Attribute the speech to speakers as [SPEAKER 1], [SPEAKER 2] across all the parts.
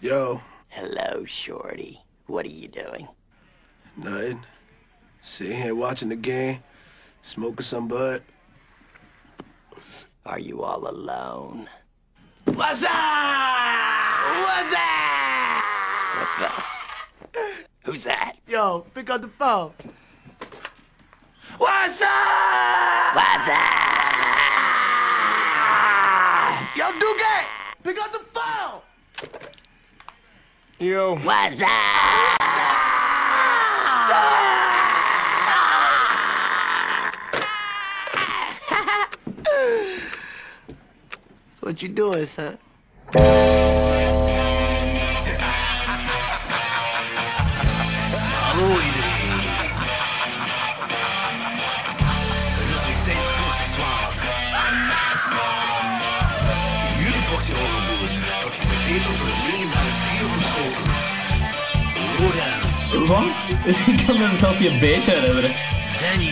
[SPEAKER 1] Yo,
[SPEAKER 2] Hello, Shorty. What are you doing?
[SPEAKER 1] nothing. Sitting here watching the game, smoking some bud.
[SPEAKER 2] Are you all alone?
[SPEAKER 1] What's up? What's up?
[SPEAKER 2] What the? Who's that?
[SPEAKER 1] Yo, pick up the phone. What's up?
[SPEAKER 2] What's up?
[SPEAKER 1] Yo, Duque, pick up the phone.
[SPEAKER 3] Yo,
[SPEAKER 2] What's up?
[SPEAKER 1] What you doing, son?
[SPEAKER 4] Hallo iedereen. Het is weer tijd voor klokjes 12. Jullie portie hongerboers, dat is serveert tot het dringen naar de stier van schotels. Lorenz,
[SPEAKER 5] Wat? Ik kan me zelfs niet een beetje herinneren.
[SPEAKER 4] Danny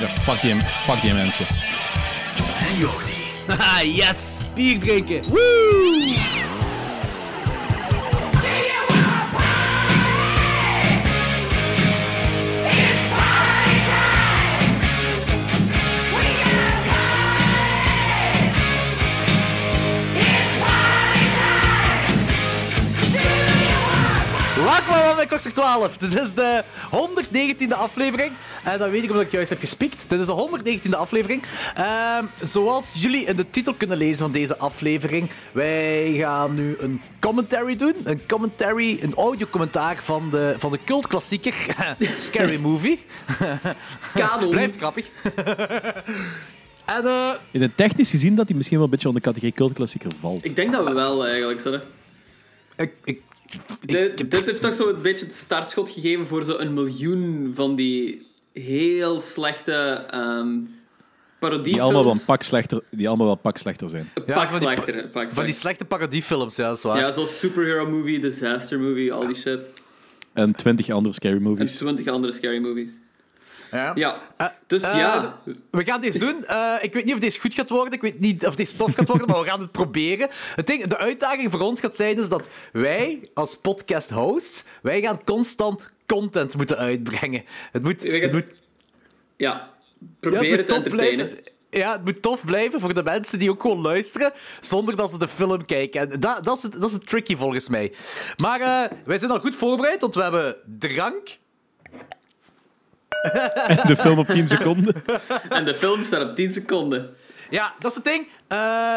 [SPEAKER 6] Ja, fuck die, fuck die mensen.
[SPEAKER 4] en Jordi.
[SPEAKER 7] Haha, yes! Bier drinken! Woo!
[SPEAKER 5] Welkom allemaal bij Klokster 12. Dit is de 119e aflevering. En dat weet ik omdat ik juist heb gespiekt. Dit is de 119e aflevering. Ehm, zoals jullie in de titel kunnen lezen van deze aflevering, wij gaan nu een commentary doen. Een commentary, een audiocommentaar van de, van de cultklassieker Scary Movie.
[SPEAKER 7] Kanon.
[SPEAKER 5] Blijft grappig. en eh,
[SPEAKER 6] In het technisch gezien dat hij misschien wel een beetje onder de categorie cultklassieker valt.
[SPEAKER 7] Ik denk dat we wel eigenlijk zullen.
[SPEAKER 5] ik, ik,
[SPEAKER 7] Dit- Dit heeft toch zo een beetje het startschot gegeven voor zo'n miljoen van die heel slechte ehm parodie.
[SPEAKER 6] Die allemaal, wel een pak slechter, die allemaal wel een pak slechter zijn.
[SPEAKER 5] Ja,
[SPEAKER 7] pak
[SPEAKER 5] van die pa-
[SPEAKER 7] slechter. pak
[SPEAKER 5] van die
[SPEAKER 7] slechter.
[SPEAKER 5] slechte parodiefilms, ja, dat is waar.
[SPEAKER 7] Ja, zoals superhero movie, disaster movie, al die shit.
[SPEAKER 6] En twintig andere scary
[SPEAKER 7] En
[SPEAKER 6] movies.
[SPEAKER 7] twintig andere scary movies.
[SPEAKER 5] Ja.
[SPEAKER 7] Ja,
[SPEAKER 5] Eh,
[SPEAKER 7] dus
[SPEAKER 5] eh,
[SPEAKER 7] ja.
[SPEAKER 5] We gaan deze doen. Eh, ik weet niet of deze goed gaat worden. Ik weet niet of deze tof gaat worden, maar we gaan het proberen. Het ding, de uitdaging voor ons gaat zijn dus dat wij als podcast hosts, wij gaan constant content moeten uitbrengen. Het moet,
[SPEAKER 7] Wij gaan
[SPEAKER 5] het moet,
[SPEAKER 7] Ja,
[SPEAKER 5] ja,
[SPEAKER 7] probeer
[SPEAKER 5] het
[SPEAKER 7] het
[SPEAKER 5] moet
[SPEAKER 7] te
[SPEAKER 5] tof
[SPEAKER 7] entertainen.
[SPEAKER 5] blijven. Ja, het moet tof blijven voor de mensen die ook gewoon luisteren, zonder dat ze de film kijken. En dat, dat, is, het, dat is het tricky volgens mij. Maar eh, wij zijn al goed voorbereid, want we hebben drank.
[SPEAKER 6] De film op 10 seconden.
[SPEAKER 7] En de film staat op 10 seconden.
[SPEAKER 5] Ja, dat is het ding. Eh,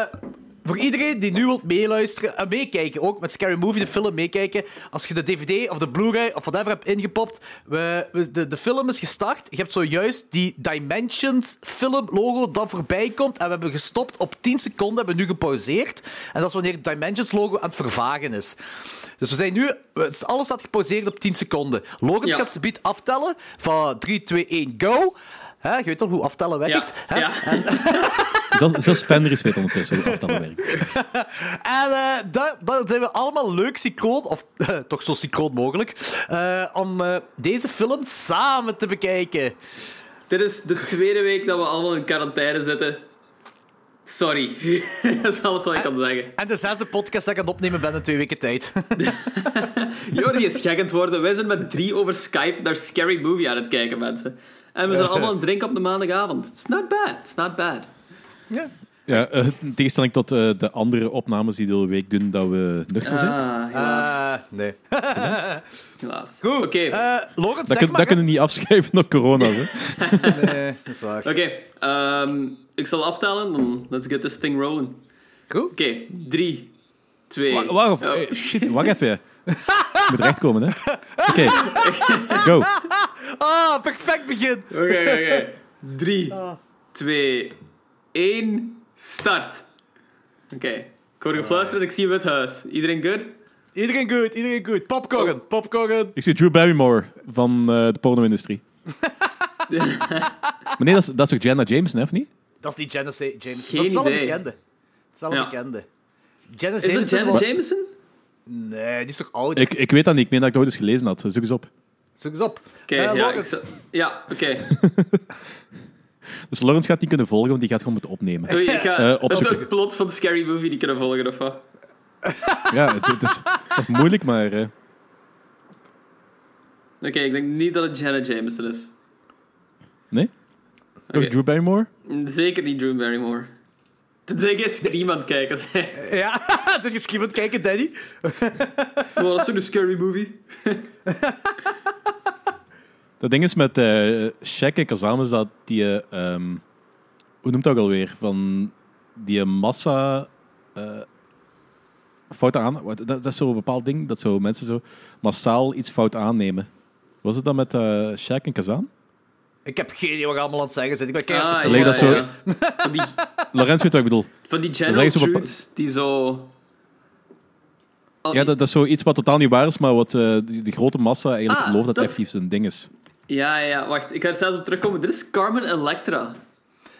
[SPEAKER 5] voor iedereen die nu wilt meeluisteren en meekijken, ook met Scary Movie, de film meekijken. Als je de DVD of de Blu-ray of whatever hebt ingepopt, we, we- de, de film is gestart. Je hebt zojuist die Dimensions film logo dat voorbij komt. En we hebben gestopt op 10 seconden, hebben we nu gepauzeerd. En dat is wanneer het Dimensions logo aan het vervagen is. Dus we zijn nu, het is- alles staat gepauzeerd op 10 seconden. Logans
[SPEAKER 7] Ja.
[SPEAKER 5] gaat ze biedt aftellen van 3, 2, 1, go. Hè, je weet al hoe aftellen
[SPEAKER 7] Ja,
[SPEAKER 5] werkt. hè?
[SPEAKER 7] ja.
[SPEAKER 6] Zelfs, zelfs Fenris weet ondertussen hoe dat werkt.
[SPEAKER 5] En eh dat, dat zijn we allemaal leuk synchroon, of eh, toch zo synchroon mogelijk, eh, om eh, deze film samen te bekijken.
[SPEAKER 7] Dit is de tweede week dat we allemaal in quarantaine zitten. Sorry. dat is alles wat ik kan zeggen.
[SPEAKER 5] En de zesde podcast dat ik aan het opnemen ben in twee weken tijd.
[SPEAKER 7] Jordi is gek aan het worden. Wij zijn met drie over Skype naar Scary Movie aan het kijken, mensen. En we zijn allemaal aan het drinken op de maandagavond. It's not bad. It's not bad.
[SPEAKER 6] Ja, eh, in tegenstelling tot eh, de andere opnames die we de week doen, dat we nuchter zijn.
[SPEAKER 7] Ah, helaas.
[SPEAKER 5] Eh, nee.
[SPEAKER 7] helaas.
[SPEAKER 5] Goed.
[SPEAKER 7] Oké.
[SPEAKER 5] Eh, Laurent,
[SPEAKER 6] Dat,
[SPEAKER 5] zeg
[SPEAKER 6] kun,
[SPEAKER 5] maar.
[SPEAKER 6] dat kunnen we niet afschrijven op corona. Hè.
[SPEAKER 5] dat is waar.
[SPEAKER 7] Oké, ehm, ik zal aftellen. Dan let's get this thing rolling.
[SPEAKER 5] Goed.
[SPEAKER 7] Oké, 3, 2.
[SPEAKER 6] Wa- Wacht,
[SPEAKER 7] Oh.
[SPEAKER 6] eh, shit, wacht even. Je moet recht komen, hè. Oké, go.
[SPEAKER 5] Ah, perfect begin.
[SPEAKER 7] Oké, oké, oké. 3, 2, 1, start. Oké, ik hoor gefluisterd, ik zie hem in het huis. Iedereen good?
[SPEAKER 5] Iedereen goed, iedereen goed. Popcorn,
[SPEAKER 6] Oh.
[SPEAKER 5] popcorn.
[SPEAKER 6] Ik zie Drew Barrymore van eh, de porno-industrie. maar nee, dat is, dat is toch Jenna James, hè, of niet?
[SPEAKER 5] Dat is niet Janice James.
[SPEAKER 7] Geen
[SPEAKER 5] dat is wel een
[SPEAKER 7] idee.
[SPEAKER 5] bekende. Dat is wel een
[SPEAKER 7] Ja.
[SPEAKER 5] bekende. Janice
[SPEAKER 7] Is
[SPEAKER 5] Jameson
[SPEAKER 7] dat Janet
[SPEAKER 5] was-
[SPEAKER 7] Jameson?
[SPEAKER 5] Nee, die is toch oud?
[SPEAKER 6] Ik, ik weet dat niet. Ik meen dat ik dat ooit eens gelezen had. Zoek eens op.
[SPEAKER 5] Zoek eens op.
[SPEAKER 7] Oké,
[SPEAKER 5] Eh,
[SPEAKER 7] ja, ik
[SPEAKER 5] Laurens.
[SPEAKER 7] zal- ja, oké.
[SPEAKER 6] Dus Lawrence gaat niet kunnen volgen, want die gaat gewoon moeten opnemen.
[SPEAKER 7] Oei, Ik ga
[SPEAKER 6] Eh, op
[SPEAKER 7] het,
[SPEAKER 6] zoek.
[SPEAKER 7] het plot van Scary Movie die kunnen volgen, of wat?
[SPEAKER 6] Ja, het, het is, Moeilijk, maar... eh,
[SPEAKER 7] Oké, ik denk niet dat het Jenna Jameson is.
[SPEAKER 6] nee? Toch
[SPEAKER 7] Oké.
[SPEAKER 6] Drew Barrymore?
[SPEAKER 7] Zeker niet Drew Barrymore. Tenzij jij Scream aan het kijken bent.
[SPEAKER 5] Ja, zit je schimmend kijken, Danny?
[SPEAKER 7] Wow, dat is toch een scary movie?
[SPEAKER 6] Dat ding is met eh Shaq en Kazam is dat die... eh, ehm, hoe noemt dat ook alweer? Van die massa... eh fout aan... wat- Dat, dat is zo'n bepaald ding, dat zo mensen zo massaal iets fout aannemen. Was het dan met eh Shaq en Kazam?
[SPEAKER 5] Ik heb geen idee wat je allemaal aan het zeggen zit. Ik ben keihard te
[SPEAKER 7] Ah,
[SPEAKER 5] filmen.
[SPEAKER 6] Lijkt dat zo-
[SPEAKER 7] Van die,
[SPEAKER 6] Lorenz weet wat ik bedoel.
[SPEAKER 7] van die
[SPEAKER 6] Dat
[SPEAKER 7] general
[SPEAKER 6] is eigenlijk zo
[SPEAKER 7] truths die zo... Oh,
[SPEAKER 6] Ja, dat, dat is zoiets wat totaal niet waar is, maar wat eh, de, de grote massa eigenlijk
[SPEAKER 7] Ah,
[SPEAKER 6] gelooft dat,
[SPEAKER 7] dat is-
[SPEAKER 6] effectief zijn ding is.
[SPEAKER 7] ja, ja, wacht. Ik ga er zelfs op terugkomen. Dit is Carmen Electra.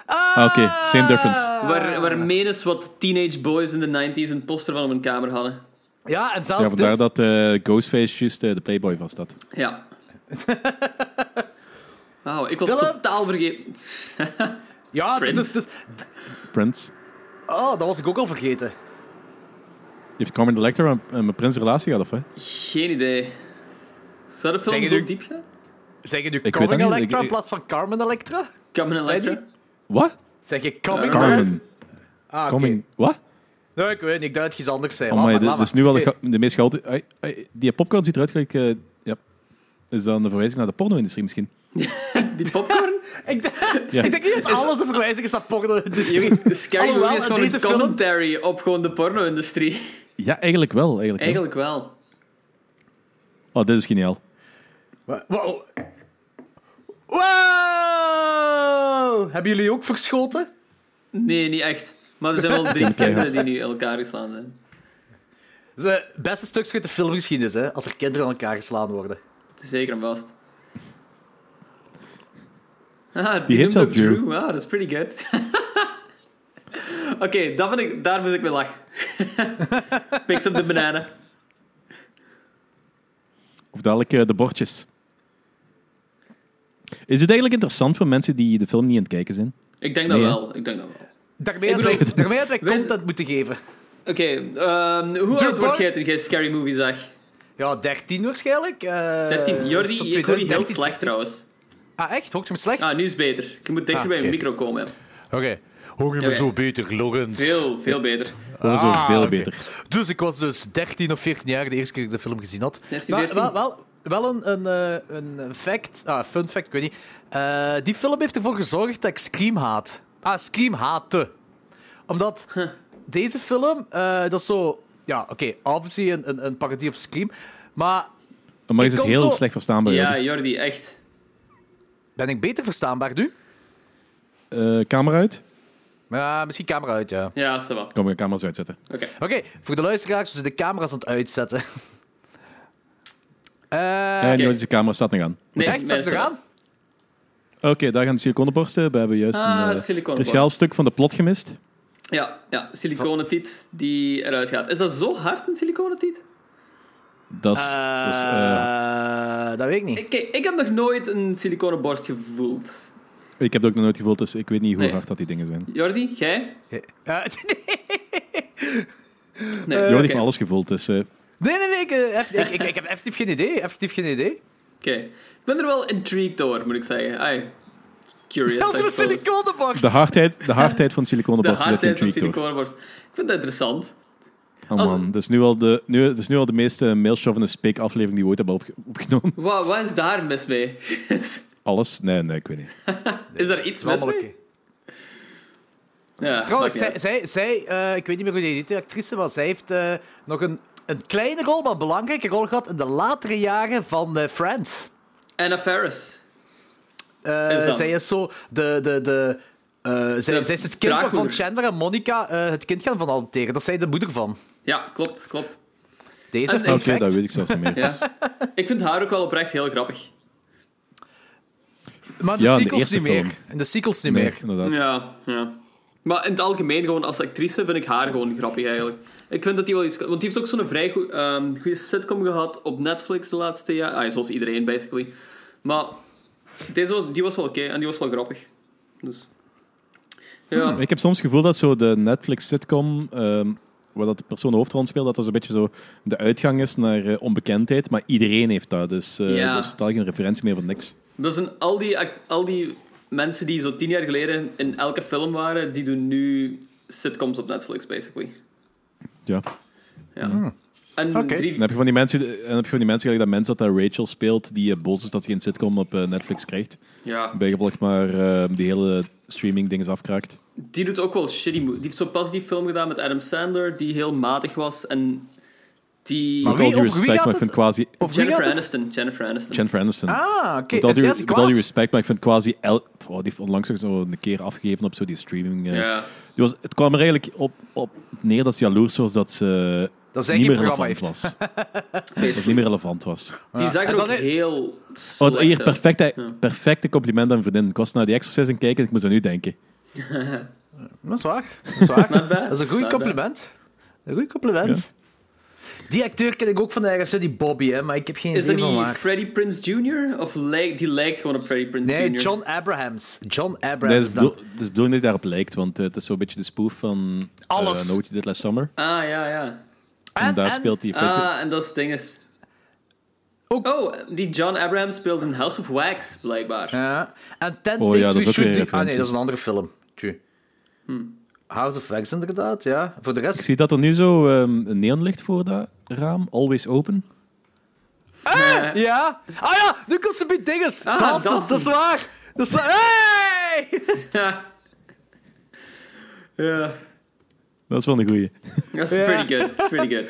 [SPEAKER 6] Ah, oké. Same difference.
[SPEAKER 5] Ah.
[SPEAKER 7] Waar, waar menens wat teenage boys in de 90s een poster van op hun kamer hadden.
[SPEAKER 5] Ja, en
[SPEAKER 6] Ja,
[SPEAKER 5] zelfs
[SPEAKER 6] vandaar
[SPEAKER 5] dit.
[SPEAKER 6] dat eh, Ghostface juist eh, de Playboy was dat.
[SPEAKER 7] Ja. Wauw, ik was
[SPEAKER 5] Philips.
[SPEAKER 7] totaal vergeten.
[SPEAKER 5] Ja, dit is-
[SPEAKER 7] Prince.
[SPEAKER 5] dit is-
[SPEAKER 6] Prince.
[SPEAKER 5] Oh, dat was ik ook al vergeten.
[SPEAKER 6] Je heeft Carmen Electra en- en met Prince een relatie gehad, of hè?
[SPEAKER 7] Geen idee. Zou de film
[SPEAKER 5] Zeg je
[SPEAKER 7] zo
[SPEAKER 5] nu-
[SPEAKER 7] diep gaan?
[SPEAKER 5] Zeg je nu
[SPEAKER 6] weet
[SPEAKER 5] Carmen
[SPEAKER 6] dat niet,
[SPEAKER 5] Electra
[SPEAKER 6] ik-
[SPEAKER 5] in plaats van Carmen Electra?
[SPEAKER 7] Carmen Electra?
[SPEAKER 5] Teddy?
[SPEAKER 6] Wat?
[SPEAKER 5] Zeg je Coming
[SPEAKER 6] Eh, Carmen.
[SPEAKER 5] Ah, oké.
[SPEAKER 6] Coming. Wat?
[SPEAKER 5] Nee, ik weet niet. Ik dacht dat je iets anders zei.
[SPEAKER 6] Oh,
[SPEAKER 5] Laat
[SPEAKER 6] maar
[SPEAKER 5] maar,
[SPEAKER 6] dit
[SPEAKER 5] laat
[SPEAKER 6] dit is
[SPEAKER 5] maar.
[SPEAKER 6] nu wel de,
[SPEAKER 5] Oké.
[SPEAKER 6] ga- de meest gehalte... ai, ai, die popcorn ziet eruit gelijk... eh, ja. Is dan een verwijzing naar de porno-industrie misschien?
[SPEAKER 7] Die popcorn?
[SPEAKER 5] Ik denk-
[SPEAKER 6] Ja.
[SPEAKER 5] Ik denk niet dat alles een verwijzing is naar porno-industrie.
[SPEAKER 7] De Scary
[SPEAKER 5] Alhoewel,
[SPEAKER 7] Movie is gewoon
[SPEAKER 5] deze
[SPEAKER 7] een commentary op gewoon de porno-industrie.
[SPEAKER 6] Ja, eigenlijk wel. Eigenlijk, hè.
[SPEAKER 7] Eigenlijk wel.
[SPEAKER 6] Oh, dit is geniaal.
[SPEAKER 5] Wa- Wow. Wow! Hebben jullie ook verschoten?
[SPEAKER 7] Nee, niet echt. Maar er zijn wel drie kinderen die nu elkaar geslaan zijn.
[SPEAKER 5] Dat is het beste stukje uit de filmgeschiedenis, hè? Als er kinderen aan elkaar geslaan worden.
[SPEAKER 7] Het is zeker en vast. Ah,
[SPEAKER 6] Die heet
[SPEAKER 7] noemt ook
[SPEAKER 6] zelfs Drew.
[SPEAKER 7] Wow, dat is pretty good. Oké, dat vind ik, daar moet ik mee lachen. Picks up de banana.
[SPEAKER 6] Of dadelijk eh, de bordjes. Is het eigenlijk interessant voor mensen die de film niet aan het kijken zijn?
[SPEAKER 7] Ik denk dat
[SPEAKER 6] Nee, hè?
[SPEAKER 7] wel. Ik denk dat wel.
[SPEAKER 5] Daarmee
[SPEAKER 7] Ik
[SPEAKER 5] dat wij,
[SPEAKER 7] bedoel-
[SPEAKER 5] daarmee dat wij
[SPEAKER 7] Wij-
[SPEAKER 5] content moeten geven.
[SPEAKER 7] Oké, ehm, hoe oud
[SPEAKER 5] Bar-
[SPEAKER 7] wordt jij toen jij Scary Movie zag?
[SPEAKER 5] Ja, 13 waarschijnlijk. eh,
[SPEAKER 7] 13.
[SPEAKER 5] dat is van
[SPEAKER 7] Jordi, je hoort je heel
[SPEAKER 5] 2013.
[SPEAKER 7] slecht trouwens.
[SPEAKER 5] Ah, echt? Hoort je me slecht?
[SPEAKER 7] Ah, nu is het beter. Je moet dichter
[SPEAKER 5] Ah,
[SPEAKER 7] bij je
[SPEAKER 5] oké.
[SPEAKER 7] micro komen. hè.
[SPEAKER 5] Oké. Hoor je me
[SPEAKER 7] Oké.
[SPEAKER 5] zo beter, Logans?
[SPEAKER 7] Veel, veel beter.
[SPEAKER 6] Dat is
[SPEAKER 5] Ah,
[SPEAKER 6] ook veel
[SPEAKER 5] oké.
[SPEAKER 6] beter.
[SPEAKER 5] Dus ik was dus 13 of 14 jaar de eerste keer dat ik de film gezien had.
[SPEAKER 7] 13,
[SPEAKER 5] Maar wel,
[SPEAKER 7] 14.
[SPEAKER 5] wel, wel een, een, eh, een fact, ah, fun fact, ik weet niet. Eh, die film heeft ervoor gezorgd dat ik Scream haat. Ah, Scream haatte. Omdat deze film, eh, dat is zo... Ja, oké, obviously een, een, een parodie op Scream. Maar
[SPEAKER 6] Maar is
[SPEAKER 5] Ik
[SPEAKER 6] het
[SPEAKER 5] kom
[SPEAKER 6] heel
[SPEAKER 5] zo-
[SPEAKER 6] slecht verstaanbaar?
[SPEAKER 7] Ja,
[SPEAKER 6] Jordi?
[SPEAKER 7] Jordi, echt.
[SPEAKER 5] ben ik beter verstaanbaar nu?
[SPEAKER 6] Eh, camera uit?
[SPEAKER 5] Ja, misschien camera uit, ja. Oké,
[SPEAKER 7] Ja, ça va. Oké.
[SPEAKER 6] Kom, ik ga camera's uitzetten.
[SPEAKER 5] voor de luisteraars, we zijn de camera's aan het uitzetten. Eh
[SPEAKER 6] En
[SPEAKER 7] Oké.
[SPEAKER 6] Jordi, zijn camera staat nog aan.
[SPEAKER 7] Nee,
[SPEAKER 5] echt, staat het
[SPEAKER 7] mensen,
[SPEAKER 5] eraan?
[SPEAKER 6] Oké, daar gaan de siliconenborsten. We hebben juist
[SPEAKER 7] Ah,
[SPEAKER 6] een eh,
[SPEAKER 7] siliconenborst.
[SPEAKER 6] cruciaal stuk van de plot gemist.
[SPEAKER 7] Ja, ja, siliconen tiet die eruit gaat. Is dat zo hard, een siliconen tiet?
[SPEAKER 6] Dat is... dat is, eh,
[SPEAKER 5] Eh, dat weet ik niet.
[SPEAKER 7] Ik- Kijk, ik heb nog nooit een siliconen borst gevoeld.
[SPEAKER 6] ik heb dat ook nog nooit gevoeld, dus ik weet niet hoe
[SPEAKER 7] Nee.
[SPEAKER 6] hard dat die dingen zijn.
[SPEAKER 7] Jordi, jij?
[SPEAKER 5] Eh,
[SPEAKER 7] Nee,
[SPEAKER 6] Jordi heeft
[SPEAKER 7] oké.
[SPEAKER 6] van alles gevoeld, dus... eh,
[SPEAKER 5] nee, nee, nee. Ik, eh, eff- ik, ik, ik heb effectief geen idee. Effectief geen idee.
[SPEAKER 7] Oké. Ik ben er wel intrigued door, moet ik zeggen. Ai, curious,
[SPEAKER 5] Heel
[SPEAKER 7] I
[SPEAKER 5] veel
[SPEAKER 7] suppose.
[SPEAKER 5] siliconenborst.
[SPEAKER 6] de, hardheid, de hardheid van de
[SPEAKER 7] De
[SPEAKER 6] siliconenborsten zit
[SPEAKER 7] hardheid van
[SPEAKER 6] natuurlijk door.
[SPEAKER 7] siliconenborst. Ik vind dat interessant.
[SPEAKER 6] Oh
[SPEAKER 7] Als-
[SPEAKER 6] man, dat is nu al de, nu, dat is nu al de meeste mailshop van de speak-aflevering die we ooit hebben opge- opgenomen.
[SPEAKER 7] Wat, wat is daar mis mee?
[SPEAKER 6] Alles? Nee, nee, ik weet niet.
[SPEAKER 7] is daar iets
[SPEAKER 5] Dat is
[SPEAKER 7] mis
[SPEAKER 5] allemaal
[SPEAKER 7] mee?
[SPEAKER 5] oké.
[SPEAKER 7] Ja,
[SPEAKER 5] Trouwens,
[SPEAKER 7] maakt
[SPEAKER 5] zij,
[SPEAKER 7] niet
[SPEAKER 5] zij, zij eh, ik weet niet meer hoe die heet, de actrice was, zij heeft eh, nog een, een kleine rol, maar een belangrijke rol gehad in de latere jaren van eh, Friends.
[SPEAKER 7] uit. Anna Faris.
[SPEAKER 5] Eh,
[SPEAKER 7] Is dat-
[SPEAKER 5] zij is zo de... de, de eh, zij,
[SPEAKER 7] De
[SPEAKER 5] zij is het kind waarvan
[SPEAKER 7] draagmoeder.
[SPEAKER 5] Chandler en Monica eh, het kind gaan van adopteren. Dat is zij de moeder van.
[SPEAKER 7] Ja, klopt, klopt.
[SPEAKER 5] Deze
[SPEAKER 7] En-
[SPEAKER 5] fun
[SPEAKER 6] Oké,
[SPEAKER 5] fact.
[SPEAKER 6] dat weet ik zelfs niet meer.
[SPEAKER 7] Ja. ik vind haar ook wel oprecht heel grappig.
[SPEAKER 5] Maar in de
[SPEAKER 6] Ja, in de
[SPEAKER 5] sequels
[SPEAKER 6] eerste
[SPEAKER 5] niet meer.
[SPEAKER 6] film.
[SPEAKER 5] In de sequels niet
[SPEAKER 6] Nee,
[SPEAKER 5] meer.
[SPEAKER 6] inderdaad.
[SPEAKER 7] Ja, ja. Maar in het algemeen, gewoon als actrice, vind ik haar gewoon grappig eigenlijk. Ik vind dat die wel iets... Want die heeft ook zo'n vrij goe- ehm, goede sitcom gehad op Netflix de laatste jaar. Ah, zoals iedereen, basically. Maar deze was, die was wel oké en die was wel grappig. Dus... Ja,
[SPEAKER 6] Hmm. Ik heb soms het gevoel dat zo de Netflix-sitcom ehm, waar dat de persoon de hoofdrol speelt, dat dat zo'n beetje zo de uitgang is naar eh, onbekendheid. Maar iedereen heeft dat, dus eh
[SPEAKER 7] Ja.
[SPEAKER 6] dat is totaal geen referentie meer van niks.
[SPEAKER 7] Dat zijn dus al die, act- al die mensen die zo tien jaar geleden in elke film waren, die doen nu sitcoms op Netflix, basically.
[SPEAKER 6] Ja.
[SPEAKER 7] Ja. En
[SPEAKER 5] Oké.
[SPEAKER 7] drie,
[SPEAKER 6] Dan heb je van die mensen, die- dan heb je van die mensen gelijk dat mensen dat daar Rachel speelt, die eh, boos is dat hij een sitcom op eh, Netflix krijgt.
[SPEAKER 7] ja.
[SPEAKER 6] Bijgevolg maar eh, die hele streaming ding is afkraakt.
[SPEAKER 7] Die doet ook wel shitty movies. Die heeft zo pas die film gedaan met Adam Sandler, die heel matig was. En die...
[SPEAKER 5] Maar
[SPEAKER 6] Met al
[SPEAKER 5] wie-
[SPEAKER 6] due
[SPEAKER 5] over wie
[SPEAKER 6] respect,
[SPEAKER 5] gaat
[SPEAKER 6] maar ik
[SPEAKER 5] het?
[SPEAKER 6] vind quasi...
[SPEAKER 5] Of wie
[SPEAKER 7] Jennifer
[SPEAKER 5] had het?
[SPEAKER 7] Aniston. Jennifer Aniston.
[SPEAKER 6] Jennifer Aniston.
[SPEAKER 5] Ah, oké.
[SPEAKER 6] Met al
[SPEAKER 5] Is
[SPEAKER 6] die-
[SPEAKER 5] die als
[SPEAKER 6] met al die
[SPEAKER 5] kwaad?
[SPEAKER 6] respect, maar ik vind quasi... El, oh, die heeft onlangs nog zo een keer afgegeven op zo die streaming. eh.
[SPEAKER 7] Ja.
[SPEAKER 6] Die was, het kwam er eigenlijk op, op neer dat ze jaloers was dat ze
[SPEAKER 5] Dat zij
[SPEAKER 6] niet
[SPEAKER 5] geen
[SPEAKER 6] meer
[SPEAKER 5] programma
[SPEAKER 6] relevant
[SPEAKER 5] heeft.
[SPEAKER 6] was. dat ze niet meer relevant was.
[SPEAKER 7] Die zag
[SPEAKER 5] Ah. En
[SPEAKER 7] er ook
[SPEAKER 5] dan he-
[SPEAKER 7] heel
[SPEAKER 6] Oh,
[SPEAKER 7] slecht
[SPEAKER 6] het- hier,
[SPEAKER 7] uit.
[SPEAKER 6] perfecte, perfecte compliment aan mijn vriendin. Ik was naar die exercise en kijken en ik moest aan u denken.
[SPEAKER 5] Dat is waar. Dat is, waar.
[SPEAKER 7] Not bad.
[SPEAKER 5] Dat is een goed
[SPEAKER 7] Not bad.
[SPEAKER 5] compliment. Een goed compliment. Die acteur ken ik ook van ergens, hè, die Bobby, hè, maar ik heb geen
[SPEAKER 7] Is dat
[SPEAKER 5] idee van
[SPEAKER 7] niet
[SPEAKER 5] waar.
[SPEAKER 7] Freddie Prince Jr.? Of lijkt, die lijkt gewoon op Freddie Prince
[SPEAKER 5] Nee,
[SPEAKER 7] Jr.
[SPEAKER 5] John Abrahams. John
[SPEAKER 6] Nee,
[SPEAKER 5] Abrahams.
[SPEAKER 6] dat
[SPEAKER 5] is
[SPEAKER 6] is
[SPEAKER 5] dan-
[SPEAKER 6] bedoel- dat is de bedoeling dat je daarop lijkt, want eh, het is zo'n beetje de spoof van... eh,
[SPEAKER 5] Alles.
[SPEAKER 6] Nootje dit last summer.
[SPEAKER 7] Ah, ja, ja.
[SPEAKER 6] En,
[SPEAKER 5] En-
[SPEAKER 6] daar
[SPEAKER 5] en-
[SPEAKER 6] speelt hij...
[SPEAKER 7] Ah, en dat is het ding is...
[SPEAKER 5] Ook-
[SPEAKER 7] Oh, die John Abraham speelt in House of Wax, blijkbaar.
[SPEAKER 5] Ja. En Ten
[SPEAKER 6] Oh ja,
[SPEAKER 5] Things
[SPEAKER 6] dat is
[SPEAKER 5] We
[SPEAKER 6] ook weer
[SPEAKER 5] Should
[SPEAKER 6] een
[SPEAKER 5] Do... Ah nee,
[SPEAKER 6] referentie.
[SPEAKER 5] dat is een andere film. True. Hm. House of Wax inderdaad, ja. Voor de
[SPEAKER 6] Ik
[SPEAKER 5] rest...
[SPEAKER 6] zie dat er nu zo ehm, een neon ligt voor dat raam. Always open.
[SPEAKER 5] Ah, ja! Ah ja, nu komt ze bij dinges.
[SPEAKER 7] Ah,
[SPEAKER 5] Dawson,
[SPEAKER 7] Dawson.
[SPEAKER 5] dat is waar. Dat is waar. Hey!
[SPEAKER 7] Ja. ja.
[SPEAKER 6] Dat is wel een goeie.
[SPEAKER 7] That's
[SPEAKER 5] Ja.
[SPEAKER 7] pretty good. That's pretty good.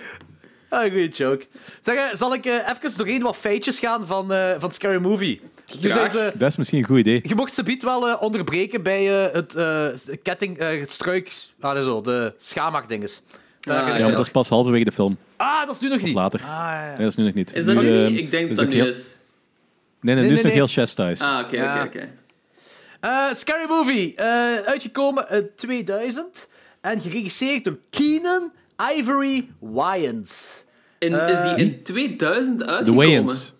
[SPEAKER 5] Ah, een goede joke. Zeg, eh, zal ik eh, even doorheen wat feitjes gaan van, eh, van Scary Movie? Nu
[SPEAKER 7] Graag.
[SPEAKER 5] zijn ze...
[SPEAKER 6] Dat is misschien een goed idee.
[SPEAKER 5] Je mocht ze biedt wel eh, onderbreken bij eh, het eh, ketting, eh, het struik, ah, nee, zo, de schaamhaakdinges. Daar,
[SPEAKER 7] Ah,
[SPEAKER 5] eh,
[SPEAKER 7] ja.
[SPEAKER 6] Ja, maar dat is pas halverwege de film.
[SPEAKER 5] ah, dat is nu nog niet.
[SPEAKER 6] Later.
[SPEAKER 5] Ah, ja.
[SPEAKER 6] Nee, dat is nu nog niet.
[SPEAKER 7] Is dat nu
[SPEAKER 6] ehm,
[SPEAKER 7] niet? Ik denk dat
[SPEAKER 6] is
[SPEAKER 7] dat
[SPEAKER 6] ook
[SPEAKER 7] nu
[SPEAKER 6] heel-
[SPEAKER 7] is.
[SPEAKER 6] Nee, nee, nu
[SPEAKER 5] Nee,
[SPEAKER 6] is
[SPEAKER 5] nee,
[SPEAKER 6] het nog
[SPEAKER 5] nee.
[SPEAKER 6] heel chastised.
[SPEAKER 7] Ah, oké,
[SPEAKER 5] Ja.
[SPEAKER 7] oké, oké.
[SPEAKER 5] Eh, Scary Movie, eh, uitgekomen in 2000 en geregisseerd door Keenan Ivory Wayans.
[SPEAKER 7] In- Is
[SPEAKER 5] Eh,
[SPEAKER 7] die in 2000
[SPEAKER 6] de
[SPEAKER 7] uitgekomen?
[SPEAKER 6] Wayans.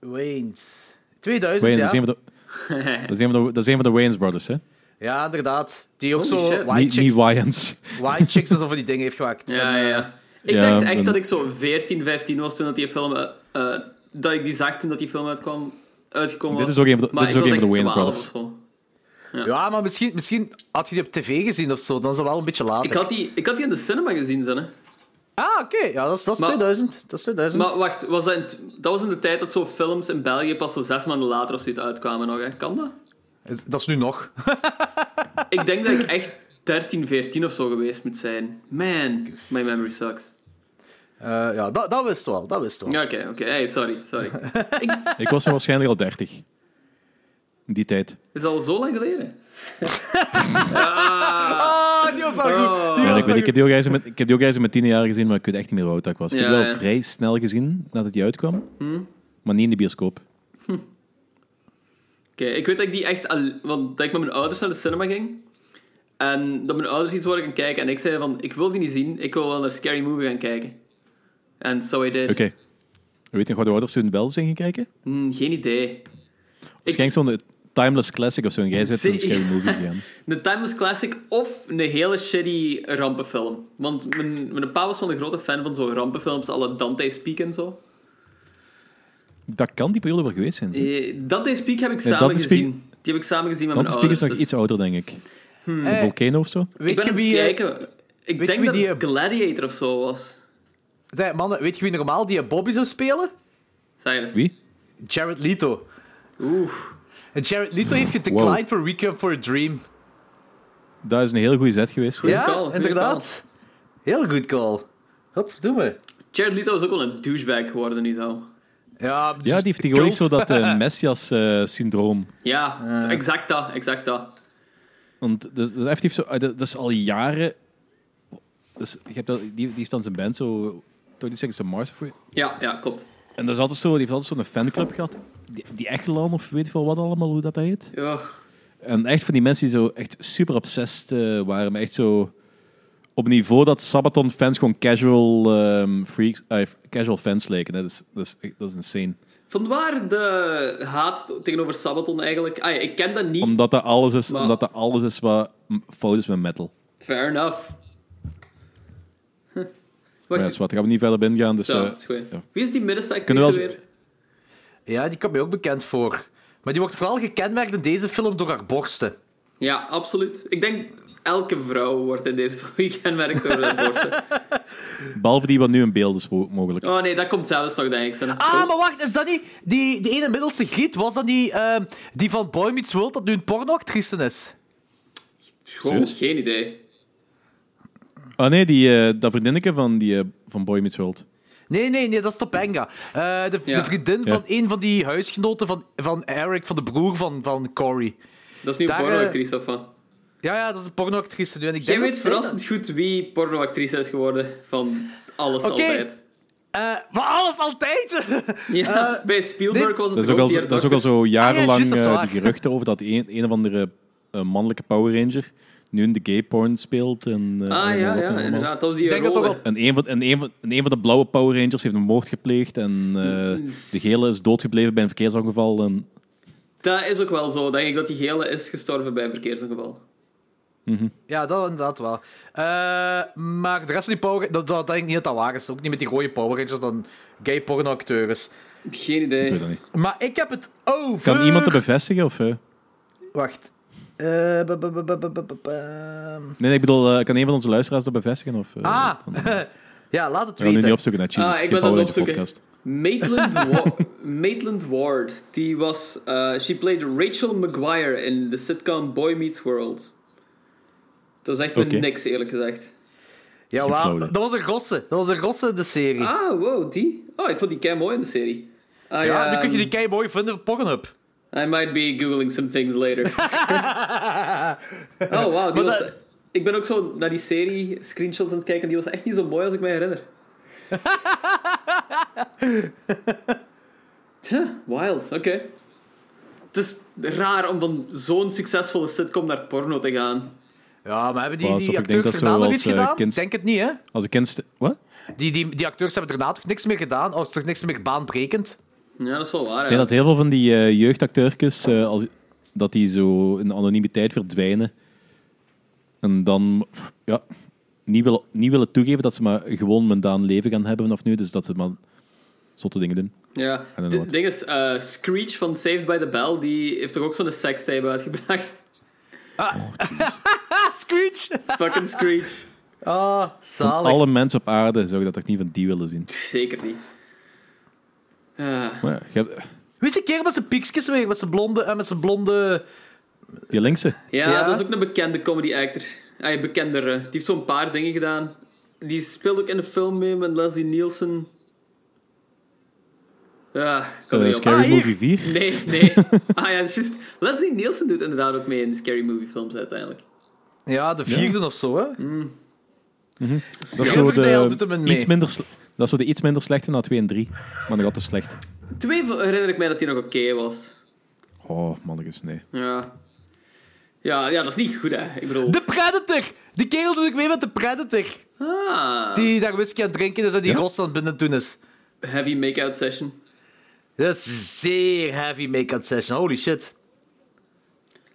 [SPEAKER 5] Wayans. 2000,
[SPEAKER 6] Wayans,
[SPEAKER 5] ja.
[SPEAKER 6] dat is een van de... Dat is een van de, dat is een van de Wayans brothers, hè?
[SPEAKER 5] Ja, inderdaad. Die ook
[SPEAKER 7] Holy
[SPEAKER 5] zo
[SPEAKER 7] shit.
[SPEAKER 5] white
[SPEAKER 6] Niet, niet
[SPEAKER 5] chicks,
[SPEAKER 6] Wayans.
[SPEAKER 5] white chicks alsof hij die dingen heeft gemaakt.
[SPEAKER 7] Ja,
[SPEAKER 5] En, eh,
[SPEAKER 7] ja. Ik
[SPEAKER 6] ja,
[SPEAKER 7] dacht echt
[SPEAKER 6] en-
[SPEAKER 7] dat ik zo 14, 15 was toen dat die film... eh, eh, dat ik die zag toen dat die film uitkwam, uitgekomen
[SPEAKER 6] Dit
[SPEAKER 7] was.
[SPEAKER 6] is ook een van de-
[SPEAKER 7] Maar
[SPEAKER 6] dit is
[SPEAKER 7] ik
[SPEAKER 6] ook
[SPEAKER 7] was
[SPEAKER 6] een van de
[SPEAKER 7] echt
[SPEAKER 6] Wayans
[SPEAKER 7] 12
[SPEAKER 6] brothers.
[SPEAKER 7] of zo.
[SPEAKER 5] Ja, maar misschien, misschien had je die op tv gezien of zo, dan is dat wel een beetje later.
[SPEAKER 7] Ik had, die, ik had die in de cinema gezien, zijn, hè.
[SPEAKER 5] Ah, oké. Ja, dat is, dat is
[SPEAKER 7] Maar-
[SPEAKER 5] 2000. Dat is 2000.
[SPEAKER 7] Maar wacht, was dat, in t- dat was in de tijd dat zo films in België pas zo zes maanden later of zoiets uitkwamen nog, hè. Kan dat?
[SPEAKER 5] Is- dat is nu nog.
[SPEAKER 7] Ik denk dat ik echt 13, 14 of zo geweest moet zijn. Man, my memory sucks.
[SPEAKER 5] Eh, ja, dat, dat wist wel. Dat wist wel.
[SPEAKER 7] Ja, Oké, oké. Hey, sorry, sorry. ik,
[SPEAKER 6] Ik was er waarschijnlijk al 30. In die tijd.
[SPEAKER 7] is al zo lang geleden.
[SPEAKER 5] Ah, die was wel
[SPEAKER 7] Eh,
[SPEAKER 5] goed.
[SPEAKER 7] Oh.
[SPEAKER 5] Die was
[SPEAKER 6] Ja, ik, weet,
[SPEAKER 5] wel
[SPEAKER 6] ik heb die ook eens met, ik heb die ook eens met 10 jaar gezien, maar ik weet echt niet meer hoe oud dat ik was. ik
[SPEAKER 7] Ja,
[SPEAKER 6] heb die wel
[SPEAKER 7] ja. Hm?
[SPEAKER 6] vrij snel gezien nadat die uitkwam, maar niet in de bioscoop.
[SPEAKER 7] Oké, ik weet dat ik die echt... al- Want dat ik met mijn ouders naar de cinema ging. En dat mijn ouders iets waren gaan kijken. En ik zei van, ik wil die niet zien. Ik wil wel naar Scary Movie gaan kijken. En so I did.
[SPEAKER 6] Oké. Weet je nog wat de ouders toen in België zijn gaan kijken?
[SPEAKER 7] Hmm, geen idee.
[SPEAKER 6] Waarschijnlijk zo'n eh, Timeless Classic of zo. En jij zit in een
[SPEAKER 7] Zie-
[SPEAKER 6] scary movie gegaan.
[SPEAKER 7] Een Timeless Classic of een hele shitty rampenfilm. Want mijn, mijn pa was wel een grote fan van zo'n rampenfilms. Alle Dante's Peak en zo.
[SPEAKER 6] Dat kan die periode wel geweest zijn. zeg.
[SPEAKER 7] Eh, Dante's Peak heb ik
[SPEAKER 6] Nee,
[SPEAKER 7] samen
[SPEAKER 6] Dante's Peak-
[SPEAKER 7] gezien. Die heb ik samen gezien met
[SPEAKER 6] Want de
[SPEAKER 7] mijn
[SPEAKER 6] Spiegel is
[SPEAKER 7] ouders. dus-
[SPEAKER 6] nog iets ouder, denk ik. Een
[SPEAKER 5] Eh,
[SPEAKER 6] Volcano of zo.
[SPEAKER 7] Ik
[SPEAKER 5] Weet
[SPEAKER 7] ben
[SPEAKER 5] je
[SPEAKER 7] aan
[SPEAKER 5] wie...
[SPEAKER 7] het
[SPEAKER 5] eh,
[SPEAKER 7] kijken. Ik
[SPEAKER 5] je
[SPEAKER 7] denk
[SPEAKER 5] wie
[SPEAKER 7] dat
[SPEAKER 5] die,
[SPEAKER 7] het
[SPEAKER 5] eh,
[SPEAKER 7] Gladiator of zo was.
[SPEAKER 5] zeg, mannen, weet je wie normaal die eh, Bobby zou spelen?
[SPEAKER 7] Zeg eens.
[SPEAKER 6] Wie?
[SPEAKER 5] Jared Leto.
[SPEAKER 7] Oeh.
[SPEAKER 5] En Jared Leto heeft gedeclined
[SPEAKER 6] Wow.
[SPEAKER 5] voor Weekend for a Dream.
[SPEAKER 6] Dat is een heel goede zet geweest. voor
[SPEAKER 5] ja,
[SPEAKER 7] call, goeie
[SPEAKER 5] inderdaad. Heel goed call. Wat doen we?
[SPEAKER 7] Jared Leto is ook wel een douchebag geworden nu dan.
[SPEAKER 5] Ja, dus
[SPEAKER 6] Ja, die heeft tegenwoordig zo dat eh, Messias-syndroom.
[SPEAKER 7] Ja,
[SPEAKER 6] Ah.
[SPEAKER 7] exact dat, exact dat.
[SPEAKER 6] Want dat dat is effectief zo, eh, dat dat is al jaren. Dus je hebt dat, die, die heeft dan zijn band zo. Tony Seconds to Mars. of-
[SPEAKER 7] Ja, ja, klopt.
[SPEAKER 6] En dat is altijd zo, die heeft altijd zo'n fanclub gehad. Die, die Echelan of weet ik veel wat allemaal, hoe dat, dat heet.
[SPEAKER 7] Ugh.
[SPEAKER 6] En echt van die mensen die zo echt super obsessed eh, waren. Maar echt zo op een niveau dat Sabaton fans gewoon casual, ehm, freaks, eh, casual fans leken. hè. Dat is, dat, is, dat is insane.
[SPEAKER 7] Vanwaar de haat tegenover Sabaton eigenlijk? Ah, ja, ik ken dat niet.
[SPEAKER 6] Omdat dat alles is,
[SPEAKER 7] Maar-
[SPEAKER 6] omdat dat alles is wat m- fout is met metal.
[SPEAKER 7] Fair enough.
[SPEAKER 6] Maar dat
[SPEAKER 7] Wacht,
[SPEAKER 6] is wat, daar gaan we niet verder op ingaan. Dus,
[SPEAKER 7] zo,
[SPEAKER 6] eh,
[SPEAKER 7] dat is goed.
[SPEAKER 6] ja.
[SPEAKER 7] Wie is die middenste actrice
[SPEAKER 6] Kunnen we wel
[SPEAKER 7] weer?
[SPEAKER 6] eens-
[SPEAKER 5] Ja, die komt mij ook bekend voor. Maar die wordt vooral gekenmerkt in deze film door haar borsten.
[SPEAKER 7] Ja, absoluut. Ik denk elke vrouw wordt in deze film gekenmerkt door de borsten.
[SPEAKER 6] behalve die wat nu in beeld is mo- mogelijk.
[SPEAKER 7] Oh nee, dat komt zelfs nog, denk ik. Oh, Sam.
[SPEAKER 5] Ah, maar wacht, is dat niet... Die, die ene middelste griet, was dat niet ehm, die van Boy Meets World dat nu een pornoactrice is?
[SPEAKER 7] Gewoon
[SPEAKER 6] serieus?
[SPEAKER 7] geen idee.
[SPEAKER 6] Ah nee, die, eh, dat vriendinnetje van, die, eh, van Boy Meets World.
[SPEAKER 5] Nee, nee, nee, dat is Topanga. Eh, de,
[SPEAKER 7] Ja.
[SPEAKER 5] de vriendin
[SPEAKER 6] Ja.
[SPEAKER 5] van een van die huisgenoten van, van Eric, van de broer van, van Corey.
[SPEAKER 7] Dat is nu een
[SPEAKER 5] Daar, eh,
[SPEAKER 7] pornoactrice of wat?
[SPEAKER 5] Ja, ja, dat is een pornoactrice nu. En ik
[SPEAKER 7] Jij
[SPEAKER 5] denk
[SPEAKER 7] weet
[SPEAKER 5] dat zij dat-
[SPEAKER 7] verrassend goed wie pornoactrice is geworden van alles
[SPEAKER 5] Oké.
[SPEAKER 7] altijd.
[SPEAKER 5] Eh, maar alles altijd!
[SPEAKER 7] Ja, bij Spielberg
[SPEAKER 5] dit-
[SPEAKER 7] was het
[SPEAKER 6] Dat is,
[SPEAKER 7] toch
[SPEAKER 6] ook al,
[SPEAKER 7] die
[SPEAKER 6] zo- dat is ook
[SPEAKER 7] dokter-
[SPEAKER 6] al zo
[SPEAKER 5] Ah, ja,
[SPEAKER 6] jarenlang
[SPEAKER 5] juist, dat is
[SPEAKER 6] eh,
[SPEAKER 5] waar.
[SPEAKER 6] die geruchten over dat een, een of andere eh, mannelijke Power Ranger nu in de gay porn speelt. En, eh,
[SPEAKER 7] Ah
[SPEAKER 6] en
[SPEAKER 7] ja,
[SPEAKER 6] wat dan
[SPEAKER 7] ja,
[SPEAKER 6] allemaal.
[SPEAKER 7] inderdaad. Dat was die
[SPEAKER 5] Ik denk dat
[SPEAKER 7] rode.
[SPEAKER 5] toch al-
[SPEAKER 6] En een, van, en, een van, en een van de blauwe Power Rangers heeft een moord gepleegd. En eh, de gele is doodgebleven bij een verkeersongeval. En,
[SPEAKER 7] Dat is ook wel zo, denk ik, dat die gele is gestorven bij een verkeersongeval.
[SPEAKER 5] Ja, dat inderdaad wel. Eh, maar de rest van die Power dat, dat denk ik niet dat dat waar is. Ook niet met die rode Power Rangers, dat een gay pornoacteur is.
[SPEAKER 7] Geen
[SPEAKER 6] ik
[SPEAKER 7] idee.
[SPEAKER 6] weet dat niet.
[SPEAKER 5] Maar ik heb het over...
[SPEAKER 6] Kan iemand dat bevestigen? Of, eh? Nee,
[SPEAKER 5] Wacht. Eh, ba- ba- ba- ba- ba- ba- ba- ba-
[SPEAKER 6] nee, ik bedoel, eh, kan een van onze luisteraars dat bevestigen? Of, eh,
[SPEAKER 5] Ah!
[SPEAKER 6] dan- we
[SPEAKER 5] ja, laat het
[SPEAKER 6] gaan nu niet
[SPEAKER 5] weten.
[SPEAKER 6] opzoeken naar Jesus.
[SPEAKER 7] Ah, ik
[SPEAKER 6] geen
[SPEAKER 7] ben aan
[SPEAKER 6] Power
[SPEAKER 7] het
[SPEAKER 6] Ranger
[SPEAKER 7] opzoeken.
[SPEAKER 6] podcast.
[SPEAKER 7] Maitland, Wa- Maitland Ward, die was, eh, she played Rachel Maguire in de sitcom Boy Meets World. Dat zegt me
[SPEAKER 6] Oké.
[SPEAKER 7] niks, eerlijk gezegd.
[SPEAKER 5] Jawel,
[SPEAKER 6] flauw,
[SPEAKER 5] dat was een rosse. Dat was een rosse in de serie.
[SPEAKER 7] Ah, wow, die? Oh, ik vond die kei mooi in de serie. Ah,
[SPEAKER 5] ja, nu kun je die kei mooi vinden op Pornhub.
[SPEAKER 7] I might be googling some things later. oh, wow, die
[SPEAKER 5] Maar
[SPEAKER 7] was...
[SPEAKER 5] dat-
[SPEAKER 7] Ik ben ook zo naar die serie screenshots aan het kijken, die was echt niet zo mooi als ik mij herinner. Huh, wild, oké. Het is raar om van zo'n succesvolle sitcom naar porno te gaan.
[SPEAKER 5] Ja, maar hebben die,
[SPEAKER 6] Pas
[SPEAKER 5] die
[SPEAKER 6] op, ik denk
[SPEAKER 5] acteurs
[SPEAKER 6] dat ze
[SPEAKER 5] daarna nog
[SPEAKER 6] als,
[SPEAKER 5] iets
[SPEAKER 6] eh,
[SPEAKER 5] gedaan?
[SPEAKER 6] kind-
[SPEAKER 5] Ik denk het niet, hè?
[SPEAKER 6] Als ik kind... Wat?
[SPEAKER 5] Die, die, die acteurs hebben daarna toch niks meer gedaan? Of is toch niks meer baanbrekend?
[SPEAKER 7] Ja, dat is wel waar,
[SPEAKER 6] Ik
[SPEAKER 7] ja.
[SPEAKER 6] denk dat heel veel van die eh jeugdacteurtjes, eh, als, dat die zo in de anonimiteit verdwijnen. En dan ja, niet, willen, niet willen toegeven dat ze maar gewoon mundaan leven gaan hebben vanaf nu. Dus dat ze maar zotte dingen doen.
[SPEAKER 7] Ja,
[SPEAKER 6] don't know
[SPEAKER 7] de
[SPEAKER 6] what.
[SPEAKER 7] ding is, eh, Screech van Saved by the Bell, die heeft toch ook zo'n sextape uitgebracht?
[SPEAKER 5] Ah, Screech!
[SPEAKER 7] Fucking Screech.
[SPEAKER 5] Ah, zalig.
[SPEAKER 6] Alle mensen op aarde zouden dat toch niet van die willen zien.
[SPEAKER 7] Zeker niet. Ah,
[SPEAKER 6] Maar ja, je hebt-
[SPEAKER 5] Weet je, een keer met zijn piekjes weer, met zijn blonde... En met zijn blonde...
[SPEAKER 6] die linkse.
[SPEAKER 7] ja,
[SPEAKER 5] Ja?
[SPEAKER 7] dat is ook een bekende comedy actor. Ay, bekendere. Die heeft zo'n paar dingen gedaan. Die speelt ook in de film mee met Leslie Nielsen. Ja, ik kan er
[SPEAKER 6] eh,
[SPEAKER 7] niet op.
[SPEAKER 6] Scary
[SPEAKER 5] Ah, hier.
[SPEAKER 6] Movie 4.
[SPEAKER 7] Nee, nee. Ah ja, dat is juist. Leslie Nielsen doet inderdaad ook mee in de Scary Movie films uiteindelijk.
[SPEAKER 5] Ja, de vierde of zo, hè?
[SPEAKER 7] Mm.
[SPEAKER 6] Dat is zo
[SPEAKER 5] Riverdale doet hem
[SPEAKER 6] de,
[SPEAKER 5] een mee.
[SPEAKER 6] iets minder, sle- dat is zo de iets minder slechte na 2 en 3. Maar nog altijd slecht.
[SPEAKER 7] Twee v- herinner ik mij dat die nog oké was.
[SPEAKER 6] Oh, mannetjes, nee.
[SPEAKER 7] Ja. ja. Ja, dat is niet goed, hè. Ik bedoel...
[SPEAKER 5] De Predator! Die kerel doet ook mee met de Predator.
[SPEAKER 7] Ah,
[SPEAKER 5] Die daar whisky aan het drinken is en die
[SPEAKER 6] Ja?
[SPEAKER 5] rots aan het binnen doen is.
[SPEAKER 7] heavy make-out session.
[SPEAKER 5] Dat is zeer heavy make-up session. Holy shit.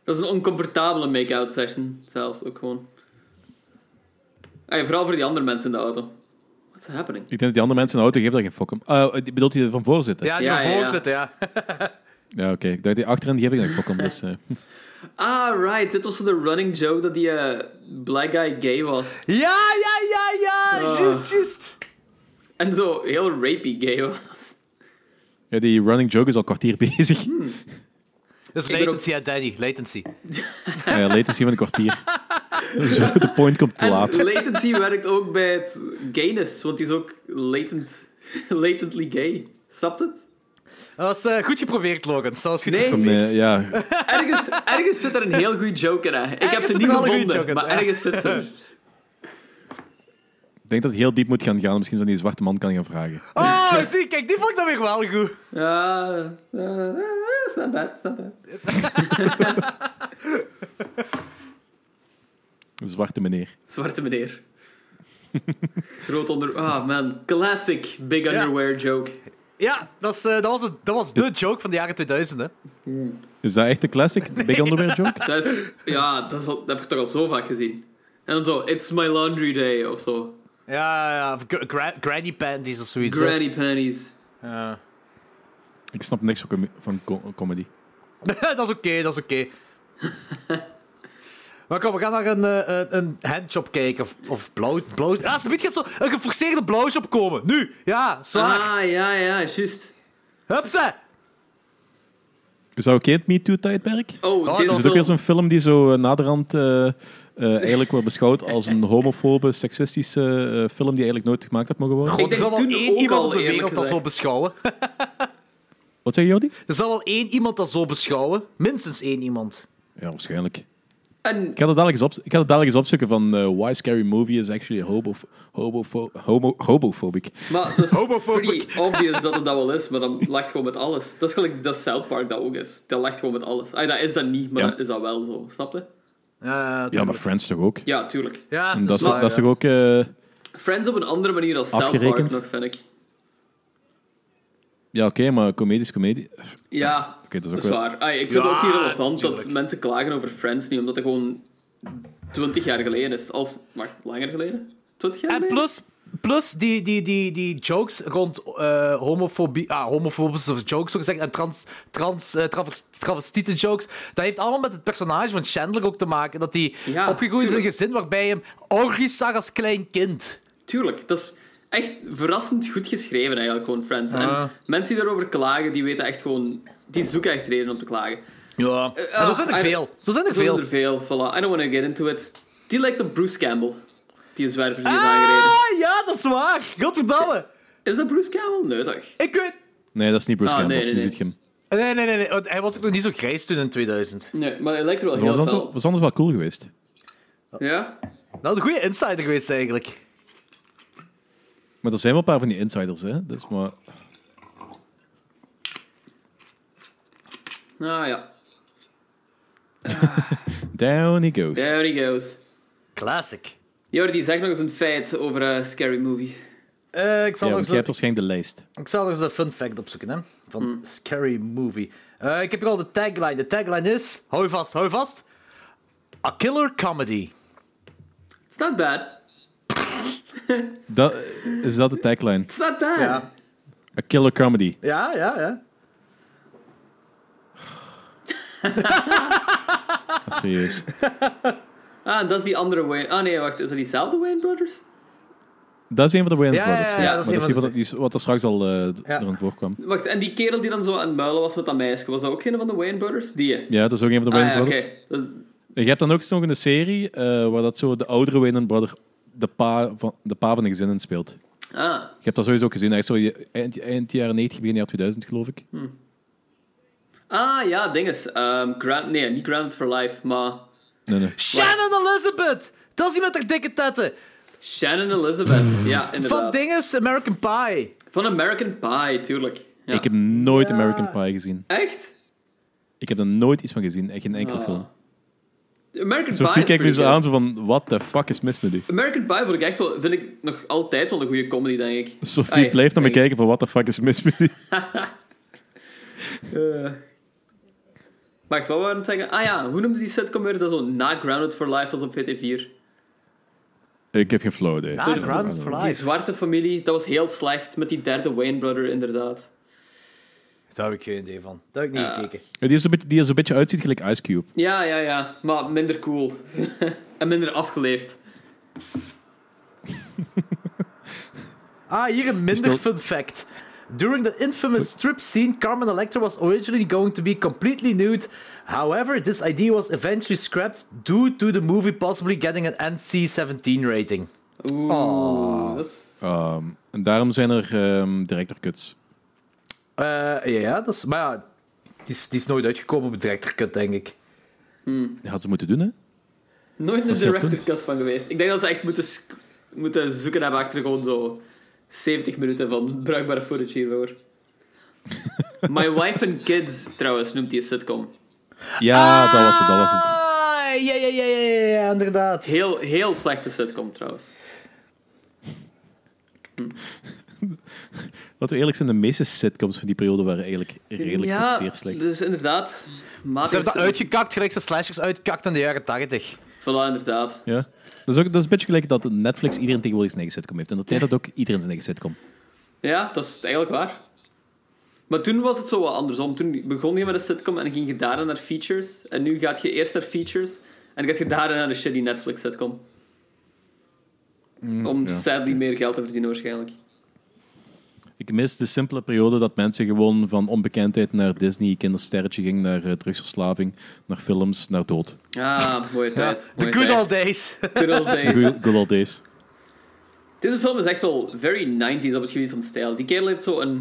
[SPEAKER 7] Dat is een oncomfortabele make-out session, zelfs ook gewoon. Ey, vooral voor die andere mensen in de auto. What's happening?
[SPEAKER 6] Ik denk dat die andere mensen in de auto geven daar geen fok om. Eh, die- bedoelt die van voor zitten?
[SPEAKER 5] Ja, die
[SPEAKER 7] Ja,
[SPEAKER 5] ja,
[SPEAKER 7] ja, ja.
[SPEAKER 5] zitten, ja.
[SPEAKER 6] Ja, oké. Ik dacht, die achterin die heb ik nog fuck om. Dus, eh.
[SPEAKER 7] Ah, right. Dit was de running joke dat die eh, black guy gay was.
[SPEAKER 5] Ja, ja, ja, ja.
[SPEAKER 7] Ah.
[SPEAKER 5] Juist, juist.
[SPEAKER 7] En zo heel rapey gay was.
[SPEAKER 6] ja, die running joke is al kwartier bezig.
[SPEAKER 5] Dat is
[SPEAKER 7] Ik ben
[SPEAKER 5] latency, ja, Danny. Latency.
[SPEAKER 6] Ah ja, latency van een kwartier. Zo, de point komt te
[SPEAKER 7] En
[SPEAKER 6] laat.
[SPEAKER 7] latency werkt ook bij het gayness, want die is ook latent, latently gay. Snapt het?
[SPEAKER 5] Dat was eh, goed geprobeerd, Logan. Dat was goed
[SPEAKER 7] Nee.
[SPEAKER 5] geprobeerd.
[SPEAKER 6] Nee, ja.
[SPEAKER 7] Ergens, ergens zit er een heel goede joke in. Hè. Ik heb
[SPEAKER 5] Ergens
[SPEAKER 7] ze
[SPEAKER 5] zit
[SPEAKER 7] niet
[SPEAKER 5] er wel een goeie joke
[SPEAKER 7] gevonden,
[SPEAKER 5] in,
[SPEAKER 7] maar
[SPEAKER 5] ja.
[SPEAKER 7] ergens zit ze er.
[SPEAKER 6] Ik denk dat het heel diep moet gaan gaan. Misschien zo die zwarte man kan gaan vragen.
[SPEAKER 5] Oh, zie, kijk, die vond ik dan weer wel goed.
[SPEAKER 7] Ja, eh, eh, it's not bad, it's not bad.
[SPEAKER 6] De zwarte meneer.
[SPEAKER 7] Zwarte meneer. Groot onder... Ah, man. Classic big underwear joke.
[SPEAKER 5] Ja, dat, is, eh, dat, was het, dat was de joke van de jaren 2000, hè.
[SPEAKER 6] Is dat echt de classic? Big underwear joke?
[SPEAKER 7] Dat is... Ja, dat, is al- dat heb ik toch al zo vaak gezien. En dan zo, it's my laundry day, of zo.
[SPEAKER 5] Ja, ja, ja. Of gra- gra- granny panties of zoiets. hè.
[SPEAKER 7] Granny panties.
[SPEAKER 5] Ja.
[SPEAKER 6] Ik snap niks van, com- van co- comedy.
[SPEAKER 5] dat is oké, dat is oké. Maar kom, we gaan naar een, eh, een, een handjob kijken. Of, of blauw... blauw... Ah, ze gaat zo een geforceerde blowjob komen. Nu! Ja, zwaar.
[SPEAKER 7] Ah, ja, ja, juist.
[SPEAKER 5] Hupsa!
[SPEAKER 6] Is dat oké, het MeToo-tijdperk?
[SPEAKER 7] Oh,
[SPEAKER 5] dat
[SPEAKER 7] dit
[SPEAKER 6] Is
[SPEAKER 7] is
[SPEAKER 6] het ook
[SPEAKER 7] wel-
[SPEAKER 6] weer zo'n film die zo eh, naderhand eh, eh, eigenlijk wordt beschouwd als een homofobe, seksistische eh, film die eigenlijk nooit gemaakt had mogen worden?
[SPEAKER 5] God, er
[SPEAKER 7] denk
[SPEAKER 5] zal wel
[SPEAKER 7] toen
[SPEAKER 5] één
[SPEAKER 7] ook
[SPEAKER 5] iemand
[SPEAKER 7] al,
[SPEAKER 5] op de
[SPEAKER 7] eerlijk
[SPEAKER 5] wereld dat zo
[SPEAKER 7] gezegd.
[SPEAKER 5] beschouwen.
[SPEAKER 6] Wat zei Jordi?
[SPEAKER 5] Er zal wel één iemand dat zo beschouwen. Minstens één iemand.
[SPEAKER 6] Ja, waarschijnlijk.
[SPEAKER 7] En
[SPEAKER 6] Ik ga dat dadelijk eens, op, ik ga dat dadelijk eens opzoeken van eh, Why Scary Movie is Actually hobo, hobo, homo, Homophobic.
[SPEAKER 7] Maar dat is
[SPEAKER 5] Homophobic.
[SPEAKER 7] pretty obvious dat het dat wel is, maar dan lacht gewoon met alles. Dat is gelijk dat South Park dat ook is. Dat lacht gewoon met alles. Ah, dat is dat niet, maar
[SPEAKER 6] Ja.
[SPEAKER 7] dat is dat wel zo. Snap je?
[SPEAKER 5] Ja,
[SPEAKER 6] Ja, maar Friends toch ook?
[SPEAKER 7] Ja, tuurlijk.
[SPEAKER 5] ja,
[SPEAKER 6] En dat, is,
[SPEAKER 5] waar,
[SPEAKER 6] dat is
[SPEAKER 5] ja.
[SPEAKER 6] toch ook... eh,
[SPEAKER 7] Friends op een andere manier dan South Park
[SPEAKER 6] Afgerekend.
[SPEAKER 7] nog, vind ik.
[SPEAKER 6] ja, oké, maar comedisch comedie...
[SPEAKER 7] Ja,
[SPEAKER 6] Oké, dat is ook
[SPEAKER 7] dat is
[SPEAKER 6] wel-
[SPEAKER 7] waar. Ah, ik vind het ook
[SPEAKER 5] Ja,
[SPEAKER 7] niet relevant dat
[SPEAKER 5] tuurlijk.
[SPEAKER 7] mensen klagen over Friends nu, omdat het gewoon 20 jaar geleden is. Als, wacht, langer geleden? 20 jaar
[SPEAKER 5] En
[SPEAKER 7] geleden?
[SPEAKER 5] Ah, plus, plus die, die, die, die jokes rond eh, homofobie, ah, homofobische jokes zo gezegd, en trans, trans, eh, travers- travestieten jokes, dat heeft allemaal met het personage van Chandler ook te maken. Dat hij
[SPEAKER 7] Ja,
[SPEAKER 5] opgegroeid is in een
[SPEAKER 7] tuurlijk.
[SPEAKER 5] gezin waarbij hem orgies zag als klein kind.
[SPEAKER 7] Tuurlijk, dat is echt verrassend goed geschreven eigenlijk, gewoon Friends.
[SPEAKER 5] Ah.
[SPEAKER 7] En mensen die daarover klagen, die weten echt gewoon... Die zoeken echt reden om te klagen.
[SPEAKER 5] Ja. En Ah, zo zijn er
[SPEAKER 7] I-
[SPEAKER 5] veel. Zo zijn er
[SPEAKER 7] Eh, Zo zijn
[SPEAKER 5] veel.
[SPEAKER 7] er veel, voilà. I don't want to get into it. Die lijkt op Bruce Campbell. Die is zwaar verlies aangereden.
[SPEAKER 5] Ah, ja, dat is waar. Godverdamme.
[SPEAKER 7] Is dat Bruce Campbell? Nee, toch?
[SPEAKER 5] Ik weet...
[SPEAKER 6] Nee, dat is niet Bruce
[SPEAKER 7] Ah,
[SPEAKER 6] Campbell.
[SPEAKER 7] nee, nee,
[SPEAKER 6] Nu
[SPEAKER 7] nee.
[SPEAKER 6] ziet je hem.
[SPEAKER 5] Nee, nee, nee, nee. want Hij was ook nog niet zo grijs toen in 2000.
[SPEAKER 7] Nee, maar hij lijkt er wel
[SPEAKER 6] Dat was,
[SPEAKER 7] heel
[SPEAKER 6] anders,
[SPEAKER 7] veel op.
[SPEAKER 6] was anders wel cool geweest.
[SPEAKER 7] Ja?
[SPEAKER 5] Nou, de goede insider geweest eigenlijk.
[SPEAKER 6] Maar er zijn wel een paar van die insiders, hè. Dat is maar...
[SPEAKER 7] Ah, ja.
[SPEAKER 6] Down he goes.
[SPEAKER 7] There he goes.
[SPEAKER 5] Classic.
[SPEAKER 7] Jordi, zeg nog eens een feit over eh, Scary Movie.
[SPEAKER 5] Eh, ik zal nog
[SPEAKER 6] Ja, want
[SPEAKER 5] eens
[SPEAKER 6] jij hebt waarschijnlijk de lijst.
[SPEAKER 5] Ik zal nog eens een fun fact opzoeken, hè. Van Scary Movie. Eh, ik heb hier al de tagline. De tagline is... Hou je vast, hou je vast. A killer comedy.
[SPEAKER 7] It's not bad.
[SPEAKER 6] Dat, is dat de tagline?
[SPEAKER 7] It's not bad.
[SPEAKER 6] A killer comedy.
[SPEAKER 5] Ja, ja, ja.
[SPEAKER 6] Ah, serieus.
[SPEAKER 7] Ah, en dat is die andere Wayne... Ah, nee, wacht. Is dat diezelfde Wayne Brothers?
[SPEAKER 6] Dat is een van de Wayans
[SPEAKER 5] Ja, ja, ja,
[SPEAKER 6] Brothers. maar
[SPEAKER 5] dat is
[SPEAKER 6] die
[SPEAKER 5] een van de
[SPEAKER 6] van de- die is- wat er straks al eh
[SPEAKER 5] Ja.
[SPEAKER 6] erin voorkwam.
[SPEAKER 7] Wacht, en die kerel die dan zo aan het muilen was met dat meisje, was dat ook een van de Wayne Brothers? Die?
[SPEAKER 6] Ja, dat is ook een van de
[SPEAKER 7] ah,
[SPEAKER 6] Wayans
[SPEAKER 7] ja, oké.
[SPEAKER 6] Brothers.
[SPEAKER 7] Dat is-
[SPEAKER 6] Je hebt dan ook nog een serie eh, waar dat zo de oudere Wayans Brother de pa van de, pa van de gezinnen speelt.
[SPEAKER 7] Ah,
[SPEAKER 6] Je hebt dat sowieso ook gezien. Hij is zo je- eind, eind jaren 90, begin jaar 2000, geloof ik.
[SPEAKER 7] Hmm. Ah ja, dinges. Ehm Grant, nee, niet Grounded for Life, maar
[SPEAKER 6] Nee, nee.
[SPEAKER 5] Shannon Elizabeth! Dat is die met haar dikke tetten.
[SPEAKER 7] Shannon Elizabeth. ja, inderdaad.
[SPEAKER 5] Van dinges American Pie.
[SPEAKER 7] Van American Pie, tuurlijk. Ja.
[SPEAKER 6] Ik heb nooit American Pie gezien.
[SPEAKER 7] Echt?
[SPEAKER 6] Ik heb er nooit iets van gezien. Echt geen enkele
[SPEAKER 7] Ah.
[SPEAKER 6] film.
[SPEAKER 7] American Pie
[SPEAKER 6] Sophie
[SPEAKER 7] is
[SPEAKER 6] kijkt nu
[SPEAKER 7] pretty
[SPEAKER 6] zo
[SPEAKER 7] good.
[SPEAKER 6] aan, zo van, what the fuck is mis met u?
[SPEAKER 7] American Pie vond ik echt wel, vind ik nog altijd wel een goede comedy, denk ik.
[SPEAKER 6] Sophie
[SPEAKER 7] Ai,
[SPEAKER 6] blijft naar me
[SPEAKER 7] denk
[SPEAKER 6] kijken van, what the fuck is mis met u?
[SPEAKER 7] Eh. Wacht, wat wou ik aan het zeggen? Ah ja, hoe noemde die sitcom weer dat zo na Grounded for Life was op VT4?
[SPEAKER 6] ik heb geen flow, idee.
[SPEAKER 5] Ah, Grounded for
[SPEAKER 7] Die
[SPEAKER 5] Life.
[SPEAKER 7] zwarte familie, dat was heel slecht met die derde Wayne brother, inderdaad.
[SPEAKER 5] Daar heb ik geen idee van. Daar heb ik niet
[SPEAKER 7] Ja.
[SPEAKER 5] gekeken.
[SPEAKER 6] Die er zo'n beetje, die er zo'n beetje uitziet gelijk Ice Cube.
[SPEAKER 7] Ja, ja, ja, maar minder cool. en minder afgeleefd.
[SPEAKER 5] Ah, hier een minder
[SPEAKER 6] Is
[SPEAKER 5] fun fact. During the infamous strip scene, Carmen Electra was originally going to be completely nude. However, this idea was eventually scrapped due to the movie possibly getting an NC-17 rating.
[SPEAKER 7] Oeh, dat is...
[SPEAKER 6] Ehm, en daarom zijn er ehm director cuts.
[SPEAKER 5] Eh, ja, ja, dat is... Maar ja, die is, die is nooit uitgekomen op de director cut, denk ik.
[SPEAKER 6] Dat had ze moeten doen, hè?
[SPEAKER 7] Nooit een
[SPEAKER 6] is jouw
[SPEAKER 7] director
[SPEAKER 6] punt.
[SPEAKER 7] cut van geweest. Ik denk dat ze echt moeten, sc- moeten zoeken hebben achter gewoon zo 70 minuten van bruikbare footage hiervoor. My Wife and Kids, trouwens, noemt die sitcom.
[SPEAKER 6] Ja, dat was het, dat was het.
[SPEAKER 5] Ah, ja, ja, ja, ja, ja, ja, inderdaad.
[SPEAKER 7] Heel, heel slechte sitcom, trouwens.
[SPEAKER 6] Laten we eerlijk zijn, de meeste sitcoms van die periode waren eigenlijk redelijk tot zeer slecht.
[SPEAKER 7] dus inderdaad. Matrix
[SPEAKER 5] Ze hebben dat
[SPEAKER 7] en-
[SPEAKER 5] uitgekakt, gelijk ze slashers uitkakt in de jaren 80.
[SPEAKER 7] Voilà, inderdaad.
[SPEAKER 6] Ja. Dat is, ook, dat is een beetje gelijk dat Netflix iedereen tegenwoordig zijn eigen sitcom heeft. En dat jij dat ook iedereen zijn eigen sitcom.
[SPEAKER 7] Ja, dat is eigenlijk waar. Maar toen was het zo wat andersom. Toen begon je met een sitcom en ging je daarna naar features. En nu gaat je eerst naar features en gaat je daarna naar de shitty Netflix sitcom. Om
[SPEAKER 6] Mm, ja.
[SPEAKER 7] sadly meer geld te verdienen waarschijnlijk.
[SPEAKER 6] Ik mis de simpele periode dat mensen gewoon van onbekendheid naar Disney, kindersterretje ging, naar eh, drugsverslaving, naar films, naar dood.
[SPEAKER 7] Ah, mooie tijd.
[SPEAKER 5] The
[SPEAKER 7] mooie
[SPEAKER 5] good
[SPEAKER 7] tijd.
[SPEAKER 5] old days.
[SPEAKER 7] Good old days.
[SPEAKER 6] Good, good old days.
[SPEAKER 7] Deze film is echt wel very 90s op het gebied van stijl. Die kerel heeft zo een...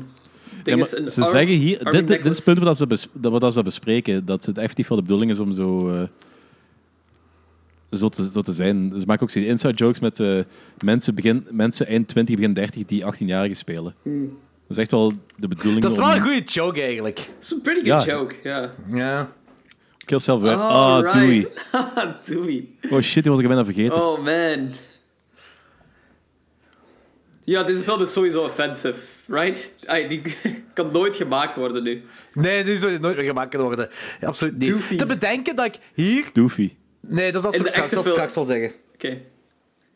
[SPEAKER 6] Ja,
[SPEAKER 7] Ding
[SPEAKER 6] maar
[SPEAKER 7] is een
[SPEAKER 6] ze
[SPEAKER 7] arm-
[SPEAKER 6] zeggen hier,
[SPEAKER 7] army
[SPEAKER 6] dit, dit is
[SPEAKER 7] necklace.
[SPEAKER 6] het punt waar dat ze, bes- dat, waar dat ze bespreken, dat het effectief wel de bedoeling is om zo, eh, zo, te, zo te zijn. Ze maken ook zo'n inside jokes met eh, mensen, begin, mensen eind 20, begin 30 die 18-jarigen spelen.
[SPEAKER 7] Hmm.
[SPEAKER 6] Dat is echt wel de bedoeling.
[SPEAKER 5] Dat is
[SPEAKER 6] om-
[SPEAKER 5] wel een goede joke eigenlijk.
[SPEAKER 7] It's a pretty good
[SPEAKER 6] Ja.
[SPEAKER 7] joke, ja.
[SPEAKER 5] Ja.
[SPEAKER 6] Kill Self
[SPEAKER 7] Oh,
[SPEAKER 6] Ah,
[SPEAKER 5] Oh,
[SPEAKER 7] Alright.
[SPEAKER 6] doei.
[SPEAKER 7] doei.
[SPEAKER 6] Oh shit, die was ik bijna vergeten.
[SPEAKER 7] Oh man. Ja, deze film is dus sowieso offensive, right? Ai, die kan nooit gemaakt worden nu.
[SPEAKER 5] Nee, nu zou het nooit meer gemaakt kunnen worden. Ja, absoluut niet.
[SPEAKER 7] Doofy.
[SPEAKER 5] Te bedenken dat ik hier...
[SPEAKER 6] Doofy.
[SPEAKER 5] Nee, dat is dat wat
[SPEAKER 7] In
[SPEAKER 5] ik
[SPEAKER 7] de
[SPEAKER 5] straks,
[SPEAKER 7] echte
[SPEAKER 5] dat ik
[SPEAKER 7] film.
[SPEAKER 5] straks wil zeggen.
[SPEAKER 7] Oké.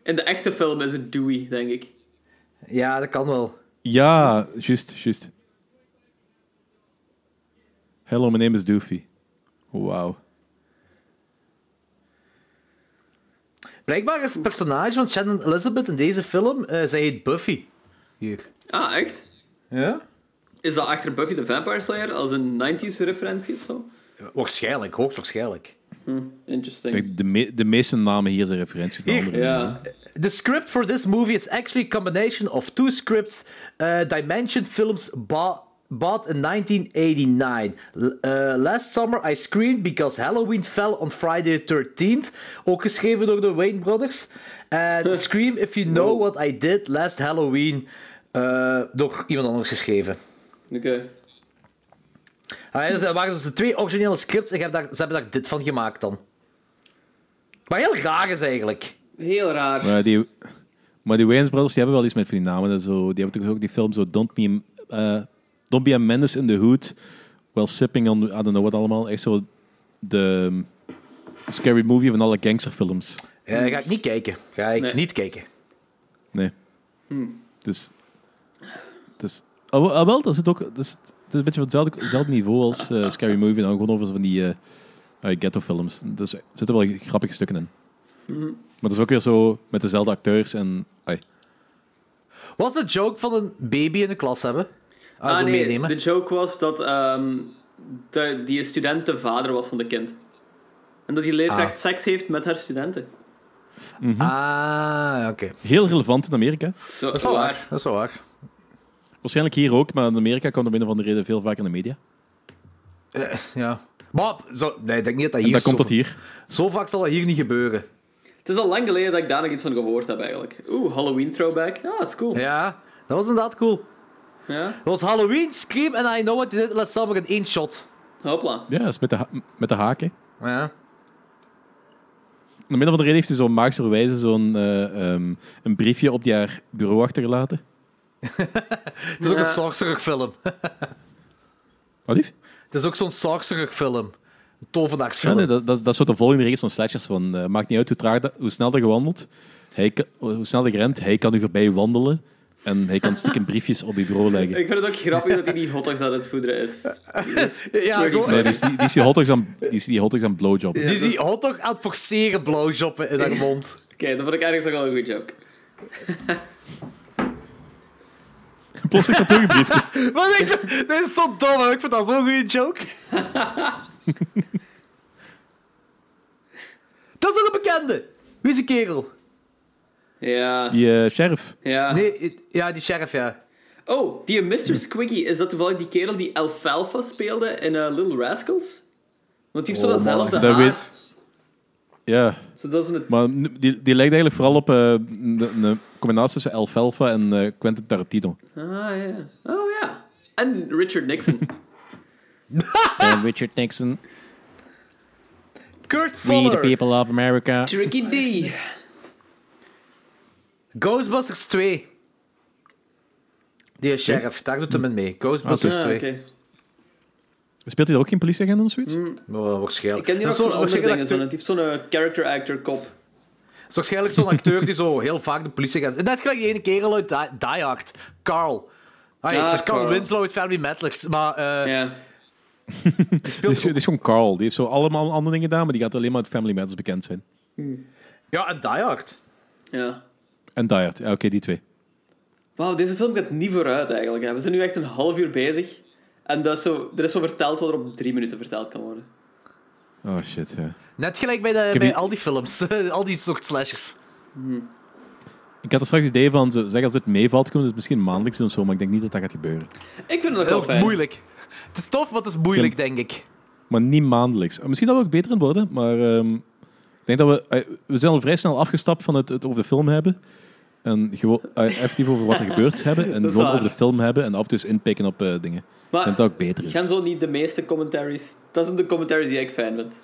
[SPEAKER 7] In de echte film is het Dewey, denk ik.
[SPEAKER 5] Ja, dat kan wel.
[SPEAKER 6] Ja, juist, juist. Hello, my name is Doofy. Wauw.
[SPEAKER 5] Blijkbaar is het personage van Shannon Elizabeth in deze film, eh, zij heet Buffy. Hier.
[SPEAKER 7] Ah, echt?
[SPEAKER 5] Ja?
[SPEAKER 7] Is dat achter Buffy the Vampire Slayer als een 90s referentie of zo?
[SPEAKER 5] Eh, Waarschijnlijk, hoogstwaarschijnlijk.
[SPEAKER 7] Interesting.
[SPEAKER 6] Kijk, de, me- de meeste namen hier zijn referenties naar
[SPEAKER 5] Hier.
[SPEAKER 6] andere
[SPEAKER 7] ja.
[SPEAKER 5] The script for this movie is actually a combination of two scripts uh, Dimension Films bought, bought in 1989. L- uh, last summer I screamed because Halloween fell on Friday the 13th. Ook geschreven door de Wayne Brothers. And Scream If You Know What I Did Last Halloween. eh, door iemand anders geschreven.
[SPEAKER 7] Oké.
[SPEAKER 5] Ah, ja, dat waren dus de twee originele scripts en je hebt daar, ze hebben daar dit van gemaakt dan. Wat heel raar is eigenlijk.
[SPEAKER 7] Heel raar.
[SPEAKER 6] Maar die, maar die Wayans Brothers die hebben wel iets met van die namen. en Zo, die hebben toch ook die film zo Don't Be, eh, Don't Be a Menace in the Hood while sipping on I don't know what allemaal. Echt zo de mm, de scary movie van alle gangsterfilms.
[SPEAKER 5] Ja, ga ik niet kijken. Ga ik
[SPEAKER 7] Nee.
[SPEAKER 5] niet kijken.
[SPEAKER 6] Nee. Dus, dus ah, wel- ah, wel, dat zit ook. Dat is, het is een beetje van hetzelfde, hetzelfde niveau als eh, Scary Movie. Dan gewoon over zo van die eh eh, ghetto-films. Dus er zitten wel grappige stukken in. Maar dat is ook weer zo met dezelfde acteurs en. ai.
[SPEAKER 5] Was de joke van een baby in de klas hebben? Ah,
[SPEAKER 7] ah
[SPEAKER 5] zo
[SPEAKER 7] nee,
[SPEAKER 5] meenemen.
[SPEAKER 7] de joke was dat ehm, de, die student de vader was van de kind. En dat die leerkracht
[SPEAKER 5] Ah.
[SPEAKER 7] seks heeft met haar studenten.
[SPEAKER 5] Mhm. Ah, oké.
[SPEAKER 6] Heel relevant in Amerika.
[SPEAKER 7] Zo,
[SPEAKER 5] Dat is wel waar. Dat is wel waar.
[SPEAKER 6] Waarschijnlijk hier ook, maar in Amerika komt om een of andere reden veel vaker in de media.
[SPEAKER 5] Eh, ja. Maar, zo, nee, ik denk niet dat dat
[SPEAKER 6] En
[SPEAKER 5] hier...
[SPEAKER 6] dan komt
[SPEAKER 5] zo,
[SPEAKER 6] dat hier.
[SPEAKER 5] Zo vaak zal dat hier niet gebeuren.
[SPEAKER 7] Het is al lang geleden dat ik daar nog iets van gehoord heb eigenlijk. Oeh, Halloween throwback. Ah, dat is cool. Ja.
[SPEAKER 5] Ja, dat was inderdaad cool. Dat was Halloween, Scream en I Know What You Did Last Summer in één shot.
[SPEAKER 7] Hopla.
[SPEAKER 6] Ja, dat is met de, ha- met de haken.
[SPEAKER 5] Ja.
[SPEAKER 6] Om een of andere reden heeft hij zo'n maagse wijze zo'n eh, ehm, een briefje op die haar bureau achtergelaten.
[SPEAKER 5] Het is ook een sorcererfilm.
[SPEAKER 6] Wat lief?
[SPEAKER 5] Het is ook zo'n sorcererfilm. Een
[SPEAKER 6] Ja,
[SPEAKER 5] tovenaarsfilm.
[SPEAKER 6] nee, dat, dat, dat is wat de volgende regels van slashers. Van, eh, maakt niet uit hoe, traag dat, hoe snel dat je wandelt. Hij, kan- hoe snel dat je rent, hij kan u voorbij wandelen. En hij kan stiekem briefjes op je bureau leggen.
[SPEAKER 7] Ik vind het ook grappig dat hij die hotdogs aan het voederen is. Die is
[SPEAKER 5] Ja,
[SPEAKER 7] pretty
[SPEAKER 5] gewoon-
[SPEAKER 7] funny.
[SPEAKER 6] Nee, die is die, die is die hotdogs aan, die is die hotdogs aan blowjob.
[SPEAKER 5] Die
[SPEAKER 7] Ja,
[SPEAKER 5] is
[SPEAKER 7] dat
[SPEAKER 5] die
[SPEAKER 7] is- Oké,
[SPEAKER 5] hotdog aan het forceren blauwjoppen in haar mond.
[SPEAKER 7] dat vond ik eigenlijk ook wel een goede joke.
[SPEAKER 6] Plots is dat toch een briefje.
[SPEAKER 5] Wat ik... Dit is zo dom, hè. ik vind dat zo'n goede joke. dat is nog een bekende. Wie is die kerel?
[SPEAKER 7] Ja,
[SPEAKER 6] Die eh, sheriff.
[SPEAKER 7] ja.
[SPEAKER 5] Nee, i- ja, die sheriff, ja.
[SPEAKER 7] Oh, die Mr. Squiggy, is dat toevallig die kerel die Alfalfa speelde in eh, Little Rascals? Want die heeft
[SPEAKER 5] Oh,
[SPEAKER 7] zo datzelfde
[SPEAKER 6] man. Dat
[SPEAKER 7] haar.
[SPEAKER 6] weet- Ja,
[SPEAKER 7] Zo, dat is een...
[SPEAKER 6] maar nu- die, die lijkt eigenlijk vooral op eh, een een combinatie tussen Alfalfa en eh, Quentin Tarantino.
[SPEAKER 7] Ah, ja. Oh, ja. En Richard Nixon.
[SPEAKER 6] En Richard Nixon,
[SPEAKER 5] Kurt Fuller.
[SPEAKER 6] of America.
[SPEAKER 7] Tricky D.
[SPEAKER 5] Ghostbusters 2.
[SPEAKER 7] Hm.
[SPEAKER 5] Die is sheriff, daar doet hem in mee. Ghostbusters
[SPEAKER 7] Ah,
[SPEAKER 5] 2.
[SPEAKER 7] oké.
[SPEAKER 6] Speelt hij daar ook geen politieagent of zoiets?
[SPEAKER 5] Oh,
[SPEAKER 7] Ik
[SPEAKER 5] waarschijnlijk.
[SPEAKER 7] ken die
[SPEAKER 5] Dat
[SPEAKER 7] nog
[SPEAKER 5] is
[SPEAKER 7] van
[SPEAKER 5] zo-
[SPEAKER 7] andere
[SPEAKER 5] waarschijnlijk
[SPEAKER 7] dingen. Zo, die heeft zo'n eh, character actor kop.
[SPEAKER 5] Het is waarschijnlijk zo'n acteur die zo heel vaak de politie gaat. Net gelijk die ene kerel uit Die, Die Hard. Carl. Ai,
[SPEAKER 7] Ah,
[SPEAKER 5] het is Carl,
[SPEAKER 7] Carl.
[SPEAKER 5] Winslow uit Family Matters, maar eh,
[SPEAKER 7] Ja.
[SPEAKER 5] die speelt
[SPEAKER 6] Dit is,
[SPEAKER 5] ook-
[SPEAKER 6] dit is gewoon Carl. Die heeft zo allemaal andere dingen gedaan, maar die gaat alleen maar uit Family Matters bekend zijn.
[SPEAKER 5] Ja, en Die Hard.
[SPEAKER 7] ja.
[SPEAKER 6] En Die Hard. Ja, oké, die twee.
[SPEAKER 7] Wauw, deze film gaat niet vooruit eigenlijk. hè. We zijn nu echt een half uur bezig. En dat is zo, er is zo verteld wat er op drie minuten verteld kan worden.
[SPEAKER 6] Oh shit, ja.
[SPEAKER 5] Net gelijk bij, de,
[SPEAKER 6] heb
[SPEAKER 5] bij
[SPEAKER 6] die-
[SPEAKER 5] al die films. al die soort slashers.
[SPEAKER 6] Ik had er straks het idee van, zo, zeg als dit meevalt, komt het misschien maandelijks doen of zo, maar ik denk niet dat dat gaat gebeuren.
[SPEAKER 7] Ik vind het nog wel
[SPEAKER 5] Heel
[SPEAKER 7] fijn.
[SPEAKER 5] moeilijk. Het is tof, maar het is moeilijk, denk ik.
[SPEAKER 6] Maar niet maandelijks. Eh, Misschien dat we ook beter in worden, maar ehm, ik denk dat we... eh, we zijn al vrij snel afgestapt van het, het over de film hebben. En gewoon eh, effectief over wat er gebeurd hebben. En
[SPEAKER 7] Dat is
[SPEAKER 6] gewoon
[SPEAKER 7] waar.
[SPEAKER 6] over de film hebben en af en toe eens inpikken op eh, dingen. Ik
[SPEAKER 7] Maar
[SPEAKER 6] denk dat het ook beter is.
[SPEAKER 7] gaan zo niet de meeste commentaries... Dat zijn de commentaries die ik fijn vind.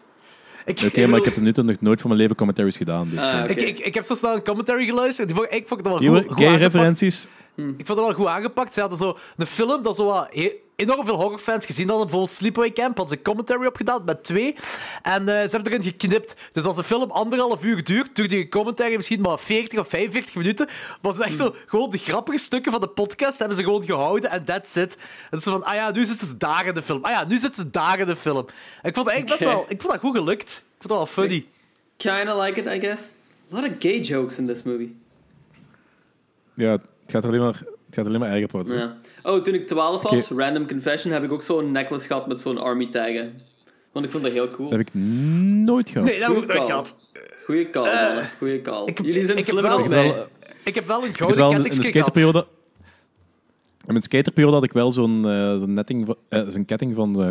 [SPEAKER 5] Ik,
[SPEAKER 6] Oké, maar ik heb tot nu toe nog nooit van mijn leven commentaries gedaan. Dus,
[SPEAKER 7] Ah,
[SPEAKER 6] eh.
[SPEAKER 7] oké.
[SPEAKER 5] ik, ik, ik heb zo snel een commentary geluisterd. Die vond- ik vond het wel
[SPEAKER 6] Nieuwe
[SPEAKER 5] goed, goed
[SPEAKER 6] gay
[SPEAKER 5] aangepakt.
[SPEAKER 6] referenties.
[SPEAKER 5] Ik vond het wel goed aangepakt. Ze hadden zo een film dat zo wat he- enorm veel horrorfans gezien hadden. Bijvoorbeeld Sleepaway Camp hadden ze een commentary opgedaan met twee. En eh, ze hebben erin geknipt. Dus als de film anderhalf uur duurt, duurt die commentary misschien maar 40 of 45 minuten. Was het echt zo gewoon de grappige stukken van de podcast hebben ze gewoon gehouden en that's it. En zo van, ah ja, nu zitten ze daar in de film. Ah ja, nu zitten ze daar in de film. En ik vond het eigenlijk best
[SPEAKER 7] Oké.
[SPEAKER 5] wel... Ik vond dat goed gelukt. Ik vond dat wel funny.
[SPEAKER 7] Kinda like it, I guess. A lot of gay jokes in this movie.
[SPEAKER 6] Ja, het gaat alleen maar, het gaat alleen maar erger worden.
[SPEAKER 7] Ja. Oh, toen ik 12 was, random confession, heb ik ook zo'n necklace gehad met zo'n army tag. hè. Want ik vond dat heel cool.
[SPEAKER 6] Dat heb ik nooit gehad.
[SPEAKER 5] Nee, dat heb ik
[SPEAKER 7] Goeie
[SPEAKER 5] ook nooit
[SPEAKER 7] call.
[SPEAKER 5] gehad.
[SPEAKER 7] Goeie call, mannen. Goeie call. Jullie zijn
[SPEAKER 5] ik heb wel-
[SPEAKER 7] slimmer dan
[SPEAKER 6] Ik heb wel,
[SPEAKER 7] wij.
[SPEAKER 5] Ik heb wel een
[SPEAKER 6] ik heb
[SPEAKER 5] grote
[SPEAKER 6] wel in de
[SPEAKER 5] kettingskik gehad.
[SPEAKER 6] skaterperiode... In mijn skaterperiode had ik wel zo'n eh, zo'n netting van- eh, zo'n ketting van eh,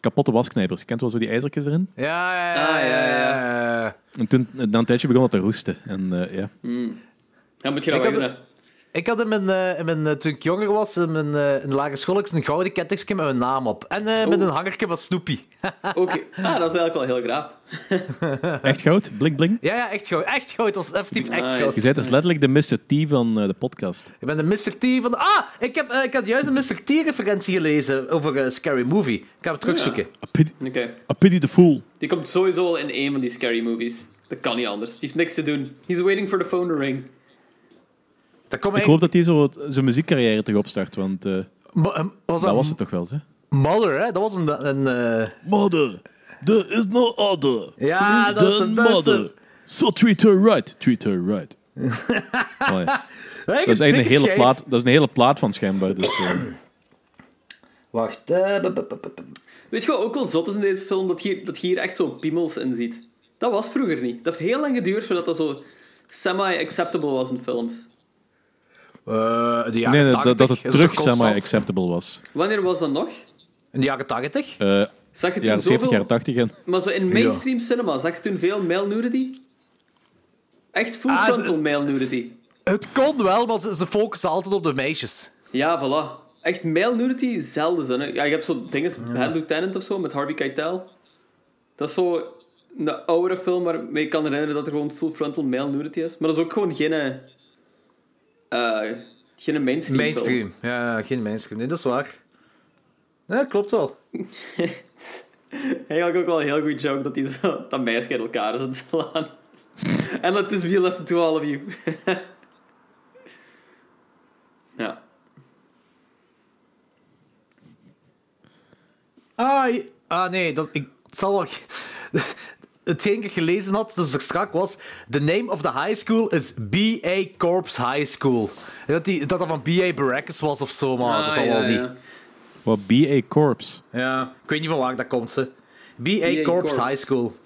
[SPEAKER 6] kapotte wasknijpers. Je kent wel zo die ijzertjes erin.
[SPEAKER 5] Ja, ja, ja.
[SPEAKER 7] Ah,
[SPEAKER 5] ja,
[SPEAKER 7] ja, ja.
[SPEAKER 5] ja, ja.
[SPEAKER 6] En toen, eh, na een tijdje begon dat te roesten. En eh, ja,
[SPEAKER 7] Dan moet je nou
[SPEAKER 5] Ik had
[SPEAKER 7] dat wel doen. hè.
[SPEAKER 5] Ik had in mijn, eh, in mijn, eh, toen ik jonger was, in mijn, eh, in de lagere school, had ik een gouden kettingje met mijn naam op. En eh, met
[SPEAKER 7] Oh.
[SPEAKER 5] een hangertje van Snoopy.
[SPEAKER 7] Oké. Ah, dat is eigenlijk wel heel graaf.
[SPEAKER 6] echt goud. Blink, blink.
[SPEAKER 5] ja, ja, echt goud. Echt goud. Het was effectief echt
[SPEAKER 7] Nice.
[SPEAKER 6] Je
[SPEAKER 5] goud.
[SPEAKER 6] bent dus letterlijk de Mr. T van eh, de podcast.
[SPEAKER 5] Ik ben de Mr. T van... de- Ah, ik, heb, eh, ik had juist een Mr. T-referentie gelezen over eh, Scary Movie. Ik ga hem terugzoeken.
[SPEAKER 6] A pity,
[SPEAKER 7] Oké.
[SPEAKER 6] a pity the fool.
[SPEAKER 7] Die komt sowieso al in een van die scary movies. Dat kan niet anders. Die heeft niks te doen. He's waiting for the phone to ring.
[SPEAKER 5] Dat komt
[SPEAKER 6] Ik hoop dat hij zo wat- zijn muziekcarrière terug opstart, want eh,
[SPEAKER 5] was dat,
[SPEAKER 6] dat was het toch wel, hè?
[SPEAKER 5] Mother, hè? Dat was een... een eh,
[SPEAKER 6] Mother, there is no other.
[SPEAKER 5] Ja, dat is een- dat is een-
[SPEAKER 6] So treat her right, treat her right. Oh ja. Dat is echt een
[SPEAKER 5] dikke
[SPEAKER 6] hele
[SPEAKER 5] schijf.
[SPEAKER 6] plaat. Dat is een hele plaat van schijnbaar. Dus, eh,
[SPEAKER 5] Wacht. eh, bu- bu- bu- bu- bu-
[SPEAKER 7] Weet je wat ook wel zot is in deze film? Dat je hier, dat je hier echt zo piemels in ziet. Dat was vroeger niet. Dat heeft heel lang geduurd voordat dat zo semi-acceptable was in films.
[SPEAKER 5] Eh, de jaren
[SPEAKER 6] nee,
[SPEAKER 5] 80.
[SPEAKER 6] nee, dat, dat het
[SPEAKER 5] is
[SPEAKER 6] terug
[SPEAKER 5] toch constant?
[SPEAKER 6] semi-acceptable was.
[SPEAKER 7] Wanneer was dat nog?
[SPEAKER 5] In de jaren 80?
[SPEAKER 6] Eh jaren
[SPEAKER 7] Zag je toen
[SPEAKER 6] 70,
[SPEAKER 7] zoveel...
[SPEAKER 6] jaren 80. En,
[SPEAKER 7] Maar zo in mainstream cinema, zag je toen veel male nudity? Echt full
[SPEAKER 5] Ah, ze-
[SPEAKER 7] frontal male nudity.
[SPEAKER 5] Het kon wel, maar ze, ze focussen altijd op de meisjes.
[SPEAKER 7] Ja, voilà. Echt male nudity, zelden zin. hè. Ja, je hebt zo dingen als Bad Lieutenant of zo, met Harvey Keitel. Dat is zo een oude film waarmee ik kan herinneren dat er gewoon full frontal male nudity is. Maar dat is ook gewoon geen... eh, eh, geen mainstream, film.
[SPEAKER 5] Mainstream. Ja, ja, geen mainstream. Nee, dat is waar. Ja, klopt wel.
[SPEAKER 7] Eigenlijk ook wel een heel goed joke dat die zo, dat meisje uit elkaar is aan het slaan. En dat is be lesson to all of you. ja.
[SPEAKER 5] Ah, je- ah nee, dat, is- ik het zal wel... Hetgeen ik gelezen had, dus er strak was... The name of the high school is B.A. Corps High School. En Dat, die, dat dat van B.A. Baracus was of zo, maar dat
[SPEAKER 7] Ah,
[SPEAKER 5] zal
[SPEAKER 7] ja,
[SPEAKER 5] wel niet.
[SPEAKER 7] ja.
[SPEAKER 6] wat B.A. Corps.
[SPEAKER 5] Ja, ik weet niet van waar dat komt, ze. B.A.
[SPEAKER 7] B.A.
[SPEAKER 5] Corps
[SPEAKER 7] Corps.
[SPEAKER 5] High School.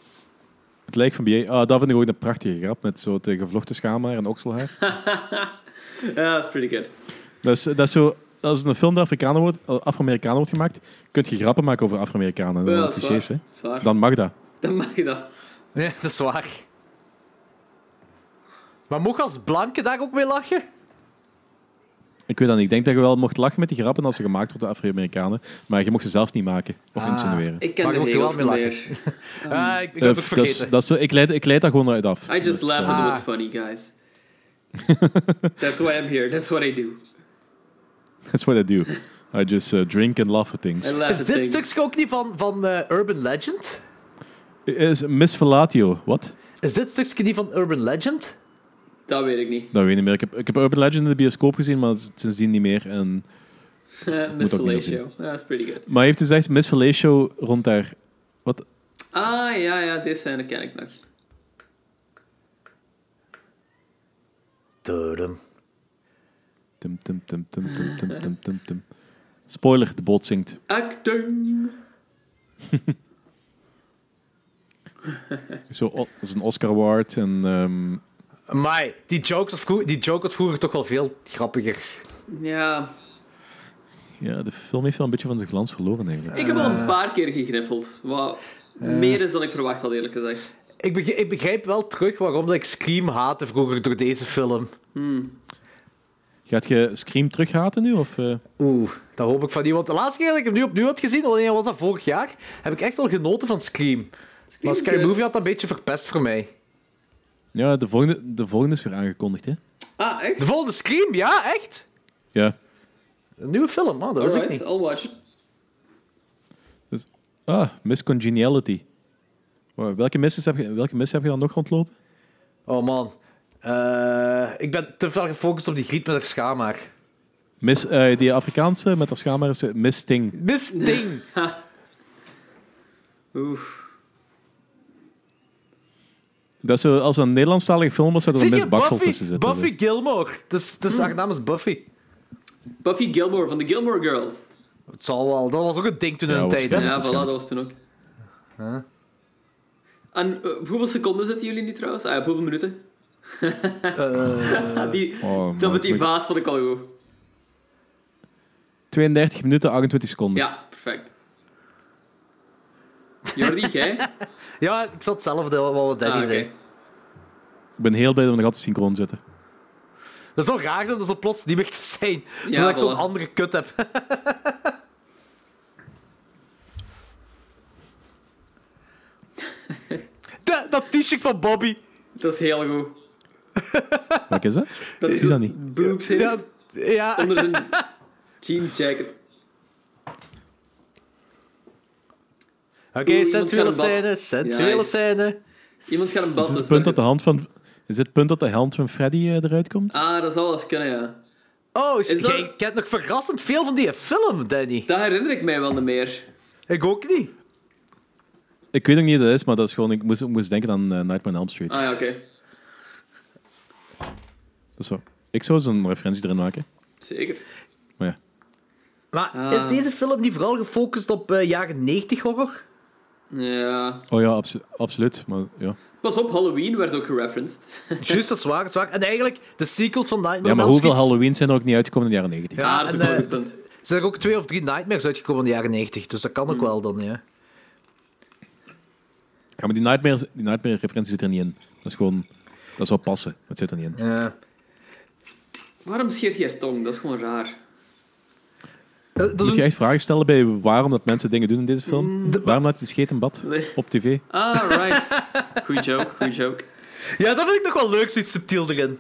[SPEAKER 6] Het lijkt van B.A. Ah, dat vind ik ook een prachtige grap met zo'n gevlochten schaamhaar en okselhaar.
[SPEAKER 7] Ja, dat is pretty good.
[SPEAKER 6] dat, is, dat is zo... Als een film door Afrikanen wordt, eh, Afro-Amerikanen wordt gemaakt, kun je grappen maken over Afro-Amerikanen. en
[SPEAKER 7] Ja,
[SPEAKER 6] alle
[SPEAKER 7] dat is waar.
[SPEAKER 6] clichés, hè?
[SPEAKER 7] Dat is waar.
[SPEAKER 6] Dan mag dat.
[SPEAKER 7] Dan mag je dat.
[SPEAKER 5] Ja, dat is waar. Maar mocht als blanke daar ook mee lachen?
[SPEAKER 6] Ik weet dat niet. Ik denk dat je wel mocht lachen met die grappen als ze gemaakt worden door Afro-Amerikanen, maar je mocht ze zelf niet maken of insinueren.
[SPEAKER 7] Ah, Ik ken
[SPEAKER 5] Maar je
[SPEAKER 7] de
[SPEAKER 5] moet er wel
[SPEAKER 7] regels
[SPEAKER 5] mee
[SPEAKER 7] niet
[SPEAKER 5] lachen.
[SPEAKER 7] meer.
[SPEAKER 5] Ah, ik, ik was
[SPEAKER 6] Eh,
[SPEAKER 5] ook
[SPEAKER 6] dat is-
[SPEAKER 5] vergeten.
[SPEAKER 6] dat is zo- ik, leid, ik leid dat gewoon uit af.
[SPEAKER 7] I just
[SPEAKER 6] Dus,
[SPEAKER 7] laugh
[SPEAKER 6] eh,
[SPEAKER 7] at
[SPEAKER 5] Ah.
[SPEAKER 7] what's funny, guys. That's why I'm here. That's what I do.
[SPEAKER 6] That's what I do. I just uh, drink and laugh at things.
[SPEAKER 7] En laatste
[SPEAKER 5] Is dit
[SPEAKER 7] ding.
[SPEAKER 5] stukje ook niet van, van eh, Urban Legend?
[SPEAKER 6] Is Miss Fellatio, wat?
[SPEAKER 5] Is dit stukje niet van Urban Legend?
[SPEAKER 7] Dat weet ik niet.
[SPEAKER 6] Dat weet Nou, ik niet meer. Ik heb, ik heb Urban Legend in de bioscoop gezien, maar sindsdien niet meer. En,
[SPEAKER 7] Eh,
[SPEAKER 6] Moet
[SPEAKER 7] Miss
[SPEAKER 6] ook niet
[SPEAKER 7] Fellatio. Ja, dat is pretty good.
[SPEAKER 6] maar hij heeft dus echt Miss Fellatio rond daar. Wat?
[SPEAKER 7] Ah, ja, ja, deze scène ken ik nog.
[SPEAKER 5] Dudum.
[SPEAKER 6] Tum, tum, tum, tum, tum, tum, tum, tum, tum. Spoiler, de boot zingt.
[SPEAKER 7] Acting!
[SPEAKER 6] Zo, o- dat is een Oscar Award en... ehm,
[SPEAKER 5] Maar die joke was vroeger, die joke was vroeger toch wel veel grappiger.
[SPEAKER 7] Ja,
[SPEAKER 6] ja, de film heeft wel een beetje van zijn glans verloren eigenlijk.
[SPEAKER 7] ik heb al
[SPEAKER 5] Eh.
[SPEAKER 7] een paar keer gegriffeld. Wat meer is dan ik verwacht had, eerlijk gezegd.
[SPEAKER 5] Ik begrijp, ik begrijp wel terug waarom dat ik Scream haatte vroeger door deze film.
[SPEAKER 6] Gaat je Scream terughaten nu? Of, eh?
[SPEAKER 5] Oeh, dat hoop ik van niet. Want de laatste keer dat ik hem nu opnieuw had gezien, wanneer was dat vorig jaar, heb ik echt wel genoten van Scream. maar
[SPEAKER 7] is
[SPEAKER 5] Scary
[SPEAKER 7] good.
[SPEAKER 5] Movie had dat een beetje verpest voor mij.
[SPEAKER 6] Ja, de volgende, de volgende is weer aangekondigd, hè?
[SPEAKER 7] Ah, echt?
[SPEAKER 5] De volgende Scream, ja, echt?
[SPEAKER 6] Ja.
[SPEAKER 5] Een nieuwe film, oh, dat wist ik
[SPEAKER 7] Alright,
[SPEAKER 5] niet.
[SPEAKER 7] I'll watch it.
[SPEAKER 6] Dus, ah, Miss Congeniality. Wa- Welke misses heb je, welke miss heb je dan nog rondlopen?
[SPEAKER 5] Oh man. Eh, ik ben te veel gefocust op die griet met haar schaamhaar.
[SPEAKER 6] Miss, eh, die Afrikaanse met haar schaamhaar is eh, Miss Sting.
[SPEAKER 5] Miss Ding.
[SPEAKER 7] Oef.
[SPEAKER 6] Dat is zo, als het een Nederlandstalige film was, zou er een
[SPEAKER 5] Zie
[SPEAKER 6] Miss
[SPEAKER 5] je,
[SPEAKER 6] Baksel
[SPEAKER 5] Buffy,
[SPEAKER 6] tussen zitten.
[SPEAKER 5] Buffy Gilmore. Dus, dus
[SPEAKER 7] Hm.
[SPEAKER 5] haar naam is Buffy.
[SPEAKER 7] Buffy Gilmore van de Gilmore Girls.
[SPEAKER 5] Het zal wel, dat was ook een ding toen in
[SPEAKER 6] Ja,
[SPEAKER 5] een tijd, hè?
[SPEAKER 7] Ja,
[SPEAKER 6] Ja,
[SPEAKER 7] voilà, dat
[SPEAKER 6] waarschijnlijk.
[SPEAKER 7] was toen ook. En eh, hoeveel seconden zitten jullie nu trouwens? Ah, op hoeveel minuten? die,
[SPEAKER 6] Oh, man,
[SPEAKER 7] dat met die
[SPEAKER 6] ik-
[SPEAKER 7] vaas vond ik al goed.
[SPEAKER 6] 32 minuten, 28 seconden.
[SPEAKER 7] Ja, perfect. Jordi, jij? Ah,
[SPEAKER 5] Ja, ik zat zelf wel wat Danny
[SPEAKER 7] oké.
[SPEAKER 5] zei.
[SPEAKER 6] Ik ben heel blij dat we nog altijd synchroon zitten.
[SPEAKER 5] Dat zou raar zijn om zo plots niet meer te zijn.
[SPEAKER 7] Ja,
[SPEAKER 5] zodat ik zo'n
[SPEAKER 7] voilà.
[SPEAKER 5] andere kut heb. Da- dat t-shirt van Bobby.
[SPEAKER 7] Dat is heel goed.
[SPEAKER 6] Wat is dat?
[SPEAKER 7] Dat
[SPEAKER 6] Ik
[SPEAKER 7] is
[SPEAKER 6] zie dat
[SPEAKER 7] de
[SPEAKER 6] niet.
[SPEAKER 7] Boobs heeft
[SPEAKER 5] Ja, ja.
[SPEAKER 7] onder zijn jeans jacket.
[SPEAKER 5] Oké,
[SPEAKER 7] iemand
[SPEAKER 5] sensuele
[SPEAKER 7] gaat een
[SPEAKER 5] scène,
[SPEAKER 7] bad.
[SPEAKER 5] sensuele
[SPEAKER 7] Nice.
[SPEAKER 5] scène.
[SPEAKER 7] Iemand gaat een bad
[SPEAKER 6] Is het
[SPEAKER 7] dus
[SPEAKER 6] punt
[SPEAKER 7] dat-
[SPEAKER 6] dat de hand van, is het punt dat de hand van Freddy eh, eruit komt?
[SPEAKER 7] Ah, dat zou wel eens kunnen, ja.
[SPEAKER 5] Oh, shit,
[SPEAKER 7] dat-
[SPEAKER 5] jij kent nog verrassend veel van die film, Danny.
[SPEAKER 7] Dat herinner ik mij wel meer.
[SPEAKER 5] Ik ook niet.
[SPEAKER 6] Ik weet ook niet wat dat is, maar dat is gewoon, ik moest, ik moest denken aan eh, Nightmare on Elm Street.
[SPEAKER 7] Ah ja, oké.
[SPEAKER 6] Dat is zo. Ik zou zo'n referentie erin maken.
[SPEAKER 7] Zeker.
[SPEAKER 6] Maar ja.
[SPEAKER 5] Maar
[SPEAKER 7] Ah.
[SPEAKER 5] is deze film niet vooral gefocust op eh, jaren 90 horror?
[SPEAKER 7] Ja.
[SPEAKER 6] Oh ja, abso- absoluut. Maar ja.
[SPEAKER 7] Pas op, Halloween werd ook gereferenced.
[SPEAKER 5] Juist, dat is waar, dat is waar. En eigenlijk, de sequels van Nightmare
[SPEAKER 6] ja, maar
[SPEAKER 5] on Elm
[SPEAKER 6] hoeveel
[SPEAKER 5] Street-
[SPEAKER 6] Halloween zijn er ook niet uitgekomen in de jaren 90?
[SPEAKER 5] Ja,
[SPEAKER 7] ah, dat is
[SPEAKER 5] en,
[SPEAKER 7] ook wel een
[SPEAKER 5] eh,
[SPEAKER 7] goed punt.
[SPEAKER 5] zijn er ook twee of drie Nightmares uitgekomen in de jaren 90, dus dat kan
[SPEAKER 7] Hm.
[SPEAKER 5] ook wel dan, ja.
[SPEAKER 6] Ja, maar die Nightmare, die Nightmare referentie zit er niet in. Dat is gewoon, dat zou passen, maar het zit er niet in.
[SPEAKER 5] ja.
[SPEAKER 7] Waarom scheert je haar tong? Dat is gewoon raar.
[SPEAKER 5] Eh, dat is
[SPEAKER 6] Moet
[SPEAKER 5] een-
[SPEAKER 6] je echt vragen stellen bij waarom dat mensen dingen doen in deze film? waarom laat je scheet in bad?
[SPEAKER 7] Mm, Nee.
[SPEAKER 6] Op tv?
[SPEAKER 7] Ah, right. Goeie joke, goeie joke.
[SPEAKER 5] Ja, dat vind ik nog wel leuk, zoiets subtiel erin.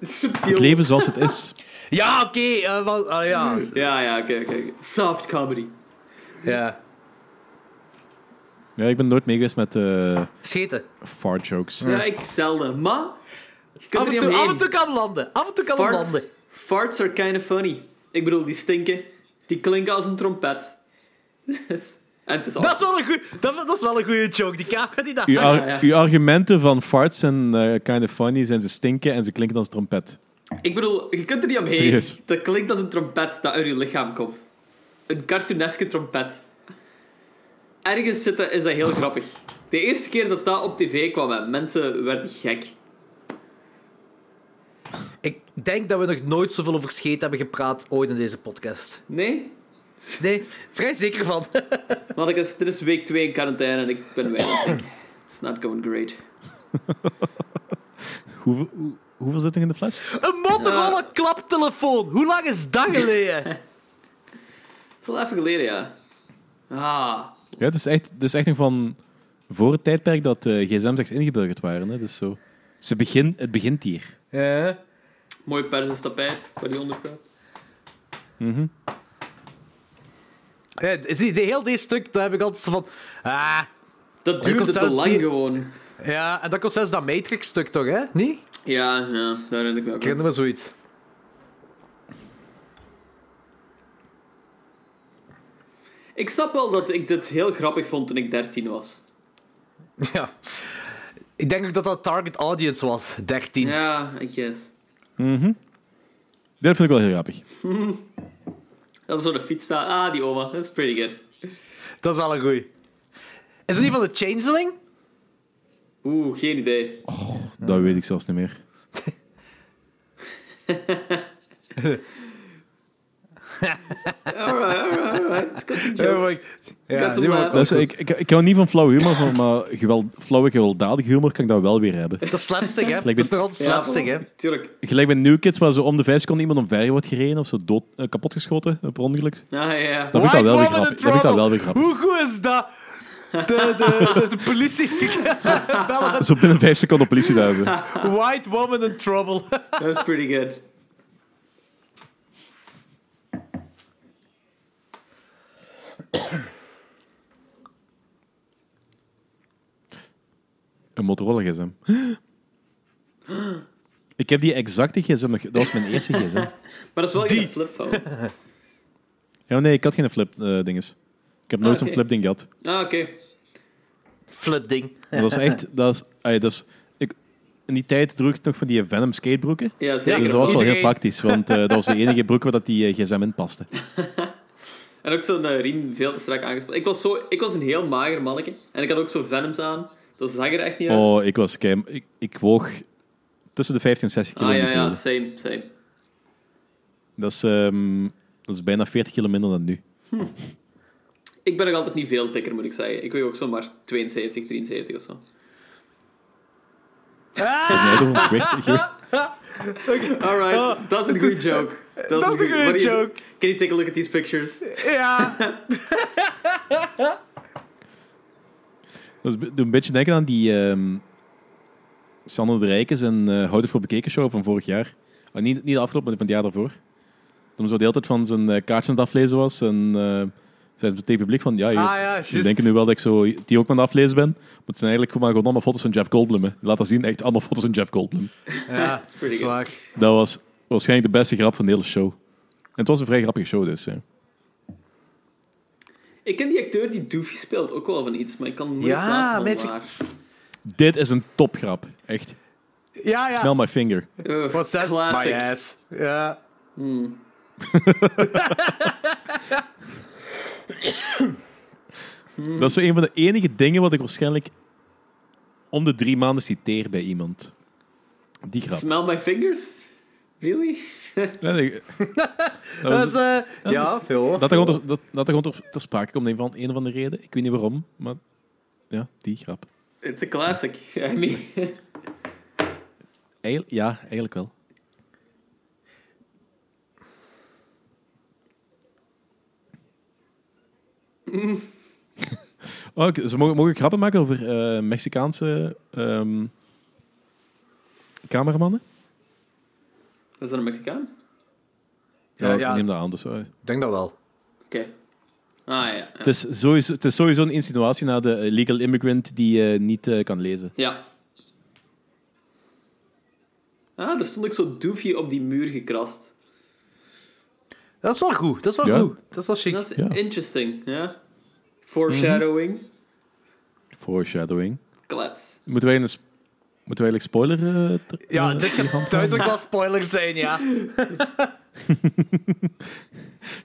[SPEAKER 7] Subtiel.
[SPEAKER 6] Het leven zoals het is.
[SPEAKER 5] Ja, oké, eh, wel- ah, ja.
[SPEAKER 7] Ja, ja, oké, oké. oké. Soft comedy.
[SPEAKER 5] ja.
[SPEAKER 6] Ja, ik ben nooit mee geweest met eh,
[SPEAKER 5] Scheten.
[SPEAKER 6] fart jokes.
[SPEAKER 7] Ja, ik zelden. Maar, je kunt
[SPEAKER 5] Af en,
[SPEAKER 7] er niet
[SPEAKER 5] toe,
[SPEAKER 7] omheen.
[SPEAKER 5] af en toe kan het landen, af en toe kan het landen.
[SPEAKER 7] farts, farts are kind of funny. Ik bedoel, die stinken. Die klinken als een trompet. en het is
[SPEAKER 5] Dat is
[SPEAKER 7] awesome.
[SPEAKER 5] wel een goeie, dat, dat is wel een goeie joke, die camera die daar
[SPEAKER 6] Uw, ar-
[SPEAKER 7] Ah, Ja, ja.
[SPEAKER 6] uw argumenten van farts zijn eh, kind of funny, zijn ze stinken en ze klinken als trompet.
[SPEAKER 7] Ik bedoel, je kunt er niet omheen.
[SPEAKER 6] Serieus.
[SPEAKER 7] Dat klinkt als een trompet dat uit je lichaam komt. Een cartooneske trompet. Ergens zitten is dat heel grappig. De eerste keer dat dat op tv kwam, hè, mensen werden gek.
[SPEAKER 5] Ik denk dat we nog nooit zoveel over scheet hebben gepraat ooit in deze podcast.
[SPEAKER 7] Nee?
[SPEAKER 5] Nee, vrij zeker van.
[SPEAKER 7] Maar ik is, dit is week 2 in quarantaine en ik ben weg. It's not going great.
[SPEAKER 6] Hoeveel, hoe- hoeveel zit er in de fles?
[SPEAKER 5] Een Motorola klaptelefoon. Hoe lang is dat geleden?
[SPEAKER 7] Het is al even geleden, ja. Ah.
[SPEAKER 6] Ja, het is echt, het is echt nog van voor het tijdperk dat eh gsm's echt ingeburgerd waren. Hè? Dus zo. Ze begin, het begint hier.
[SPEAKER 5] Ja.
[SPEAKER 7] Mooi persisch tapijt, waar die onder gaat.
[SPEAKER 5] Ja, zie, de, heel dit stuk, daar heb ik altijd zo van... Ah,
[SPEAKER 7] Dat
[SPEAKER 5] komt
[SPEAKER 7] duurde te
[SPEAKER 5] zelfs
[SPEAKER 7] lang
[SPEAKER 5] die-
[SPEAKER 7] gewoon.
[SPEAKER 5] ja, en dat komt zelfs dat Matrix-stuk toch, hè? Niet?
[SPEAKER 7] Ja, ja, daar herinner ik me ook
[SPEAKER 5] Ik herinner me zoiets.
[SPEAKER 7] Ik snap wel dat ik dit heel grappig vond toen ik 13 was.
[SPEAKER 5] Ja. Ik denk ook dat dat target audience was, 13.
[SPEAKER 7] Ja, I guess.
[SPEAKER 6] Dat vind ik wel heel grappig.
[SPEAKER 7] Dat was zo de fiets staan. Ah, die oma. Dat is pretty good.
[SPEAKER 5] Dat is wel een goeie. Is dat niet van de Changeling?
[SPEAKER 7] Oeh, geen idee.
[SPEAKER 5] Oh.
[SPEAKER 6] Dat weet ik zelfs niet meer.
[SPEAKER 7] Alright, alright, alright. It's got some
[SPEAKER 5] Ja,
[SPEAKER 7] jokes.
[SPEAKER 5] maar ik- ja,
[SPEAKER 7] Got some
[SPEAKER 5] die wou-
[SPEAKER 7] laughs.
[SPEAKER 6] Dat is, Dus ik, ik, ik hou niet van flauw humor, van, maar geweld, flauwe gewelddadige humor kan ik dat wel weer hebben.
[SPEAKER 5] dat is slapstick, hè? Dat
[SPEAKER 6] dit-
[SPEAKER 5] is toch altijd
[SPEAKER 7] Ja,
[SPEAKER 5] slapstick, hè?
[SPEAKER 7] Tuurlijk.
[SPEAKER 6] Gelijk bij New Kids, waar zo om de vijf seconden iemand omver wordt gereden of zo dood, eh, kapotgeschoten per ongeluk.
[SPEAKER 7] Ah, ja, ja.
[SPEAKER 6] Dat vind ik
[SPEAKER 5] White
[SPEAKER 6] dan wel weer
[SPEAKER 5] woman in
[SPEAKER 6] grappig. Dat vind ik dan wel weer
[SPEAKER 5] trouble.
[SPEAKER 6] grappig.
[SPEAKER 5] Hoe goed is dat? De, de, de, de politie. Bellen met
[SPEAKER 6] Zo binnen vijf seconden politie duiven.
[SPEAKER 5] White woman in trouble.
[SPEAKER 7] Dat is pretty good.
[SPEAKER 6] Een Motorola gsm. Ik heb die exacte gsm, nog- dat was mijn eerste gsm.
[SPEAKER 7] Maar dat is wel geen flipphone.
[SPEAKER 6] Ja, nee, ik had geen flip eh, dinges. Ik heb nooit
[SPEAKER 7] Ah,
[SPEAKER 6] zo'n
[SPEAKER 7] oké.
[SPEAKER 6] flip ding gehad.
[SPEAKER 7] Ah, oké.
[SPEAKER 5] Flip ding.
[SPEAKER 6] Dat was echt, dat is, ai, dat is- ik, in die tijd droeg ik nog van die Venom skatebroeken.
[SPEAKER 7] Ja, zeker.
[SPEAKER 6] Dus dat was wel heel
[SPEAKER 5] Iedereen-
[SPEAKER 6] praktisch, want eh, dat was de enige broek waar dat die eh, gsm in paste.
[SPEAKER 7] En ook zo'n eh, riem veel te strak aangespannen. Ik was, zo, ik was een heel mager manneke. En ik had ook zo Venoms aan. Dat zag er echt niet uit.
[SPEAKER 6] Oh, ik was kei... Ik, ik woog tussen de 15 en 60 kilo.
[SPEAKER 7] ah,
[SPEAKER 6] in
[SPEAKER 7] ja,
[SPEAKER 6] die
[SPEAKER 7] ja.
[SPEAKER 6] periode.
[SPEAKER 7] Same, same.
[SPEAKER 6] Dat, is, ehm, dat is bijna 40 kilo minder dan nu.
[SPEAKER 7] Ik ben nog altijd niet veel dikker, moet ik zeggen. Ik weeg ook zomaar 72, 73 of zo.
[SPEAKER 6] Nee, dat is gewicht. gewicht-
[SPEAKER 7] Alright, dat is een goede joke.
[SPEAKER 5] Ah. dat is een
[SPEAKER 7] goeie-
[SPEAKER 5] goeie
[SPEAKER 7] What do you-
[SPEAKER 5] joke.
[SPEAKER 7] Can you take a look at these pictures?
[SPEAKER 5] Ja.
[SPEAKER 6] Dat is be- doet een beetje denken aan die ehm Sander de Rijkes en eh Houden voor Bekeken show van vorig jaar. Ah, niet, niet de afgelopen, maar van het jaar daarvoor. Dat hem zo de hele tijd van zijn eh, kaartje aan het aflezen was. En eh zei tegen het publiek van... Ja,
[SPEAKER 5] Ah, ja,
[SPEAKER 6] jullie
[SPEAKER 5] juist.
[SPEAKER 6] denken nu wel dat ik zo die ook aan het aflezen ben. Maar het zijn eigenlijk gewoon, maar gewoon allemaal foto's van Jeff Goldblum. hè. Laat dat zien, echt allemaal foto's van Jeff Goldblum.
[SPEAKER 5] Ja,
[SPEAKER 7] is pretty good.
[SPEAKER 5] zwaar.
[SPEAKER 6] Dat was waarschijnlijk de beste grap van de hele show. En het was een vrij grappige show dus. hè.
[SPEAKER 7] Ik ken die acteur die Doofy speelt ook wel van iets, maar ik kan moeilijk
[SPEAKER 5] Ja,
[SPEAKER 7] plaatsen
[SPEAKER 5] mensen-
[SPEAKER 7] van waar.
[SPEAKER 6] Dit is een topgrap. Echt.
[SPEAKER 5] Ja, ja.
[SPEAKER 6] Smell my finger.
[SPEAKER 7] Ugh,
[SPEAKER 5] What's that?
[SPEAKER 7] Oh, Classic.
[SPEAKER 5] My ass. Ja.
[SPEAKER 6] Dat is zo een van de enige dingen wat ik waarschijnlijk om de drie maanden citeer bij iemand. Die grap.
[SPEAKER 7] Smell my fingers? Really?
[SPEAKER 6] Ja, nee, dat,
[SPEAKER 5] Dat is,
[SPEAKER 6] was-
[SPEAKER 5] eh, ja, veel. hoor.
[SPEAKER 6] dat er gewoon, ter, dat, dat er gewoon ter, ter sprake komt, een van, een van de reden. Ik weet niet waarom, maar ja, die grap.
[SPEAKER 7] It's a classic. I mean...
[SPEAKER 6] Eigenlijk- ja, eigenlijk wel. Oh, ik- ze mogen, mogen grappen maken over eh, Mexicaanse ehm, cameramannen.
[SPEAKER 7] Was dat een Mexicaan?
[SPEAKER 5] Ja,
[SPEAKER 6] Ja, ik
[SPEAKER 5] ja.
[SPEAKER 6] neem dat aan. Dus, eh.
[SPEAKER 5] Ik denk dat wel.
[SPEAKER 7] Oké. Ah, ja.
[SPEAKER 6] het, is sowieso, het is sowieso een insinuatie naar de eh, legal immigrant die eh, niet eh, kan lezen.
[SPEAKER 7] Ja. Ah, daar stond ik zo doofje op die muur gekrast.
[SPEAKER 5] Dat is wel goed. Dat is wel
[SPEAKER 6] Ja.
[SPEAKER 5] goed. Dat is wel chic.
[SPEAKER 7] Dat is
[SPEAKER 6] Ja.
[SPEAKER 7] interesting, ja. Foreshadowing.
[SPEAKER 5] Mhm.
[SPEAKER 6] Foreshadowing.
[SPEAKER 7] Klets.
[SPEAKER 6] Moeten wij, een, sp- moeten wij eigenlijk spoiler... eh, ter-
[SPEAKER 5] Ja,
[SPEAKER 6] eh,
[SPEAKER 5] dit
[SPEAKER 6] in hand
[SPEAKER 5] gaat
[SPEAKER 6] houden?
[SPEAKER 5] duidelijk wel spoilers zijn, ja.
[SPEAKER 6] Gaan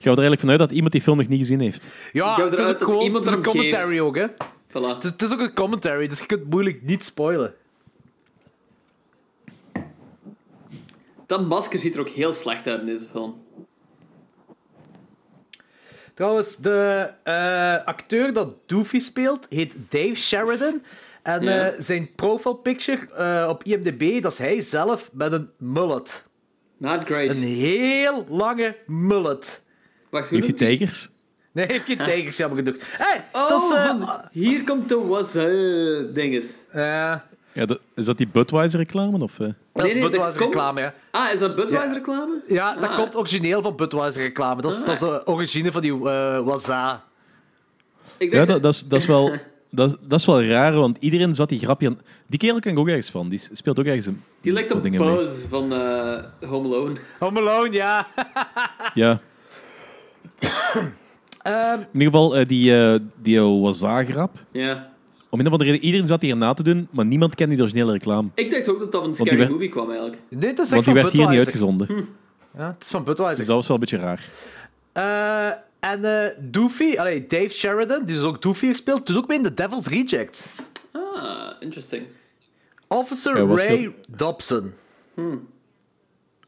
[SPEAKER 6] we er eigenlijk vanuit dat iemand die film nog niet gezien heeft?
[SPEAKER 5] Ja,
[SPEAKER 7] Ik heb
[SPEAKER 5] het is
[SPEAKER 7] eruit
[SPEAKER 5] ook
[SPEAKER 7] dat
[SPEAKER 5] gewoon
[SPEAKER 7] iemand
[SPEAKER 5] het is een
[SPEAKER 7] erom geeft.
[SPEAKER 5] commentary ook, hè. Het
[SPEAKER 7] Voilà.
[SPEAKER 5] is, het is ook een commentary, dus je kunt moeilijk niet spoilen.
[SPEAKER 7] Dat masker ziet er ook heel slecht uit in deze film.
[SPEAKER 5] Trouwens, de eh, acteur dat Doofy speelt, heet Dave Sheridan. En
[SPEAKER 7] Ja.
[SPEAKER 5] eh, zijn profile picture eh, op IMDb, dat is hij zelf met een mullet.
[SPEAKER 7] Not great.
[SPEAKER 5] Een heel lange mullet.
[SPEAKER 7] Wacht, hoe
[SPEAKER 6] Heeft hij
[SPEAKER 7] noemt die-
[SPEAKER 6] tijgers?
[SPEAKER 5] Nee, hij heeft geen tijgers, jammer genoeg. Hé, hey,
[SPEAKER 7] Oh,
[SPEAKER 5] dat is... eh,
[SPEAKER 7] van- hier komt de wazel dinges.
[SPEAKER 5] eh,
[SPEAKER 6] Ja, dat- is dat die Budweiser-reclame? Of, eh?
[SPEAKER 5] Dat is
[SPEAKER 7] Nee, nee,
[SPEAKER 5] Budweiser
[SPEAKER 7] komt-
[SPEAKER 5] reclame, ja.
[SPEAKER 7] Ah, is dat Budweiser reclame?
[SPEAKER 5] Ja, dat
[SPEAKER 7] Ah.
[SPEAKER 5] komt origineel van Budweiser reclame. Dat is, dat is de origine van die eh waza.
[SPEAKER 7] Ik
[SPEAKER 6] Ja,
[SPEAKER 7] denk
[SPEAKER 6] dat, dat, is, dat, is wel, dat, is- dat is wel raar, want iedereen zat die grapje aan... Die kerel ken ik ook ergens van. Die speelt ook ergens een
[SPEAKER 7] die lijkt
[SPEAKER 6] wat
[SPEAKER 7] op
[SPEAKER 6] dingen mee.
[SPEAKER 7] Buzz van eh, Home Alone.
[SPEAKER 5] Home Alone, Oh, ja.
[SPEAKER 6] Ja. In ieder geval, eh, die, eh die Waza-grap.
[SPEAKER 7] Ja.
[SPEAKER 6] Om een of andere reden, iedereen zat hier na te doen, maar niemand kende die originele reclame.
[SPEAKER 7] Ik dacht ook dat dat van
[SPEAKER 6] die
[SPEAKER 7] Scary
[SPEAKER 6] werd-
[SPEAKER 7] Movie kwam eigenlijk.
[SPEAKER 5] Nee, dat is echt
[SPEAKER 6] Want
[SPEAKER 5] van
[SPEAKER 6] die werd hier
[SPEAKER 5] Budweiser. Hm.
[SPEAKER 6] niet uitgezonden.
[SPEAKER 5] Ja, het is van Budweiser.
[SPEAKER 6] Dus dat was wel een beetje raar.
[SPEAKER 5] Eh, en eh Doofy, allee, Dave Sheridan, die is ook Doofy gespeeld, doet ook mee in The Devil's Reject.
[SPEAKER 7] Ah, interesting.
[SPEAKER 5] Officer
[SPEAKER 6] Ja, wat
[SPEAKER 5] Ray
[SPEAKER 6] speelt-
[SPEAKER 5] Dobson.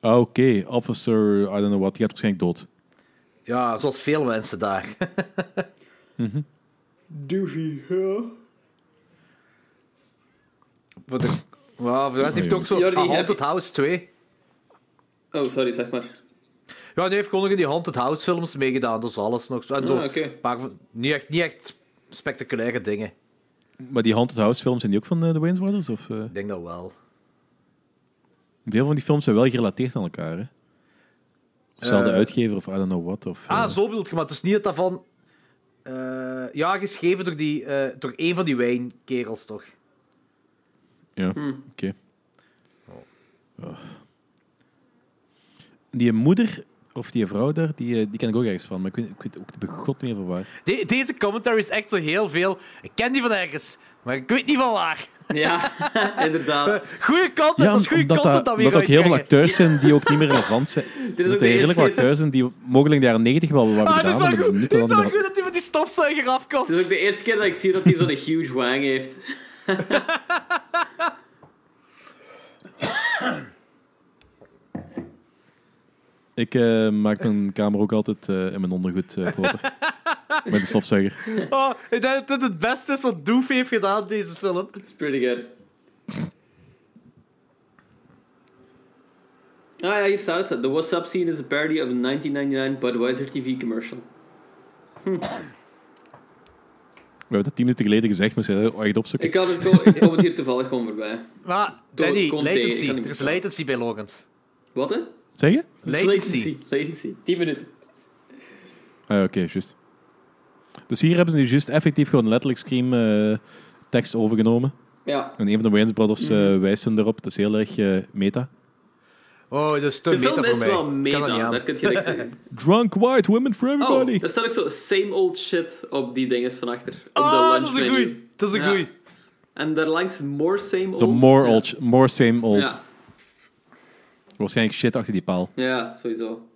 [SPEAKER 6] Ah, Oké, officer, I don't know what. Die gaat waarschijnlijk dood.
[SPEAKER 5] Ja, zoals veel mensen daar. Mhm.
[SPEAKER 7] Doofy, ja.
[SPEAKER 5] voor de, ja, voor de rest heeft hij ook zo
[SPEAKER 7] Jordi,
[SPEAKER 5] A
[SPEAKER 7] heb
[SPEAKER 5] Haunted
[SPEAKER 7] je-
[SPEAKER 5] House 2.
[SPEAKER 7] Oh, sorry, zeg maar.
[SPEAKER 5] Ja, die heeft gewoon nog in die Haunted House films meegedaan, dat is alles nog zo. En zo
[SPEAKER 7] Ah, oké.
[SPEAKER 5] een paar van- niet, echt, niet echt spectaculaire dingen.
[SPEAKER 6] Maar die Haunted House films, zijn die ook van eh, de Wayne's Brothers? Of, eh?
[SPEAKER 5] Ik denk dat wel.
[SPEAKER 6] Een deel van die films zijn wel gerelateerd aan elkaar, hè? Of zelfde uitgever, of I don't know what. Of, eh,
[SPEAKER 5] Eh. Ah, zo bedoel je, maar het is niet dat dat van... eh, ja, geschreven door, die, eh, door een van die wijnkerels, toch?
[SPEAKER 6] Ja,
[SPEAKER 5] Hm.
[SPEAKER 6] oké. Ah. Die moeder, of die vrouw daar, die, eh, die ken ik ook ergens van, maar ik weet, ik weet ook de god meer van waar.
[SPEAKER 5] De- deze commentary is echt zo heel veel. Ik ken die van ergens, maar ik weet niet van waar.
[SPEAKER 7] Ja, inderdaad.
[SPEAKER 5] Eh, Goeie content, dat is goede
[SPEAKER 6] omdat
[SPEAKER 5] content dat we
[SPEAKER 6] dat
[SPEAKER 5] hier
[SPEAKER 6] ook heel
[SPEAKER 5] uitkrijgen.
[SPEAKER 6] veel acteurs zijn die ook niet meer relevant zijn.
[SPEAKER 7] de
[SPEAKER 6] er zitten
[SPEAKER 7] eerste
[SPEAKER 6] redelijk
[SPEAKER 7] keer
[SPEAKER 6] wat
[SPEAKER 7] dat-
[SPEAKER 6] acteurs in die mogelijk in de jaren 90 wel wat hebben
[SPEAKER 5] Ah,
[SPEAKER 6] gedaan,
[SPEAKER 5] dat is
[SPEAKER 6] maar
[SPEAKER 5] wel
[SPEAKER 6] dat
[SPEAKER 5] goed.
[SPEAKER 6] is niet
[SPEAKER 5] Het is wel
[SPEAKER 6] relevant.
[SPEAKER 5] goed dat hij met die stofzuiger afkomt.
[SPEAKER 7] Het is ook de eerste keer dat ik zie dat hij zo'n huge wang heeft.
[SPEAKER 6] Ik eh, maak mijn kamer ook altijd eh, in mijn ondergoed eh, proper. Met een stofzuiger.
[SPEAKER 5] Oh, ik denk dat dit het beste is wat Doofy heeft gedaan in deze film.
[SPEAKER 7] It's pretty good. Ah ja, hier staat het. The What's Up scene is a parody of a 1999 Budweiser TV commercial.
[SPEAKER 6] We hebben dat tien minuten geleden gezegd, maar ze zijn er echt opzoeken.
[SPEAKER 7] Ik had het gewoon, ik kwam het hier toevallig gewoon voorbij.
[SPEAKER 5] Maar,
[SPEAKER 7] Door
[SPEAKER 5] Danny,
[SPEAKER 7] Conte
[SPEAKER 5] latency.
[SPEAKER 7] kan ik
[SPEAKER 5] Er is
[SPEAKER 7] niet-
[SPEAKER 5] latency bij Logans.
[SPEAKER 7] Wat hè?
[SPEAKER 6] Zeg je?
[SPEAKER 5] Latency.
[SPEAKER 7] Latency. 10 minuten.
[SPEAKER 6] Ah, ja, oké, juist. Dus hier hebben ze nu juist effectief gewoon letterlijk Scream eh, tekst overgenomen.
[SPEAKER 7] Ja.
[SPEAKER 6] En een van de Wayans Brothers eh,
[SPEAKER 5] Mhm.
[SPEAKER 6] wijst hem erop. Dat is heel erg eh, meta.
[SPEAKER 5] Oh, dat is te
[SPEAKER 7] De
[SPEAKER 5] meta
[SPEAKER 7] film
[SPEAKER 5] voor
[SPEAKER 7] is
[SPEAKER 5] mij.
[SPEAKER 7] wel
[SPEAKER 5] Kan dat niet
[SPEAKER 7] meta,
[SPEAKER 5] aan.
[SPEAKER 7] daar kun je niks zeggen.
[SPEAKER 6] Drunk white women for
[SPEAKER 7] Oh,
[SPEAKER 6] everybody.
[SPEAKER 7] daar staat ook zo same old shit op die dinges van achter. Op
[SPEAKER 5] Oh,
[SPEAKER 7] de
[SPEAKER 5] dat
[SPEAKER 7] lunch
[SPEAKER 5] is een
[SPEAKER 7] menu.
[SPEAKER 5] goeie. Dat is een
[SPEAKER 7] Ja.
[SPEAKER 5] goeie.
[SPEAKER 7] En daarlangs more same old.
[SPEAKER 6] Zo more
[SPEAKER 7] Ja.
[SPEAKER 6] old, more same old.
[SPEAKER 7] Ja.
[SPEAKER 6] Waarschijnlijk shit achter die paal.
[SPEAKER 7] ja, sowieso.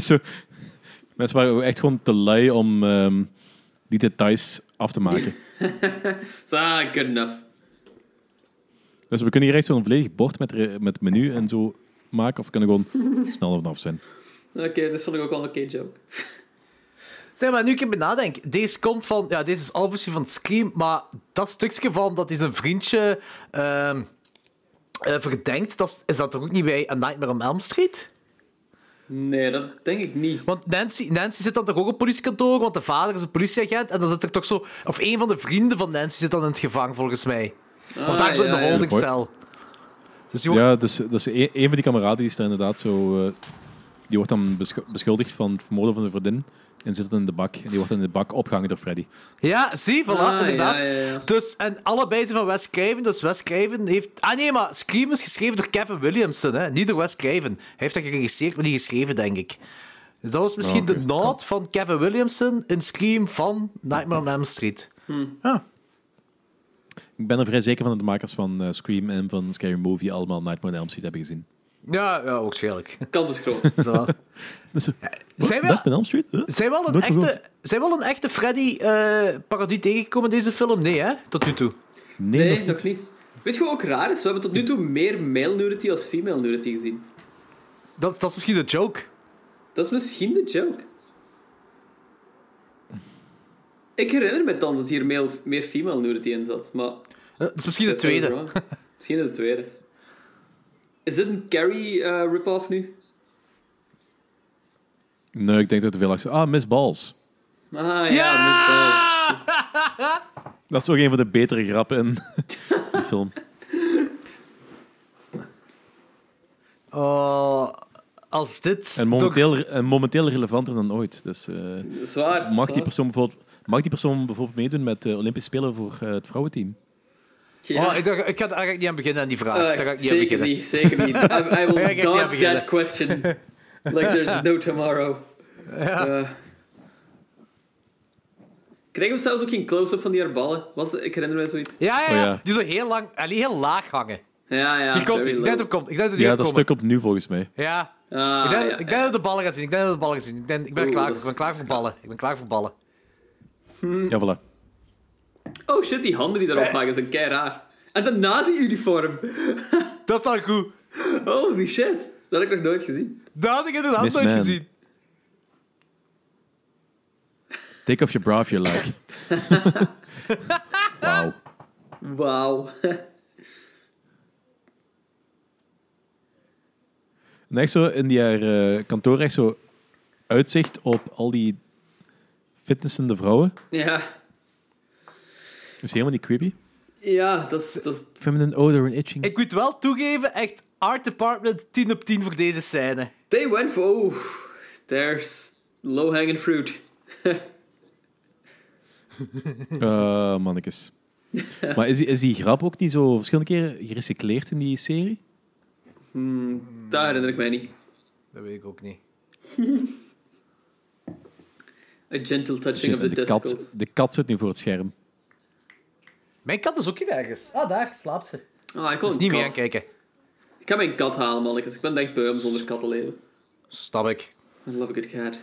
[SPEAKER 6] Zo, mensen waren ook echt gewoon te lui om ehm, die details af te maken.
[SPEAKER 7] So, ah, good enough.
[SPEAKER 6] dus we kunnen hier echt zo'n volledig bord met, re- met menu en zo maken. Of we kunnen gewoon snel vanaf zijn.
[SPEAKER 7] Oké, dit vond ik ook wel een oké joke.
[SPEAKER 5] Zeg maar, nu ik erbij nadenk. Deze komt van... Ja, deze is obviously van Scream, maar dat stukje van dat hij zijn vriendje ehm, eh, verdenkt, dat is, is dat toch ook niet bij A Nightmare on Elm Street?
[SPEAKER 7] Nee, dat denk ik niet.
[SPEAKER 5] Want Nancy, Nancy zit dan toch ook op het politiekantoor, want de vader is een politieagent. En dan zit er toch zo... Of een van de vrienden van Nancy zit dan in het gevangen, volgens mij. of daar zo in
[SPEAKER 7] Ah, ja,
[SPEAKER 5] de
[SPEAKER 7] ja.
[SPEAKER 5] holdingcel. Dus die wordt...
[SPEAKER 6] Ja, dus, dus een, een van die kameraden die is daar inderdaad zo. eh, die wordt dan besch- beschuldigd van het vermoorden van zijn vriendin. En zit dan in de bak. En die wordt in de bak opgehangen door Freddy.
[SPEAKER 5] Ja, zie, voilà,
[SPEAKER 7] Ah,
[SPEAKER 5] inderdaad.
[SPEAKER 7] ja, ja, ja.
[SPEAKER 5] Dus, en allebei zijn van Wes Craven, dus Wes Craven heeft... Ah nee, maar Scream is geschreven door Kevin Williamson, hè? niet door Wes Craven. Hij heeft dat geregisseerd, maar niet geschreven, denk ik. Dus dat was misschien
[SPEAKER 6] Ah, oké,
[SPEAKER 5] de
[SPEAKER 6] kan.
[SPEAKER 5] nod van Kevin Williamson in Scream van Nightmare on Elm Street. Ja.
[SPEAKER 6] Ik ben er vrij zeker van dat de makers van eh, Scream en van Scary Movie allemaal Nightmare on Elm Street hebben gezien.
[SPEAKER 5] Ja, ja, waarschijnlijk.
[SPEAKER 7] Kans is groot.
[SPEAKER 5] Zo.
[SPEAKER 6] Dus, eh,
[SPEAKER 5] Zijn we...
[SPEAKER 6] Nightmare on Elm Street? Huh?
[SPEAKER 5] Zijn we al een
[SPEAKER 6] Nooit van
[SPEAKER 5] echte, zijn we al een echte Freddy eh parodie tegengekomen in deze film? Nee, hè? Tot nu toe.
[SPEAKER 6] Nee,
[SPEAKER 7] Nee,
[SPEAKER 6] nog niet.
[SPEAKER 7] nog niet. Weet je wat ook raar is? We hebben tot nu toe meer male nudity als female nudity gezien.
[SPEAKER 5] Dat, dat is misschien de joke. Eh,
[SPEAKER 7] Dat is misschien de joke. Ik herinner me thans dat hier male, meer female nudity in zat, maar...
[SPEAKER 5] Eh, Dat is misschien de
[SPEAKER 7] dat is wel
[SPEAKER 5] tweede.
[SPEAKER 7] wrong. misschien de tweede. Is dit een Carrie eh, rip-off nu?
[SPEAKER 6] Nee, ik denk dat er veel achter. Ah, Miss Balls.
[SPEAKER 7] Ah, ja,
[SPEAKER 5] Ja!
[SPEAKER 7] misbouwd.
[SPEAKER 6] Dat is ook een van de betere grappen in de film.
[SPEAKER 5] Oh, als dit...
[SPEAKER 6] En momenteel, en momenteel relevanter dan ooit. Dus, eh,
[SPEAKER 7] Zwaar.
[SPEAKER 6] mag, die persoon bijvoorbeeld, mag die persoon bijvoorbeeld meedoen met de Olympische Spelen voor eh, het vrouwenteam?
[SPEAKER 5] Oh, ik, dacht- ik ga er eigenlijk niet aan beginnen aan die vraag. Daar ga ik niet aan
[SPEAKER 7] Eh, zeker
[SPEAKER 5] beginnen.
[SPEAKER 7] niet, zeker niet. I, I
[SPEAKER 5] ga
[SPEAKER 7] will
[SPEAKER 5] ik niet aan
[SPEAKER 7] dodge
[SPEAKER 5] beginnen.
[SPEAKER 7] that question. Like there's no tomorrow. Eh, krijgen we zelfs ook geen close-up van die haar ballen? Was, ik herinner me zoiets.
[SPEAKER 5] Ja, ja, ja.
[SPEAKER 6] Oh, ja.
[SPEAKER 5] Die zo heel lang... Allee, heel laag hangen.
[SPEAKER 7] Ja, ja.
[SPEAKER 5] Hier komt
[SPEAKER 7] very
[SPEAKER 5] hij. Ik
[SPEAKER 7] low.
[SPEAKER 5] denk dat hem komt. Ik denk dat hij
[SPEAKER 6] Ja,
[SPEAKER 5] gaat
[SPEAKER 6] dat
[SPEAKER 5] komen.
[SPEAKER 6] stuk opnieuw volgens mij.
[SPEAKER 5] Ja.
[SPEAKER 7] Ah,
[SPEAKER 5] Ik denk,
[SPEAKER 7] ja,
[SPEAKER 5] ik denk
[SPEAKER 7] ja.
[SPEAKER 5] dat we de ballen gaat zien. Ik denk dat we de ballen gaat zien. Ik, denk, ik ben
[SPEAKER 7] Oeh,
[SPEAKER 5] klaar.
[SPEAKER 7] dat is-
[SPEAKER 5] Ik ben klaar voor ballen. Ik ben klaar voor ballen.
[SPEAKER 6] Ja, voilà.
[SPEAKER 7] Oh shit, die handen die daarop hangen zijn kei raar. En dat nazi-uniform.
[SPEAKER 5] Dat is al goed.
[SPEAKER 7] Holy shit. Dat had ik nog nooit gezien.
[SPEAKER 5] Dat had ik inderdaad
[SPEAKER 6] Miss
[SPEAKER 5] nooit
[SPEAKER 6] Man.
[SPEAKER 5] gezien.
[SPEAKER 6] Take off your bra if you like. Wauw.
[SPEAKER 7] Wauw.
[SPEAKER 6] En echt zo in die haar eh, kantoor echt zo uitzicht op al die fitnessende vrouwen.
[SPEAKER 7] ja.
[SPEAKER 6] Dat is helemaal niet creepy.
[SPEAKER 7] Ja, dat is... Dat is
[SPEAKER 6] Feminine odor and itching.
[SPEAKER 5] Ik moet wel toegeven, echt art department 10 op 10 voor deze scène.
[SPEAKER 7] They went for... Oh, there's low-hanging fruit.
[SPEAKER 6] Eh, mannetjes. maar is die, is die grap ook niet zo verschillende keren gerecycleerd in die serie?
[SPEAKER 7] Dat herinner ik mij niet.
[SPEAKER 5] Dat weet ik ook niet.
[SPEAKER 7] A gentle touching
[SPEAKER 6] Shit,
[SPEAKER 7] of
[SPEAKER 6] en
[SPEAKER 7] the
[SPEAKER 6] de,
[SPEAKER 7] testicles.
[SPEAKER 6] kat, de kat zit nu voor het scherm.
[SPEAKER 5] Mijn kat is ook hier ergens. Ah, daar slaapt ze.
[SPEAKER 7] Ah, ik wil
[SPEAKER 5] Dus
[SPEAKER 7] een
[SPEAKER 5] niet meer
[SPEAKER 7] kat.
[SPEAKER 5] aan kijken.
[SPEAKER 7] Ik ga mijn kat halen, mannetjes. Ik ben echt beu om zonder kat te leven.
[SPEAKER 5] Stap ik.
[SPEAKER 7] I love a good cat.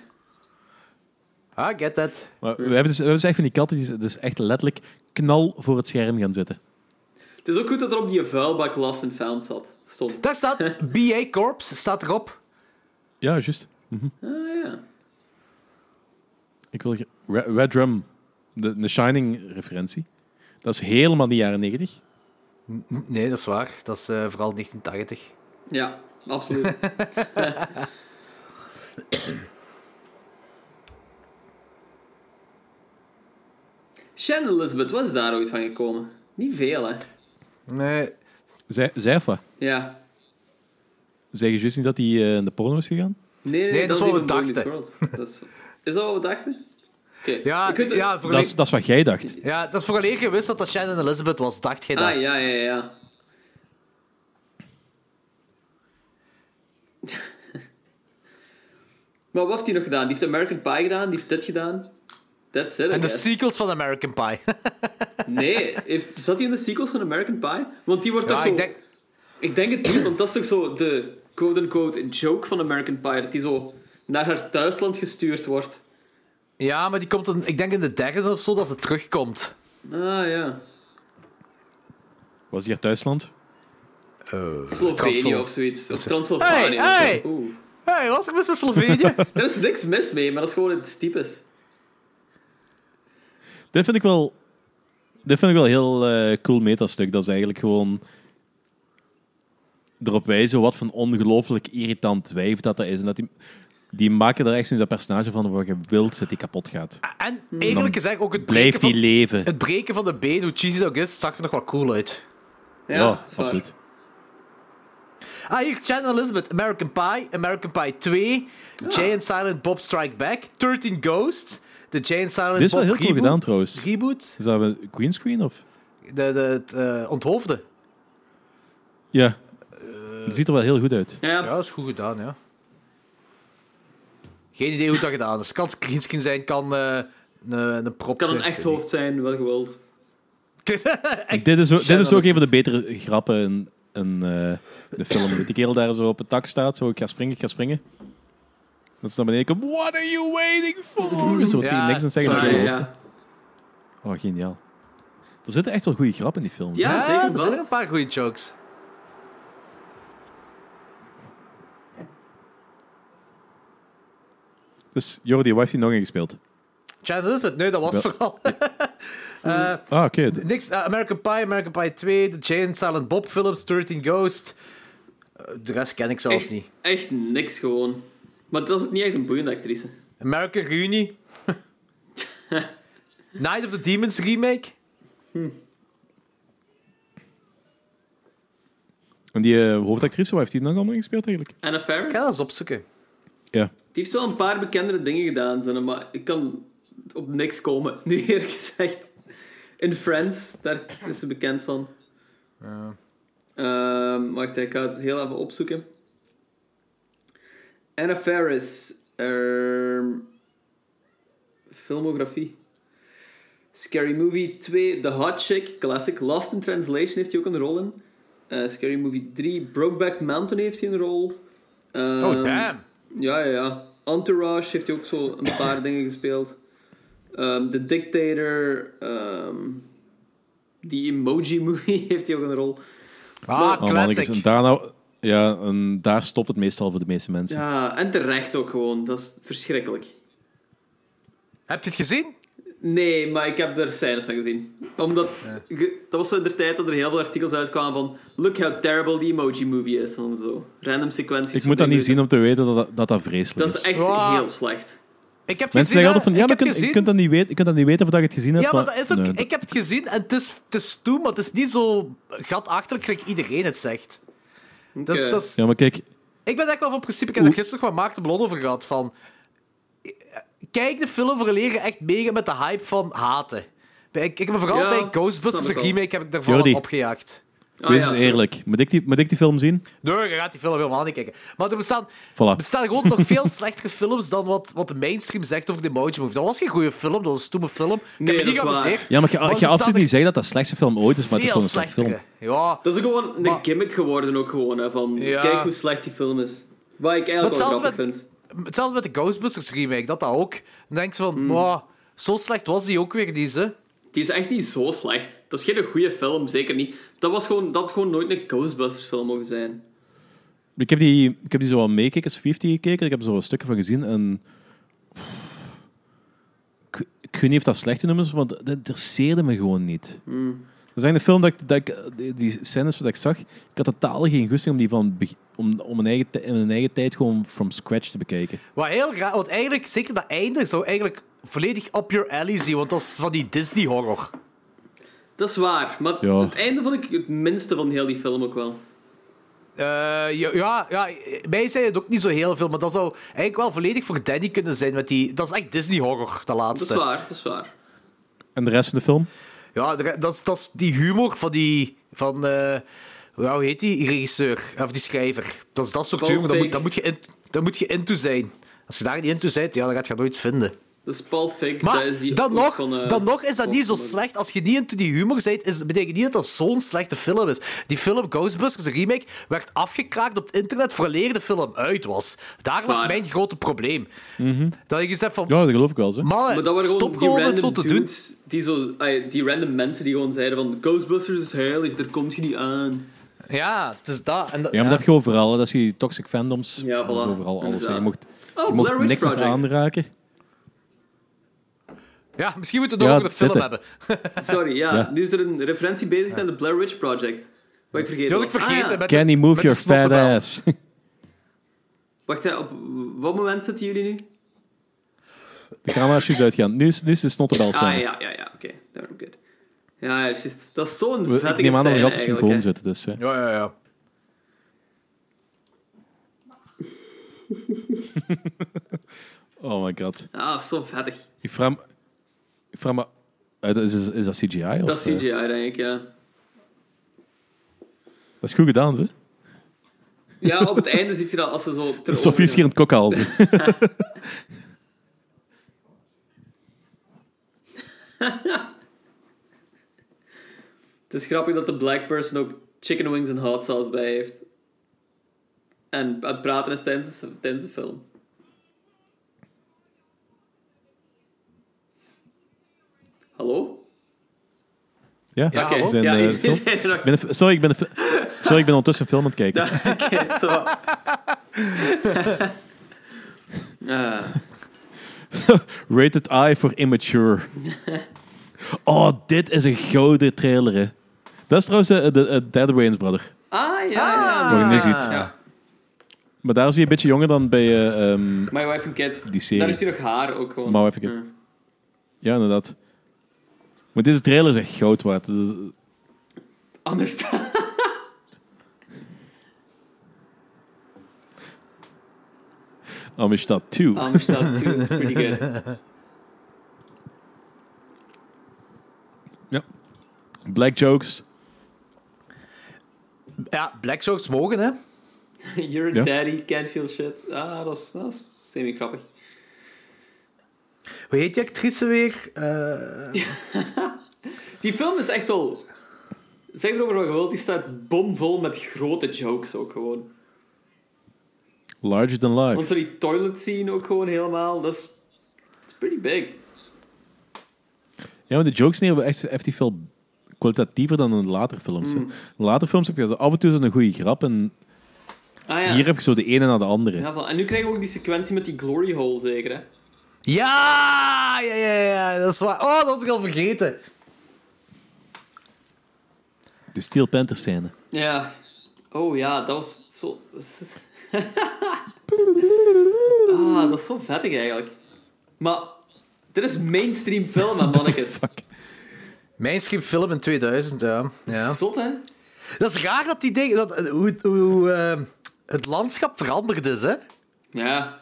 [SPEAKER 5] I get that.
[SPEAKER 6] Maar we hebben dus, we hebben dus echt van die katten die z- dus echt letterlijk knal voor het scherm gaan zitten.
[SPEAKER 7] Het is ook goed dat er op die vuilbak last and found zat. Stond.
[SPEAKER 5] Daar staat BA Corps, staat erop.
[SPEAKER 6] Ja, juist.
[SPEAKER 7] Ah, ja.
[SPEAKER 6] Ik wil... ge- Red, Red Drum, de, de Shining-referentie. Dat is helemaal die jaren 90.
[SPEAKER 5] Nee, dat is waar. Dat is eh, vooral 1980.
[SPEAKER 7] Ja, absoluut. Shannon Elizabeth, wat is daar ooit van gekomen? Niet veel, hè?
[SPEAKER 5] Nee.
[SPEAKER 6] Zij, zij of wat?
[SPEAKER 7] Ja.
[SPEAKER 6] Zeg je juist niet dat hij eh, in de porno is gegaan?
[SPEAKER 7] Nee, nee,
[SPEAKER 5] Nee, dat is
[SPEAKER 7] die
[SPEAKER 5] wat
[SPEAKER 7] van
[SPEAKER 5] we
[SPEAKER 7] Boy Meets
[SPEAKER 5] dachten.
[SPEAKER 7] World. Dat is, is dat wat we dachten? Oké.
[SPEAKER 5] Ja,
[SPEAKER 7] Ik weet het-
[SPEAKER 5] ja, voor
[SPEAKER 6] Dat is, dat is wat jij dacht.
[SPEAKER 5] ja, dat is vooraleer je wist dat dat Shannon Elizabeth was, dacht jij dat?
[SPEAKER 7] Ah, ja, ja, ja. maar wat heeft hij nog gedaan? Die heeft American Pie gedaan, die heeft dit gedaan. That's it, I
[SPEAKER 5] En de
[SPEAKER 7] guess.
[SPEAKER 5] sequels van American Pie.
[SPEAKER 7] Nee, heeft, zat hij in de sequels van American Pie? Want die wordt toch
[SPEAKER 5] ja,
[SPEAKER 7] zo...
[SPEAKER 5] ik denk...
[SPEAKER 7] ik denk het niet, want dat is toch zo de quote-unquote joke van American Pie. Dat die zo naar haar thuisland gestuurd wordt.
[SPEAKER 5] Ja, maar die komt dan, ik denk in de derde of zo dat ze terugkomt.
[SPEAKER 7] Ah, ja.
[SPEAKER 6] Was hier Thuisland?
[SPEAKER 7] Slovenië
[SPEAKER 5] Transylv-
[SPEAKER 7] of zoiets. Of Transylvanië.
[SPEAKER 5] Hey, hey!
[SPEAKER 7] Oeh.
[SPEAKER 5] Hé, hey, was ik mis met Slovenië?
[SPEAKER 7] Er is niks mis mee, maar dat is gewoon het typisch.
[SPEAKER 6] Dit vind ik wel, dit vind ik wel een heel eh, cool metastuk. Dat is eigenlijk gewoon erop wijzen wat voor een ongelooflijk irritant wijf dat dat is. En dat die, die maken daar echt nu dat personage van waar je wilt dat die kapot gaat.
[SPEAKER 5] en eigenlijk is eigenlijk ook het breken,
[SPEAKER 6] Blijft die
[SPEAKER 5] van,
[SPEAKER 6] leven.
[SPEAKER 5] het breken van de been, hoe cheesy dat ook is, zag er nog wel cool uit.
[SPEAKER 7] Ja, dat is waar.
[SPEAKER 6] absoluut.
[SPEAKER 5] Ah, hier, Channel Elizabeth, American Pie, American Pie 2, Jay and Silent Bob Strike Back, 13 Ghosts, de Jay and Silent
[SPEAKER 6] Dit is
[SPEAKER 5] Bob
[SPEAKER 6] wel heel cool
[SPEAKER 5] reboot-
[SPEAKER 6] gedaan trouwens.
[SPEAKER 5] Reboot?
[SPEAKER 6] Is dat een greenscreen of?
[SPEAKER 5] De, de, het eh, onthoofde.
[SPEAKER 6] Ja. Het ziet er wel heel goed uit.
[SPEAKER 7] Ja,
[SPEAKER 5] Ja, dat is goed gedaan, ja. Geen idee hoe dat gedaan is. Kan screenskin zijn, kan eh, een, een prop
[SPEAKER 7] kan een
[SPEAKER 5] zijn.
[SPEAKER 7] echt hoofd zijn, wat je wilt.
[SPEAKER 6] Dit is, ook- dit is ook
[SPEAKER 5] Shadow
[SPEAKER 6] een van de betere grappen in, in eh, de film. Dat die kerel daar zo op het dak staat, zo ik ga springen, ik ga springen. Dat ze naar beneden komt. What are you waiting for? Zo
[SPEAKER 5] Ja,
[SPEAKER 6] ja, niks aan zeggen.
[SPEAKER 5] sorry,
[SPEAKER 6] dat
[SPEAKER 7] Ah,
[SPEAKER 6] je
[SPEAKER 7] ja,
[SPEAKER 6] hoort.
[SPEAKER 7] ja.
[SPEAKER 6] Oh, geniaal. Er zitten echt wel goede grappen in die film.
[SPEAKER 7] Ja,
[SPEAKER 5] Ja,
[SPEAKER 7] zeker
[SPEAKER 5] er zijn een
[SPEAKER 7] vast.
[SPEAKER 5] paar goede jokes.
[SPEAKER 6] Dus Jordi, wat heeft hij nog ingespeeld?
[SPEAKER 5] Channel Elizabeth, nee, dat was
[SPEAKER 6] Ja.
[SPEAKER 5] het vooral.
[SPEAKER 6] Ah, oké.
[SPEAKER 5] Niks, eh, American Pie, American Pie 2, de Jay and Silent Bob films, 13 Ghost. Eh, de rest ken ik zelfs
[SPEAKER 7] Echt,
[SPEAKER 5] niet.
[SPEAKER 7] echt niks gewoon. Maar dat is ook niet echt een boeiende actrice.
[SPEAKER 5] American Reuni. Night of the Demons remake.
[SPEAKER 6] En die eh, hoofdactrice, wat heeft die nog allemaal gespeeld eigenlijk?
[SPEAKER 7] Anna Faris?
[SPEAKER 5] Ik ga dat eens opzoeken.
[SPEAKER 6] Ja.
[SPEAKER 7] Die heeft wel een paar bekendere dingen gedaan, zeg maar ik kan op niks komen, nu eerlijk gezegd. In Friends, daar is ze bekend van. Ehm, wacht, ik ga het heel even opzoeken. Anna Faris. ehm, filmografie. Scary Movie 2, The Hot Chick, classic. Lost in Translation heeft hij ook een rol in. Eh, Scary Movie 3, Brokeback Mountain heeft hij een rol.
[SPEAKER 5] Oh,
[SPEAKER 7] Ehm,
[SPEAKER 5] damn.
[SPEAKER 7] ja, ja, ja. Entourage heeft hij ook zo een paar dingen gespeeld. Ehm The Dictator. ehm, die Emoji Movie heeft hij ook een rol.
[SPEAKER 5] Ah,
[SPEAKER 6] Oh, mannetjes, en
[SPEAKER 5] classic.
[SPEAKER 6] daar, nou, ja, en daar stopt het meestal voor de meeste mensen.
[SPEAKER 7] Ja, en terecht ook gewoon. Dat is verschrikkelijk.
[SPEAKER 5] Heb je het gezien?
[SPEAKER 7] Nee, maar ik heb er scènes van gezien. Omdat, ge- dat was zo in de tijd dat er heel veel artikels uitkwamen van... Look how terrible the Emoji Movie is. En zo. Random sequenties.
[SPEAKER 6] Ik
[SPEAKER 7] van
[SPEAKER 6] moet dat
[SPEAKER 7] die
[SPEAKER 6] niet zien
[SPEAKER 7] movie.
[SPEAKER 6] om te weten dat dat, dat, dat vreselijk
[SPEAKER 7] Dat
[SPEAKER 6] is.
[SPEAKER 7] is echt
[SPEAKER 5] Wow.
[SPEAKER 7] heel slecht.
[SPEAKER 5] Ik heb het
[SPEAKER 6] Mensen
[SPEAKER 5] gezien.
[SPEAKER 6] zeggen
[SPEAKER 5] hè.
[SPEAKER 6] altijd van, ja,
[SPEAKER 5] ik
[SPEAKER 6] maar
[SPEAKER 5] heb
[SPEAKER 6] je kunt-
[SPEAKER 5] gezien.
[SPEAKER 6] je kunt dat niet weten, je kunt dat niet weten of dat je het gezien hebt.
[SPEAKER 5] Ja, maar dat is ook...
[SPEAKER 6] nee,
[SPEAKER 5] ik heb het gezien en het is, het is toen, maar het is niet zo gatachterlijk gelijk iedereen het zegt. Dat is,
[SPEAKER 7] Oké.
[SPEAKER 5] dat is-
[SPEAKER 6] Ja, maar kijk,
[SPEAKER 5] Ik ben echt wel van principe... Ik heb er gisteren nog met Maarten Blon over gehad, van... Kijk de film voor leren echt mega met de hype van haten. Bij- Ik, ik heb me vooral
[SPEAKER 7] Ja,
[SPEAKER 5] bij Ghostbusters,
[SPEAKER 7] snap
[SPEAKER 5] de
[SPEAKER 7] ik wel.
[SPEAKER 5] remake, heb ik daarvan
[SPEAKER 6] Jordi.
[SPEAKER 5] opgejaagd.
[SPEAKER 7] Ah,
[SPEAKER 6] wees
[SPEAKER 7] ja,
[SPEAKER 6] eens eerlijk. Moet ik, die, moet ik die film zien?
[SPEAKER 5] Nee, je gaat die film helemaal niet kijken. Maar er bestaan,
[SPEAKER 6] Voilà.
[SPEAKER 5] bestaan gewoon nog veel slechtere films dan wat, wat de mainstream zegt over de Emoji Movie. Dat was geen goede film, dat was een stomme film. Ik heb
[SPEAKER 7] Nee,
[SPEAKER 5] me
[SPEAKER 7] dat
[SPEAKER 5] niet
[SPEAKER 7] is waar.
[SPEAKER 5] geamuseerd.
[SPEAKER 6] Ja, maar je, je
[SPEAKER 5] er bestaan
[SPEAKER 6] absoluut
[SPEAKER 5] nog
[SPEAKER 6] niet zeggen dat dat de slechtste film ooit is, maar het is
[SPEAKER 5] veel
[SPEAKER 6] gewoon een slechte film.
[SPEAKER 5] slechtere. Ja.
[SPEAKER 7] Dat is ook gewoon een
[SPEAKER 5] Maar-
[SPEAKER 7] gimmick geworden ook gewoon, hè, van
[SPEAKER 5] Ja.
[SPEAKER 7] kijk hoe slecht die film is. Wat ik
[SPEAKER 5] Maar
[SPEAKER 7] eigenlijk wel
[SPEAKER 5] hetzelfde
[SPEAKER 7] grappig
[SPEAKER 5] met-
[SPEAKER 7] vind.
[SPEAKER 5] Hetzelfde met de Ghostbusters remake, dat dat ook. Dan denk je van,
[SPEAKER 7] Hmm.
[SPEAKER 5] wow, zo slecht was die ook weer, die ze.
[SPEAKER 7] Die is echt niet zo slecht. Dat is geen goede film, zeker niet. Dat was gewoon, dat had gewoon nooit een Ghostbusters film mogen zijn.
[SPEAKER 6] Ik heb die, ik heb die zo wat meekeken, is 50 gekeken. Ik heb er zo stukken van gezien. En... Ik, ik weet niet of dat slechte nummers zijn, want dat interesseerde me gewoon niet. Dat is eigenlijk een film dat ik, dat ik- die- die scènes wat ik zag, ik had totaal geen goesting om die van, beg- om, om mijn eigen, ti- in mijn eigen tijd gewoon from scratch te bekijken.
[SPEAKER 5] Wat heel raar, want eigenlijk, zeker dat einde zou eigenlijk volledig up your alley zien, want dat is van die Disney-horror.
[SPEAKER 7] Dat is waar, maar
[SPEAKER 6] Ja.
[SPEAKER 7] het einde vond ik het minste van heel die film ook wel.
[SPEAKER 5] Eh, ja, ja, ja, mij zei het ook niet zo heel veel, maar dat zou eigenlijk wel volledig voor Danny kunnen zijn. Met die, dat is echt Disney-horror, de
[SPEAKER 7] Dat
[SPEAKER 5] laatste.
[SPEAKER 7] is waar, dat is waar.
[SPEAKER 6] En de rest van de film?
[SPEAKER 5] Ja, de re- dat is, dat is die humor van die. Van, eh, ja, hoe heet die regisseur? Of die schrijver. Dat is dat soort
[SPEAKER 7] Paul
[SPEAKER 5] humor, daar moet,
[SPEAKER 7] Feig.
[SPEAKER 5] daar moet je in, daar moet je into zijn. Als je daar niet into bent, ja, dan gaat je nooit vinden.
[SPEAKER 7] Dat is Paul Fick, dat
[SPEAKER 5] Maar
[SPEAKER 7] is die
[SPEAKER 5] dan
[SPEAKER 7] ook
[SPEAKER 5] nog,
[SPEAKER 7] van, eh,
[SPEAKER 5] dan nog is dat niet zo
[SPEAKER 7] van-
[SPEAKER 5] slecht. Als je niet into die humor bent, is, betekent niet dat dat zo'n slechte film is. Die film Ghostbusters, de remake, werd afgekraakt op het internet vooraleer de film uit was. Daar lag
[SPEAKER 7] Zwaar.
[SPEAKER 5] mijn grote probleem. Dat ik gezegd van,
[SPEAKER 6] Mhm. Ja, dat geloof ik wel. Zeg.
[SPEAKER 5] mannen,
[SPEAKER 7] Maar dat waren gewoon
[SPEAKER 5] stop
[SPEAKER 7] die
[SPEAKER 5] gewoon
[SPEAKER 7] random
[SPEAKER 5] met zo te doen.
[SPEAKER 7] dudes, Die, zo, ah, die random mensen die gewoon zeiden van Ghostbusters is heilig, daar komt je niet aan.
[SPEAKER 5] Ja, het is dat. En dat
[SPEAKER 6] Ja, maar dat heb je overal. hè. Dat is die toxic fandoms.
[SPEAKER 7] Ja,
[SPEAKER 6] Dat is
[SPEAKER 7] voilà.
[SPEAKER 6] overal alles. hè. Je
[SPEAKER 7] Inderdaad.
[SPEAKER 6] mocht,
[SPEAKER 7] Oh,
[SPEAKER 6] je mocht
[SPEAKER 7] Blair Witch
[SPEAKER 6] niks nog
[SPEAKER 7] Project.
[SPEAKER 6] aanraken.
[SPEAKER 5] Ja, misschien moeten we
[SPEAKER 6] Ja,
[SPEAKER 5] het over de film
[SPEAKER 6] dit, hè.
[SPEAKER 5] hebben.
[SPEAKER 7] Sorry, ja.
[SPEAKER 6] Ja.
[SPEAKER 7] Nu is er een referentie bezig aan de Blair Witch Project. Wat ik vergeten
[SPEAKER 5] Die had ik
[SPEAKER 7] was. Ah,
[SPEAKER 5] vergeten.
[SPEAKER 7] ja.
[SPEAKER 5] met de-
[SPEAKER 6] Can you move
[SPEAKER 5] met de
[SPEAKER 6] your fat
[SPEAKER 5] snottebel.
[SPEAKER 6] ass?
[SPEAKER 7] Wacht, hè, op wat moment zitten jullie nu?
[SPEAKER 6] De camera's juist uitgaan. Nu is, nu is de snotterbel
[SPEAKER 7] Ah,
[SPEAKER 6] scène.
[SPEAKER 7] ja, ja, ja, oké. Daarom good. Ja, ja, juist. Dat is zo'n
[SPEAKER 6] We-
[SPEAKER 7] vettige
[SPEAKER 6] Ik neem aan dat we
[SPEAKER 7] scène
[SPEAKER 6] altijd synchroon
[SPEAKER 7] eigenlijk, hè.
[SPEAKER 6] zitten. Dus, hè.
[SPEAKER 5] Ja, ja, ja.
[SPEAKER 6] Oh my god.
[SPEAKER 7] Ah, zo vettig.
[SPEAKER 6] Ik vraag me... Ik vraag me eh, dat is, is, is dat CGI? of,
[SPEAKER 7] Dat
[SPEAKER 6] eh,
[SPEAKER 7] is CGI, denk ik, ja.
[SPEAKER 6] dat is goed gedaan, hè?
[SPEAKER 7] Ja, op het einde ziet je dat als ze zo... ter
[SPEAKER 6] Sophie is hier aan het kokhalzen.
[SPEAKER 7] Het is grappig dat de black person ook chicken wings en hot sauce bij heeft. En aan het praten is tijdens, tijdens de film. Hallo?
[SPEAKER 6] Ja,
[SPEAKER 5] Ja,
[SPEAKER 6] we
[SPEAKER 5] hallo?
[SPEAKER 6] zijn,
[SPEAKER 7] ja,
[SPEAKER 6] eh,
[SPEAKER 7] jullie
[SPEAKER 6] film-
[SPEAKER 7] zijn er nog.
[SPEAKER 6] ik ben een fi- Sorry, ik ben een fi- sorry, ik ben ondertussen een film aan het kijken.
[SPEAKER 7] Oké, zo. Ah.
[SPEAKER 6] Rated I for immature. oh, dit is een gouden trailer, hè. Dat is trouwens eh, de, eh, derde Wayans Brother.
[SPEAKER 7] Ah, ja, ja.
[SPEAKER 6] Wat je nu
[SPEAKER 7] Ah.
[SPEAKER 6] ziet.
[SPEAKER 7] Ja.
[SPEAKER 6] Maar daar zie je een beetje jonger dan bij... eh, ehm,
[SPEAKER 7] My Wife and Kids.
[SPEAKER 6] Die serie.
[SPEAKER 7] Hmm. Daar heeft hij nog haar ook gewoon.
[SPEAKER 6] My Wife and Kids.
[SPEAKER 7] Ja.
[SPEAKER 6] ja, inderdaad. Maar deze trailer is echt goud waard. Dat is-
[SPEAKER 7] Amistad.
[SPEAKER 6] oh, Amistad 2.
[SPEAKER 7] Ah. Amistad 2 is pretty good.
[SPEAKER 6] Black jokes.
[SPEAKER 5] Ja, Black Sharks mogen, hè?
[SPEAKER 7] You're a
[SPEAKER 6] Ja.
[SPEAKER 7] daddy, can't feel shit. Ah, dat is, dat is semi-grappig.
[SPEAKER 5] Hoe heet die actrice weer? Eh,
[SPEAKER 7] Die film is echt wel... Zeg erover wat je wilt, die staat bomvol met grote jokes ook gewoon.
[SPEAKER 6] Larger than life.
[SPEAKER 7] Want zo die toilet scene ook gewoon helemaal, dat is... It's pretty big.
[SPEAKER 6] Ja, maar de jokes neer hebben echt effectief veel kwalitatiever dan in de later films. hè.
[SPEAKER 7] Hmm.
[SPEAKER 6] In de later films heb je zo af en toe zo'n goede grap en
[SPEAKER 7] Ah ja.
[SPEAKER 6] hier heb je zo de ene na de andere.
[SPEAKER 7] ja wel. En nu krijgen we ook die sequentie met die glory hole zeker, hè?
[SPEAKER 5] Ja, ja, ja, ja, dat is waar. Oh, dat was ik al vergeten.
[SPEAKER 6] De Steel Panther scène.
[SPEAKER 7] Ja. Oh ja, dat was zo... ah, dat is zo vettig eigenlijk. Maar dit is mainstream film, hè, mannetjes.
[SPEAKER 5] Mijn schip film in 2000, ja. ja.
[SPEAKER 7] Zot, hè?
[SPEAKER 5] Dat is raar dat die dingen... Dat, eh, hoe hoe- hoe eh, het landschap veranderd is, hè?
[SPEAKER 7] Ja.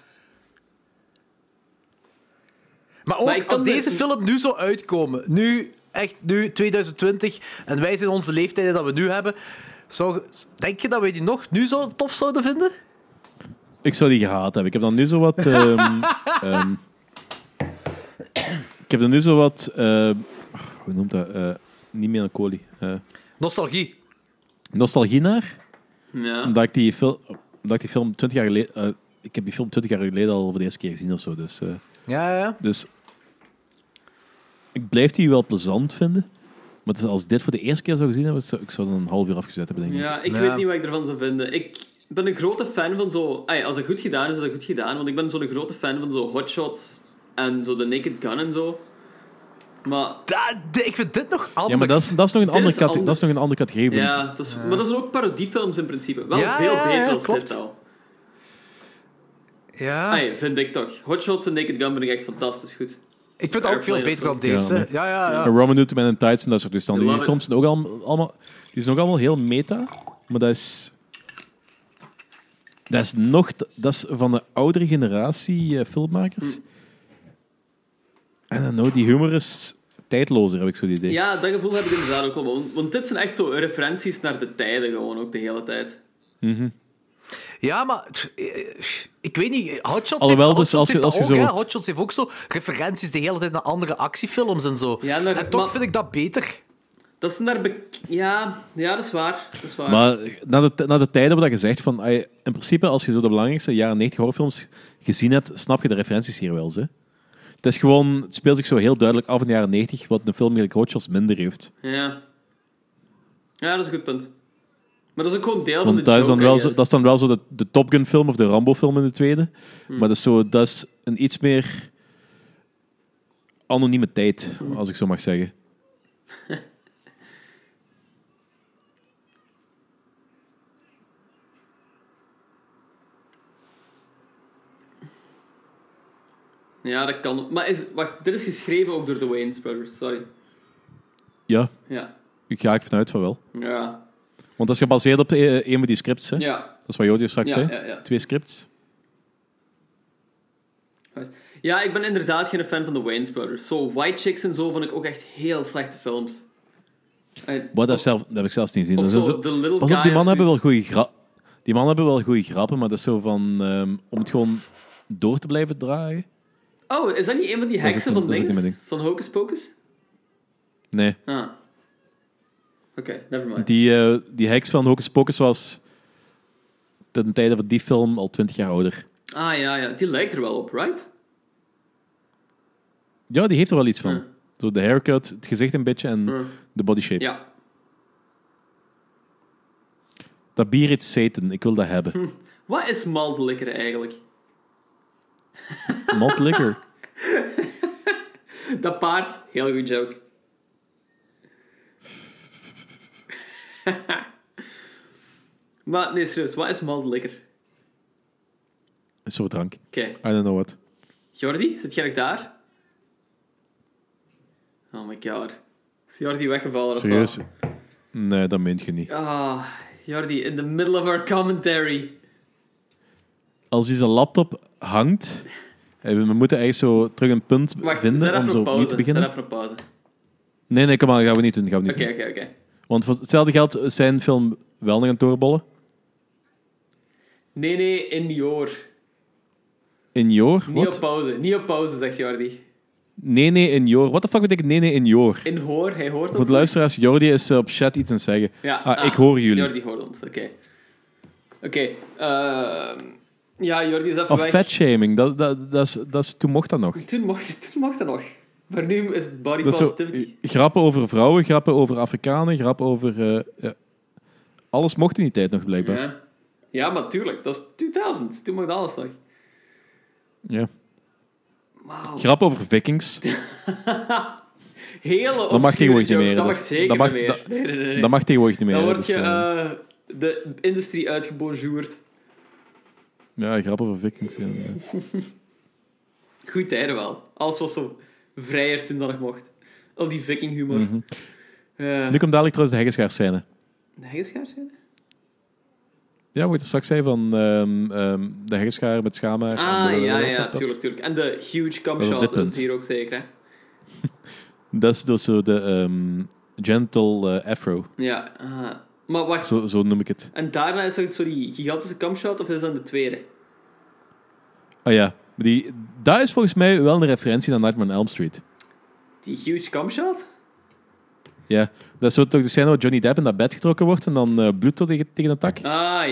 [SPEAKER 5] Maar ook
[SPEAKER 7] Maar ik kan
[SPEAKER 5] als
[SPEAKER 7] de-
[SPEAKER 5] deze film nu zou uitkomen, nu, echt nu, 2020, en wij zijn onze leeftijden dat we nu hebben, zou, denk je dat wij die nog nu zo tof zouden vinden?
[SPEAKER 6] Ik zou die gehaat hebben. Ik heb dan nu zo wat. ehm, ehm, ik heb dan nu zo wat. ehm, hoe noemt dat? Eh, niet melancholie. Eh
[SPEAKER 5] Nostalgie.
[SPEAKER 6] nostalgie naar.
[SPEAKER 7] Ja.
[SPEAKER 6] Omdat ik die, fil omdat ik die film 20 jaar geleden. eh, ik heb die film 20 jaar geleden al voor de eerste keer gezien of zo. Dus, eh,
[SPEAKER 5] Ja, ja.
[SPEAKER 6] dus ik blijf die wel plezant vinden. Maar het is als ik dit voor de eerste keer zou gezien hebben, zou, ik zou dan een half uur afgezet hebben, denk ik.
[SPEAKER 7] Ja, ik
[SPEAKER 5] Ja.
[SPEAKER 7] weet niet wat ik ervan zou vinden. Ik ben een grote fan van zo... Ah ja, als het goed gedaan is, is het goed gedaan. Want ik ben zo'n grote fan van zo hotshots en zo de Naked Gun en zo. Maar
[SPEAKER 5] Da- di- ik vind dit nog anders.
[SPEAKER 6] Ja, maar dat is, dat is nog een andere,
[SPEAKER 7] is
[SPEAKER 6] cate- dat
[SPEAKER 7] anders.
[SPEAKER 6] is nog een andere categorie. bedoel ik.
[SPEAKER 7] ja, dat is, maar dat zijn ook parodiefilms in principe. Wel
[SPEAKER 5] Ja,
[SPEAKER 7] veel
[SPEAKER 5] ja,
[SPEAKER 7] beter
[SPEAKER 5] ja,
[SPEAKER 7] als
[SPEAKER 5] klopt.
[SPEAKER 7] dit al.
[SPEAKER 5] Ja.
[SPEAKER 7] Ah ja, vind ik toch. Hotshots en Naked Gun vind ik echt fantastisch goed.
[SPEAKER 5] Ik vind het ook veel
[SPEAKER 7] Airplane
[SPEAKER 5] beter dan
[SPEAKER 7] is
[SPEAKER 5] deze.
[SPEAKER 6] Ja.
[SPEAKER 5] Ja, ja, ja.
[SPEAKER 6] En Robin Hood, Man in Tights en dat soort toestanden.
[SPEAKER 7] I
[SPEAKER 6] Die
[SPEAKER 7] love
[SPEAKER 6] films zijn ook allemaal, allemaal, die zijn ook allemaal heel meta, maar dat is... Dat is nog... t- Dat is van de oudere generatie eh, filmmakers. En dan nou, die humor is tijdlozer, heb ik zo het idee.
[SPEAKER 7] Ja, dat gevoel heb ik inderdaad ook wel. Want, want dit zijn echt zo referenties naar de tijden gewoon ook de hele tijd.
[SPEAKER 5] Ja, maar pff, eh, pff, ik weet niet. Hotshots
[SPEAKER 6] Alhoewel,
[SPEAKER 5] heeft,
[SPEAKER 6] dus
[SPEAKER 5] Hotshots
[SPEAKER 6] als je-
[SPEAKER 5] heeft dat
[SPEAKER 6] als je
[SPEAKER 5] ook,
[SPEAKER 6] zo-
[SPEAKER 5] hè. Hotshots heeft ook zo referenties de hele tijd naar andere actiefilms en zo.
[SPEAKER 7] Ja, naar-
[SPEAKER 5] en toch
[SPEAKER 7] maar-
[SPEAKER 5] vind ik dat beter.
[SPEAKER 7] Dat is naar... bek- Ja, ja, dat is waar. Dat is waar.
[SPEAKER 6] Maar na de, na de tijden waar je zegt van... ah, In principe, als je zo de belangrijkste jaren 90 horrorfilms gezien hebt, snap je de referenties hier wel, ze. Het is gewoon... Het speelt zich zo heel duidelijk af in de jaren 90, wat de film eigenlijk Hotshots minder heeft.
[SPEAKER 7] Ja. Ja, dat is een goed punt. Maar dat is ook gewoon deel van de
[SPEAKER 6] Want dat is, dan
[SPEAKER 7] joke,
[SPEAKER 6] wel
[SPEAKER 7] I
[SPEAKER 6] zo,
[SPEAKER 7] guess.
[SPEAKER 6] dat is dan wel zo de, de Top Gun film of de Rambo film in de tweede.
[SPEAKER 7] Hmm.
[SPEAKER 6] Maar dat is, zo, dat is een iets meer anonieme tijd,
[SPEAKER 7] Hmm.
[SPEAKER 6] als ik zo mag zeggen.
[SPEAKER 7] Ja, dat kan. Maar is... Wacht, dit is geschreven ook door de Wayans Brothers. Sorry.
[SPEAKER 6] Ja,
[SPEAKER 7] Ja.
[SPEAKER 6] ik ga ik vanuit van wel.
[SPEAKER 7] Ja.
[SPEAKER 6] Want dat is gebaseerd op eh, een van die scripts. Hè?
[SPEAKER 7] Ja.
[SPEAKER 6] Dat is wat Jody straks
[SPEAKER 7] Ja,
[SPEAKER 6] zei.
[SPEAKER 7] ja, ja.
[SPEAKER 6] Twee scripts.
[SPEAKER 7] Ja, ik ben inderdaad geen fan van de Wayans Brothers. Zo, White Chicks en zo vond ik ook echt heel slechte films. Eh,
[SPEAKER 6] Wat dat, zelf, dat heb ik zelfs niet gezien.
[SPEAKER 7] Of
[SPEAKER 6] Dat is
[SPEAKER 7] zo, The Little
[SPEAKER 6] pas
[SPEAKER 7] Guy
[SPEAKER 6] op, die
[SPEAKER 7] of
[SPEAKER 6] mannen hebben wel goede grappen. Die mannen hebben wel goede grappen, maar dat is zo van... ehm, om het gewoon door te blijven draaien.
[SPEAKER 7] Oh, is dat niet een van die
[SPEAKER 6] is ook
[SPEAKER 7] heksen
[SPEAKER 6] een-
[SPEAKER 7] van
[SPEAKER 6] dat is ook
[SPEAKER 7] dinges?
[SPEAKER 6] een ding.
[SPEAKER 7] Van Hocus Pocus?
[SPEAKER 6] Nee.
[SPEAKER 7] Ah. Oké, never mind.
[SPEAKER 6] Die, eh, die heks van Hocus Pocus was ten tijde van die film al twintig jaar ouder.
[SPEAKER 7] Ah ja, ja, die lijkt er wel op, right?
[SPEAKER 6] Ja, die heeft er wel iets van.
[SPEAKER 7] Ja.
[SPEAKER 6] Zo de haircut, het gezicht een beetje en
[SPEAKER 7] Ja.
[SPEAKER 6] de body shape.
[SPEAKER 7] Hm. Ja.
[SPEAKER 6] Dat bier heet Satan, ik wil dat hebben.
[SPEAKER 7] Wat is malt liquor eigenlijk?
[SPEAKER 6] Malt liquor.
[SPEAKER 7] Dat paard, heel goed joke. maar nee, serieus, wat is malt liquor? Oké.
[SPEAKER 6] Een soort drank. I don't know what.
[SPEAKER 7] Jordi, zit jij nog daar? Oh my god. Is Jordi weggevallen of wat?
[SPEAKER 6] Serieus? Nee, dat meent je niet.
[SPEAKER 7] Ah, Jordi, in the middle of our commentary.
[SPEAKER 6] Als hij zijn laptop hangt, eh, we moeten eigenlijk zo terug een punt
[SPEAKER 7] Wacht, zet
[SPEAKER 6] vinden om
[SPEAKER 7] even op
[SPEAKER 6] zo opnieuw
[SPEAKER 7] pauze.
[SPEAKER 6] te
[SPEAKER 7] Zet
[SPEAKER 6] beginnen.
[SPEAKER 7] even op pauze.
[SPEAKER 6] Nee, nee, kom maar, dat gaan we niet doen. dat Gaan we niet
[SPEAKER 7] Oké,
[SPEAKER 6] doen.
[SPEAKER 7] oké, oké.
[SPEAKER 6] Want voor hetzelfde geld is zijn film wel nog aan het doorbollen.
[SPEAKER 7] Nee, nee, in die oor.
[SPEAKER 6] In Joor?
[SPEAKER 7] Niet op
[SPEAKER 6] Wat?
[SPEAKER 7] pauze. Niet op pauze, zegt Jordi.
[SPEAKER 6] Nee, nee, in Joor. What the fuck betekent nee, nee, in Joor?
[SPEAKER 7] In hoor, hij hoort
[SPEAKER 6] Voor
[SPEAKER 7] ons.
[SPEAKER 6] de luisteraars, Jordi is eh, op chat iets aan het zeggen.
[SPEAKER 7] Ja,
[SPEAKER 6] ah, ik hoor jullie.
[SPEAKER 7] Jordi hoort ons, oké. Oké, ehm, ja, Jordi is even
[SPEAKER 6] Of
[SPEAKER 7] weg.
[SPEAKER 6] Oh, fatshaming, dat, dat, dat is, dat is, toen mocht dat nog.
[SPEAKER 7] Toen mocht, toen mocht dat nog. Maar nu is het body
[SPEAKER 6] Dat is zo,
[SPEAKER 7] positivity.
[SPEAKER 6] eh, grappen over vrouwen, grappen over Afrikanen, grappen over... eh, ja. Alles mocht in die tijd nog, blijkbaar. Ja.
[SPEAKER 7] Ja. ja, maar tuurlijk, dat is 2000. Toen mocht alles nog. Wauw.
[SPEAKER 6] Grappen over vikings,
[SPEAKER 7] Hele obscure
[SPEAKER 6] mag tegenwoordig niet
[SPEAKER 7] jokes,
[SPEAKER 6] meer,
[SPEAKER 7] dat
[SPEAKER 6] dat
[SPEAKER 7] mag
[SPEAKER 6] is-
[SPEAKER 7] zeker
[SPEAKER 6] dat mag-
[SPEAKER 7] niet meer.
[SPEAKER 6] dat-
[SPEAKER 7] nee, nee, nee, nee.
[SPEAKER 6] dat mag tegenwoordig niet meer.
[SPEAKER 7] Dan
[SPEAKER 6] hè,
[SPEAKER 7] word je
[SPEAKER 6] dus, eh,
[SPEAKER 7] eh, de industrie uitgebonjourd.
[SPEAKER 6] ja, grappen over vikings. ja, ja.
[SPEAKER 7] Goed tijden wel. Alles was zo vrijer toen dat nog mocht. Al die viking humor.
[SPEAKER 6] Mhm.
[SPEAKER 7] Eh,
[SPEAKER 6] Nu komt dadelijk trouwens de heggenschaars scène.
[SPEAKER 7] een heggenschaar zijn?
[SPEAKER 6] Ja, wat je straks zei van ehm, ehm, de heggenschaar met schaamhaar.
[SPEAKER 7] Ah, ja, ja, tuurlijk, tuurlijk. En de huge cum
[SPEAKER 6] is op dit
[SPEAKER 7] shot, dat
[SPEAKER 6] punt.
[SPEAKER 7] is hier ook zeker, hè?
[SPEAKER 6] Dat is dus zo de ehm, gentle eh, afro,
[SPEAKER 7] Ja. ah. Maar wacht,
[SPEAKER 6] zo, zo noem ik het.
[SPEAKER 7] en daarna is dat zo die gigantische cum shot, of is dat de tweede?
[SPEAKER 6] Oh ja, maar die, daar is volgens mij wel een referentie naar Nightmare on Elm Street.
[SPEAKER 7] Die huge cum shot?
[SPEAKER 6] Ja, dat is zo toch de scène waar Johnny Depp in dat bed getrokken wordt en dan eh bloedt er tegen, tegen een tak.
[SPEAKER 7] Ah,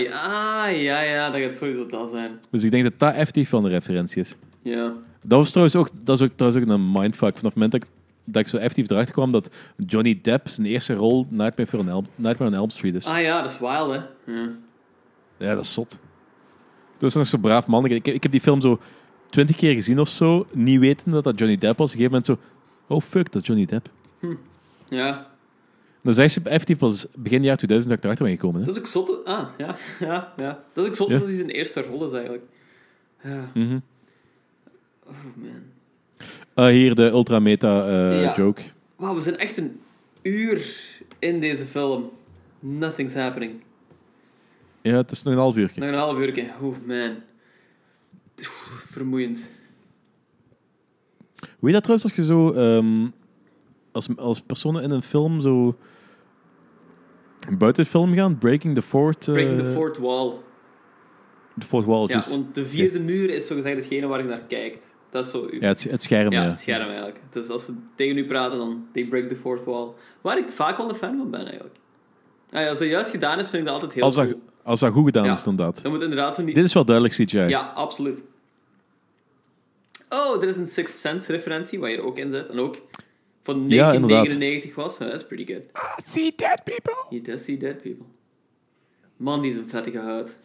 [SPEAKER 7] ja, ah, ja, ja, dat gaat sowieso dat zijn.
[SPEAKER 6] Dus ik denk dat dat effectief wel een referentie is.
[SPEAKER 7] Ja.
[SPEAKER 6] Dat was trouwens ook, dat is ook, trouwens ook een mindfuck. Vanaf het moment dat ik, dat ik zo effectief erachter kwam dat Johnny Depp zijn eerste rol Nightmare, for on Elm, Nightmare on Elm Street is.
[SPEAKER 7] Ah ja, dat is wild, hè? Ja.
[SPEAKER 6] Ja, dat is zot. Dus dat is zo'n braaf man. Ik, ik heb die film zo twintig keer gezien of zo, niet weten dat dat Johnny Depp was. Op een gegeven moment zo, oh fuck, dat is Johnny Depp.
[SPEAKER 7] ja.
[SPEAKER 6] Dat is echt effectief pas begin jaar 2000 dat ik erachter ben gekomen. Hè?
[SPEAKER 7] Dat is ook zot. dat- Ah, ja, ja, ja. Dat is ook zot
[SPEAKER 6] Ja.
[SPEAKER 7] dat hij zijn eerste rol is eigenlijk. Ja.
[SPEAKER 6] Mhm.
[SPEAKER 7] Oh man.
[SPEAKER 6] Eh, hier de ultra meta eh,
[SPEAKER 7] Ja.
[SPEAKER 6] joke.
[SPEAKER 7] Wauw, we zijn echt een uur in deze film. Nothing's happening.
[SPEAKER 6] Ja, het is nog een half uurtje.
[SPEAKER 7] Nog een half uur. Oh man. Oeh, vermoeiend.
[SPEAKER 6] Hoe je dat trouwens als je zo ehm, als, als personen in een film zo buiten het film gaan, breaking the fourth, eh,
[SPEAKER 7] Breaking the fourth wall.
[SPEAKER 6] the fourth wall. dus-
[SPEAKER 7] Ja,
[SPEAKER 6] juist. Ja,
[SPEAKER 7] want de vierde muur is zogezegd hetgene waar je naar kijkt. Dat is zo... uw-
[SPEAKER 6] het, het scherm.
[SPEAKER 7] ja,
[SPEAKER 6] Ja,
[SPEAKER 7] het scherm eigenlijk. Dus als ze tegen u praten, dan they break the fourth wall. Waar ik vaak wel een fan van ben eigenlijk. Ah, ja, als dat juist gedaan is, vind ik dat altijd heel
[SPEAKER 6] Als,
[SPEAKER 7] goed.
[SPEAKER 6] dat, als dat goed gedaan
[SPEAKER 7] Ja.
[SPEAKER 6] is, dan dat.
[SPEAKER 7] Dan moet inderdaad zo niet...
[SPEAKER 6] Dit is wel duidelijk CGI.
[SPEAKER 7] Ja, absoluut. Oh, er is een Sixth Sense referentie waar je er ook in zit. En ook van
[SPEAKER 6] Ja,
[SPEAKER 7] 1999 was. Dat is pretty good.
[SPEAKER 2] See dead people.
[SPEAKER 7] You does see dead people. Man, die is een vettige huid.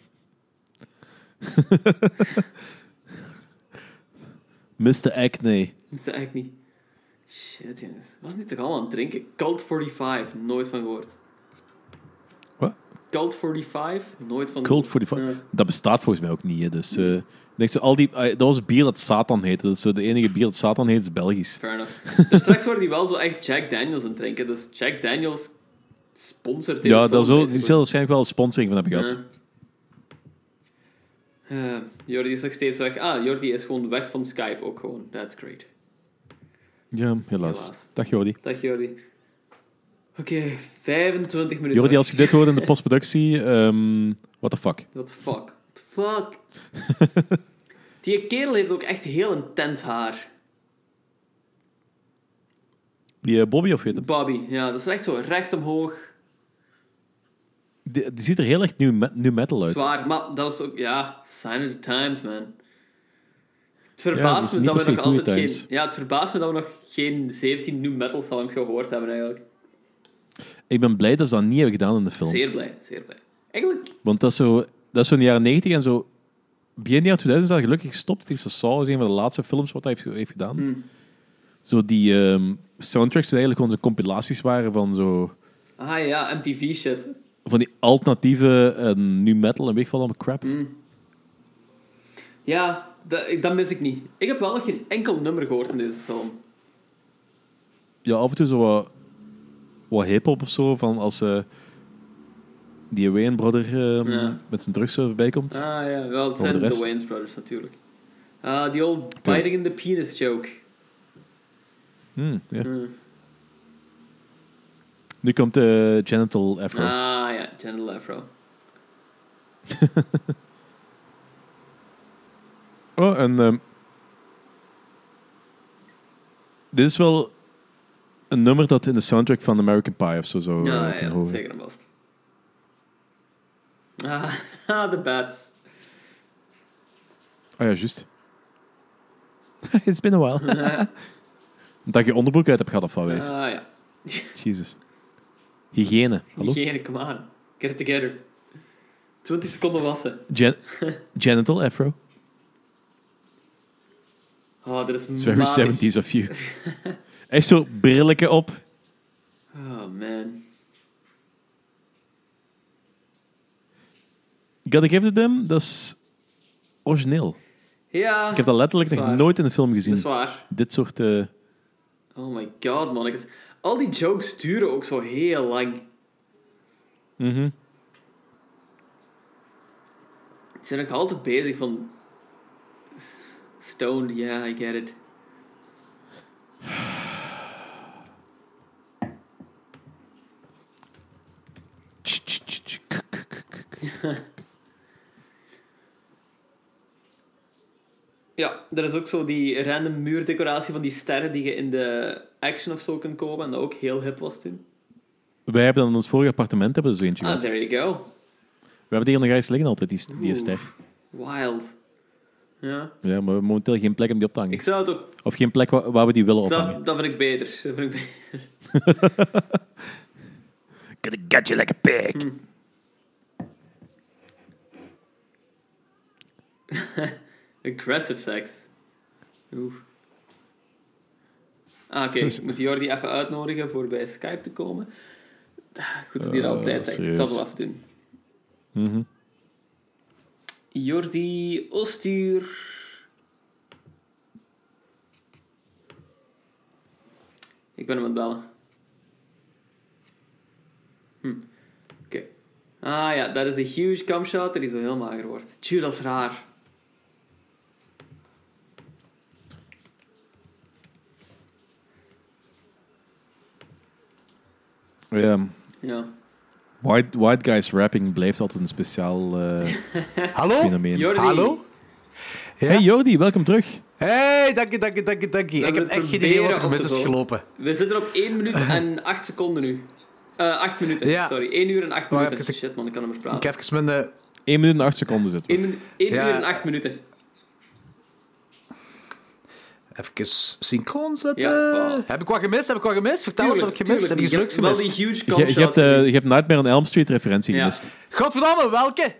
[SPEAKER 6] Mr. Acne.
[SPEAKER 7] Dat is eigenlijk niet... Shit, jongens. Was niet toch allemaal aan het drinken? Cult 45, nooit van gehoord.
[SPEAKER 6] Wat?
[SPEAKER 7] Cult 45, nooit van
[SPEAKER 6] Cult
[SPEAKER 7] gehoord.
[SPEAKER 6] 45.
[SPEAKER 7] Ja.
[SPEAKER 6] Dat bestaat volgens mij ook niet. Hè. Dus, eh, ik denk zo, al die, ah, dat was bier dat Satan heette. Dat is zo de enige bier dat Satan heet, is Belgisch.
[SPEAKER 7] Fair enough. dus straks wordt hij wel zo echt Jack Daniels aan het drinken. Dus Jack Daniels sponsort deze
[SPEAKER 6] Ja,
[SPEAKER 7] film,
[SPEAKER 6] daar zal- die
[SPEAKER 7] basically.
[SPEAKER 6] zal waarschijnlijk wel sponsoring van hebben gehad.
[SPEAKER 7] Ja. Eh, Jordi is nog steeds weg. Ah, Jordi is gewoon weg van Skype ook gewoon. That's great.
[SPEAKER 6] Ja, helaas.
[SPEAKER 7] Helaas.
[SPEAKER 6] Dag Jordi.
[SPEAKER 7] Dag Jordi. Oké, 25 minuten.
[SPEAKER 6] Jordi,
[SPEAKER 7] weg.
[SPEAKER 6] als je dit hoort in de postproductie, ehm what the fuck.
[SPEAKER 7] What the fuck? What the fuck? Die kerel heeft ook echt heel intens haar.
[SPEAKER 6] Die eh, Bobby of weet hem?
[SPEAKER 7] Bobby, ja, dat is echt zo recht omhoog.
[SPEAKER 6] Die, die ziet er heel echt nu, me- nu metal uit.
[SPEAKER 7] Zwaar, maar dat was ook, ja, sign of the times, man. Het
[SPEAKER 6] Ja, dat
[SPEAKER 7] verbaast
[SPEAKER 6] is
[SPEAKER 7] me
[SPEAKER 6] niet
[SPEAKER 7] dat
[SPEAKER 6] per
[SPEAKER 7] we
[SPEAKER 6] se
[SPEAKER 7] nog
[SPEAKER 6] goede
[SPEAKER 7] altijd
[SPEAKER 6] times.
[SPEAKER 7] geen... Ja, het verbaast me dat we nog geen 17 new metal songs gehoord hebben eigenlijk.
[SPEAKER 6] Ik ben blij dat ze dat niet hebben gedaan in de film.
[SPEAKER 7] Zeer blij, zeer blij. Eigenlijk,
[SPEAKER 6] Want dat is zo, dat is zo in de jaren 90 en zo. Begin jaren 2000 is dat gelukkig gestopt. Het is zo Saw is een van de laatste films wat hij heeft, heeft gedaan.
[SPEAKER 7] Hmm.
[SPEAKER 6] Zo die ehm, soundtracks die eigenlijk gewoon zo compilaties waren van zo.
[SPEAKER 7] ah ja, MTV shit.
[SPEAKER 6] Van die alternatieve eh, nu metal en weet ik veel allemaal crap.
[SPEAKER 7] Hmm. Ja, dat, ik- dat mis ik niet. Ik heb wel nog geen enkel nummer gehoord in deze film.
[SPEAKER 6] Ja, af en toe zo wat wat hip-hop of zo. Van als eh, die Wayne Brother ehm,
[SPEAKER 7] Ja.
[SPEAKER 6] met zijn drugsurf bijkomt.
[SPEAKER 7] Ah ja, wel, het
[SPEAKER 6] Over de
[SPEAKER 7] zijn de,
[SPEAKER 6] rest?
[SPEAKER 7] Wayne's Brothers natuurlijk. Ah, die old biting in the penis joke.
[SPEAKER 6] Hmm, ja.
[SPEAKER 7] Hmm.
[SPEAKER 6] Nu komt de Genital Afro.
[SPEAKER 7] Ah ja, genital afro.
[SPEAKER 6] Oh, en ehm, dit is wel een nummer dat in de soundtrack van American Pie of zo zou eh,
[SPEAKER 7] Ah, Ja,
[SPEAKER 6] kunnen
[SPEAKER 7] ja,
[SPEAKER 6] horen.
[SPEAKER 7] zeker en vast. Ah, ah, de bats.
[SPEAKER 6] Oh ja, juist. It's been a while. dat je onderbroek uit hebt gehad of wat,
[SPEAKER 7] Ah
[SPEAKER 6] wijf.
[SPEAKER 7] ja,
[SPEAKER 6] Jezus. Hygiëne. Hallo?
[SPEAKER 7] hygiëne, come on. Get it together. 20 seconden wassen.
[SPEAKER 6] Gen- genital afro.
[SPEAKER 7] Oh, dat is
[SPEAKER 6] It's very
[SPEAKER 7] matig.
[SPEAKER 6] 70s of you. Echt zo brilletje op.
[SPEAKER 7] Oh man.
[SPEAKER 6] Gotta give it them, dat is origineel.
[SPEAKER 7] Ja.
[SPEAKER 6] Ik heb dat letterlijk
[SPEAKER 7] dat is
[SPEAKER 6] nog
[SPEAKER 7] waar.
[SPEAKER 6] nooit in een film
[SPEAKER 7] Dat is
[SPEAKER 6] gezien.
[SPEAKER 7] waar.
[SPEAKER 6] Dit soort... eh,
[SPEAKER 7] Oh my god, man. ik is- Al die jokes duren ook zo heel lang.
[SPEAKER 6] mhm.
[SPEAKER 7] Ze zijn ook altijd bezig van... s- Stoned, yeah, I get it.
[SPEAKER 6] Tch, tch, tch, tch, k, k, k, k, k.
[SPEAKER 7] Ja, er is ook zo die random muurdecoratie van die sterren die je in de action of zo kunt kopen. En dat ook heel hip was toen.
[SPEAKER 6] Wij hebben dan in ons vorige appartement hebben we zo eentje
[SPEAKER 7] Ah,
[SPEAKER 6] gehad.
[SPEAKER 7] there you go.
[SPEAKER 6] We hebben die hier nog eens liggen altijd, die, st- die
[SPEAKER 7] Oeh.
[SPEAKER 6] ster.
[SPEAKER 7] Wild. Ja.
[SPEAKER 6] Ja, maar we hebben momenteel geen plek om die op te hangen.
[SPEAKER 7] Ik zou het ook...
[SPEAKER 6] Of geen plek wa- waar, we die willen ophangen.
[SPEAKER 7] Dat, dat vind ik beter. Dat vind ik beter.
[SPEAKER 2] Gonna gut you like a pig.
[SPEAKER 7] Aggressive sex. Oef. Ah, oké.
[SPEAKER 6] Dus-
[SPEAKER 7] Ik moet Jordi even uitnodigen voor bij Skype te komen. Ah, Goed dat hij dat op
[SPEAKER 6] Eh,
[SPEAKER 7] tijd zegt. Ik zal
[SPEAKER 6] serieus.
[SPEAKER 7] het wel afdoen.
[SPEAKER 6] Mhm.
[SPEAKER 7] Jordi Ostuur. Ik ben hem aan het bellen. Hm. Oké. Ah ja, dat is een huge camshot dat hij zo heel mager wordt. Tjuh, dat is raar.
[SPEAKER 6] Ja,
[SPEAKER 7] Ja.
[SPEAKER 6] white, white guys rapping blijft altijd een speciaal eh,
[SPEAKER 5] Hallo?
[SPEAKER 6] fenomeen.
[SPEAKER 7] Jordi.
[SPEAKER 5] Hallo?
[SPEAKER 6] Hey Jordi, welkom terug.
[SPEAKER 5] Hey, dank je, dank je, dank je, dank je.
[SPEAKER 7] Dat
[SPEAKER 5] Ik
[SPEAKER 7] we
[SPEAKER 5] heb echt geen
[SPEAKER 7] proberen
[SPEAKER 5] idee wat
[SPEAKER 7] op
[SPEAKER 5] er
[SPEAKER 7] te
[SPEAKER 5] mis is
[SPEAKER 7] volgen.
[SPEAKER 5] gelopen.
[SPEAKER 7] We zitten op 1 minuut en 8 seconden nu. Eh 8 minuten,
[SPEAKER 5] Ja.
[SPEAKER 7] sorry. 1 uur en 8
[SPEAKER 5] Wacht,
[SPEAKER 7] minuten.
[SPEAKER 5] even, ik-
[SPEAKER 7] Shit man, ik kan hem
[SPEAKER 5] Ik
[SPEAKER 7] praten.
[SPEAKER 5] heb even mijn... eh,
[SPEAKER 6] 1 minuut en 8 seconden zitten we.
[SPEAKER 7] 1,
[SPEAKER 5] Ja.
[SPEAKER 7] uur en 8 minuten.
[SPEAKER 5] eh, Even synchroon zetten.
[SPEAKER 7] Ja, wow.
[SPEAKER 5] Heb ik wat gemist? Heb ik wat gemist? Vertel eens, heb ik gemist? Heb ik iets
[SPEAKER 7] Je
[SPEAKER 5] leuks
[SPEAKER 7] hebt wel
[SPEAKER 5] gemist?
[SPEAKER 7] die huge
[SPEAKER 6] Je,
[SPEAKER 7] camshots
[SPEAKER 6] je, hebt, eh,
[SPEAKER 7] gezien.
[SPEAKER 6] je hebt Nightmare on Elm Street referentie
[SPEAKER 7] Ja.
[SPEAKER 6] gemist.
[SPEAKER 5] Godverdamme, welke?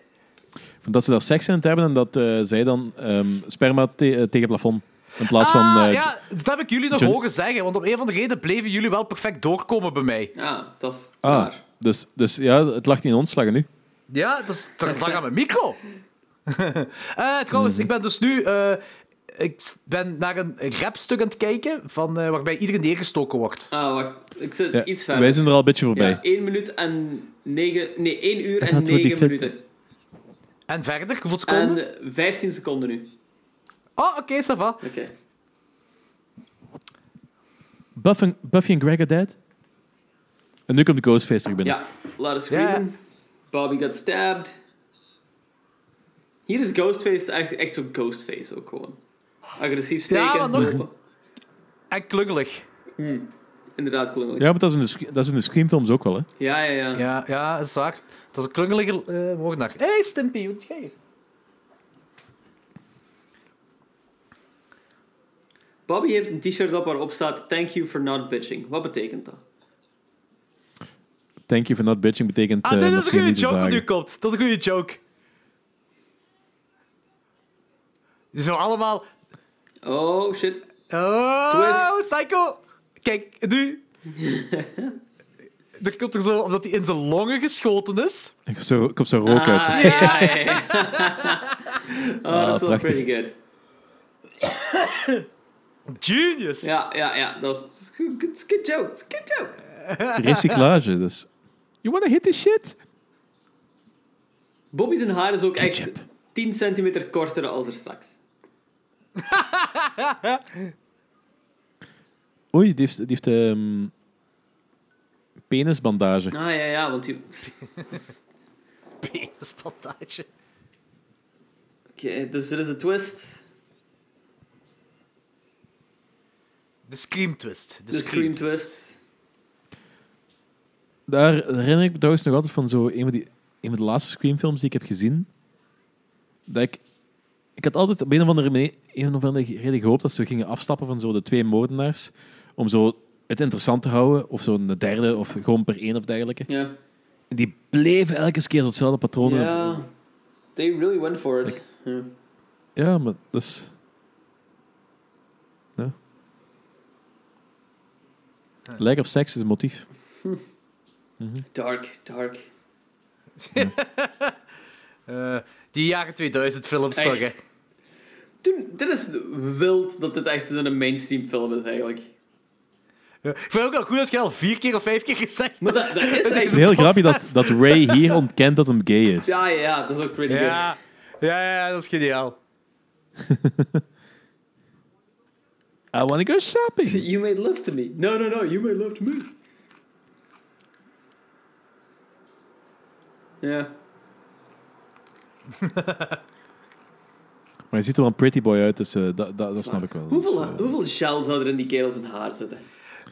[SPEAKER 6] Van Dat ze daar seks in het hebben en dat eh, zij dan ehm, sperma te- eh, tegen het plafond. In plaats
[SPEAKER 5] ah,
[SPEAKER 6] van... eh,
[SPEAKER 5] ja, dat heb ik jullie nog
[SPEAKER 6] Jun-
[SPEAKER 5] horen zeggen, want om een van de reden bleven jullie wel perfect doorkomen bij mij.
[SPEAKER 7] Ah, dat is
[SPEAKER 6] Ah,
[SPEAKER 7] waar.
[SPEAKER 6] dus, dus ja, het lag niet in ons, het lag in nu.
[SPEAKER 5] Ja, dat is te lang aan mijn micro. Eh, trouwens, ik ben dus nu... eh, ik s- ben naar een rapstuk aan het kijken van, eh, waarbij iedereen neergestoken wordt.
[SPEAKER 7] Ah, wacht. Ik zit
[SPEAKER 6] Ja,
[SPEAKER 7] iets verder.
[SPEAKER 6] wij zijn er al een beetje voorbij.
[SPEAKER 7] Ja, 1 minuut en 9... Nee, 1 uur en
[SPEAKER 6] hadden we die
[SPEAKER 7] 9
[SPEAKER 6] flip-
[SPEAKER 7] minuten.
[SPEAKER 5] En verder, hoeveel seconden?
[SPEAKER 7] En eh, 15 seconden nu.
[SPEAKER 5] Oh, oké, ça va.
[SPEAKER 7] Oké.
[SPEAKER 6] Buff en, Buffy en Greg are dead. En nu komt de Ghostface terug binnen.
[SPEAKER 7] Ja, lot of screaming. Bobby got stabbed. Hier is Ghostface echt, echt zo'n Ghostface ook gewoon. Agressief steken.
[SPEAKER 5] Ja, maar nog-
[SPEAKER 7] lopen.
[SPEAKER 5] En klungelig.
[SPEAKER 7] Inderdaad, klungelig.
[SPEAKER 6] Ja, maar dat is in de, sc- dat is in de Screamfilms ook wel, hè.
[SPEAKER 7] Ja, ja, ja.
[SPEAKER 5] Ja, ja, dat is waar. Dat is een klungelige eh moordenaar. Hé, hey, Stimpy, wat jij hier?
[SPEAKER 7] Bobby heeft een t-shirt op waarop staat Thank you for not bitching. Wat betekent dat?
[SPEAKER 6] Thank you for not bitching betekent...
[SPEAKER 5] Ah,
[SPEAKER 6] eh,
[SPEAKER 5] dit
[SPEAKER 6] dat
[SPEAKER 5] is
[SPEAKER 6] ze
[SPEAKER 5] een goede
[SPEAKER 6] niet
[SPEAKER 5] joke wat
[SPEAKER 6] zagen.
[SPEAKER 5] nu komt. Dat is een goede joke. Die zo allemaal...
[SPEAKER 7] Oh, shit.
[SPEAKER 5] Oh, psycho! Kijk, nu... Er komt er zo, omdat hij in zijn longen geschoten is.
[SPEAKER 6] Ik kom zo, ik kom zo rook uit.
[SPEAKER 7] Ah, ja, ja, ja. oh, dat is wel
[SPEAKER 6] prachtig.
[SPEAKER 7] pretty good.
[SPEAKER 5] Genius!
[SPEAKER 7] Ja, ja, ja. Dat is dat is een good, good joke. It's a good joke.
[SPEAKER 6] recyclage. Dus. You wanna hit this shit?
[SPEAKER 7] Bobby zijn haar is ook echt 10 centimeter korter als er straks.
[SPEAKER 6] Oei, die heeft, die heeft ehm, penisbandage.
[SPEAKER 7] Ah ja, ja, want die...
[SPEAKER 5] Penisbandage.
[SPEAKER 7] Oké, dus er is een twist.
[SPEAKER 5] De Scream Twist.
[SPEAKER 7] De scream twist.
[SPEAKER 6] Daar herinner ik me trouwens nog altijd van zo een van, die, een van de laatste Scream-films die ik heb gezien. Dat ik, ik had altijd op een of andere, manier, een of andere reden gehoopt dat ze gingen afstappen van zo de twee moordenaars. Om zo het interessant te houden. Of zo een derde, of gewoon per één of dergelijke.
[SPEAKER 7] Ja.
[SPEAKER 6] En die bleven elke keer zo hetzelfde patroon.
[SPEAKER 7] Ja. They really went for it. Ja.
[SPEAKER 6] Ja, maar dat is... Ja. Lack of sex is een motief.
[SPEAKER 7] Dark, dark.
[SPEAKER 5] Eh, die jaren 2000 films
[SPEAKER 7] Echt.
[SPEAKER 5] toch, hè?
[SPEAKER 7] Toen, dit is wild dat dit echt een mainstream film is eigenlijk.
[SPEAKER 5] Ja. Ik vind het ook wel goed dat je al vier keer of vijf keer gezegd
[SPEAKER 7] Maar
[SPEAKER 5] hebt.
[SPEAKER 7] dat, dat is
[SPEAKER 6] Het is
[SPEAKER 7] echt...
[SPEAKER 6] heel grappig dat, dat Ray hier ontkent dat hem gay is.
[SPEAKER 7] Ja, ja, ja, dat is ook pretty good.
[SPEAKER 5] Ja. Ja, ja, dat is geniaal.
[SPEAKER 6] I wanna go shopping.
[SPEAKER 7] You made love to me. No, no, no, you made love to me. Ja.
[SPEAKER 6] Maar je ziet er wel een pretty boy uit, dus eh, dat, dat, dat snap ik wel.
[SPEAKER 7] Hoeveel,
[SPEAKER 6] Dus, eh,
[SPEAKER 7] hoeveel shell zou er in die kerel zijn haar zitten?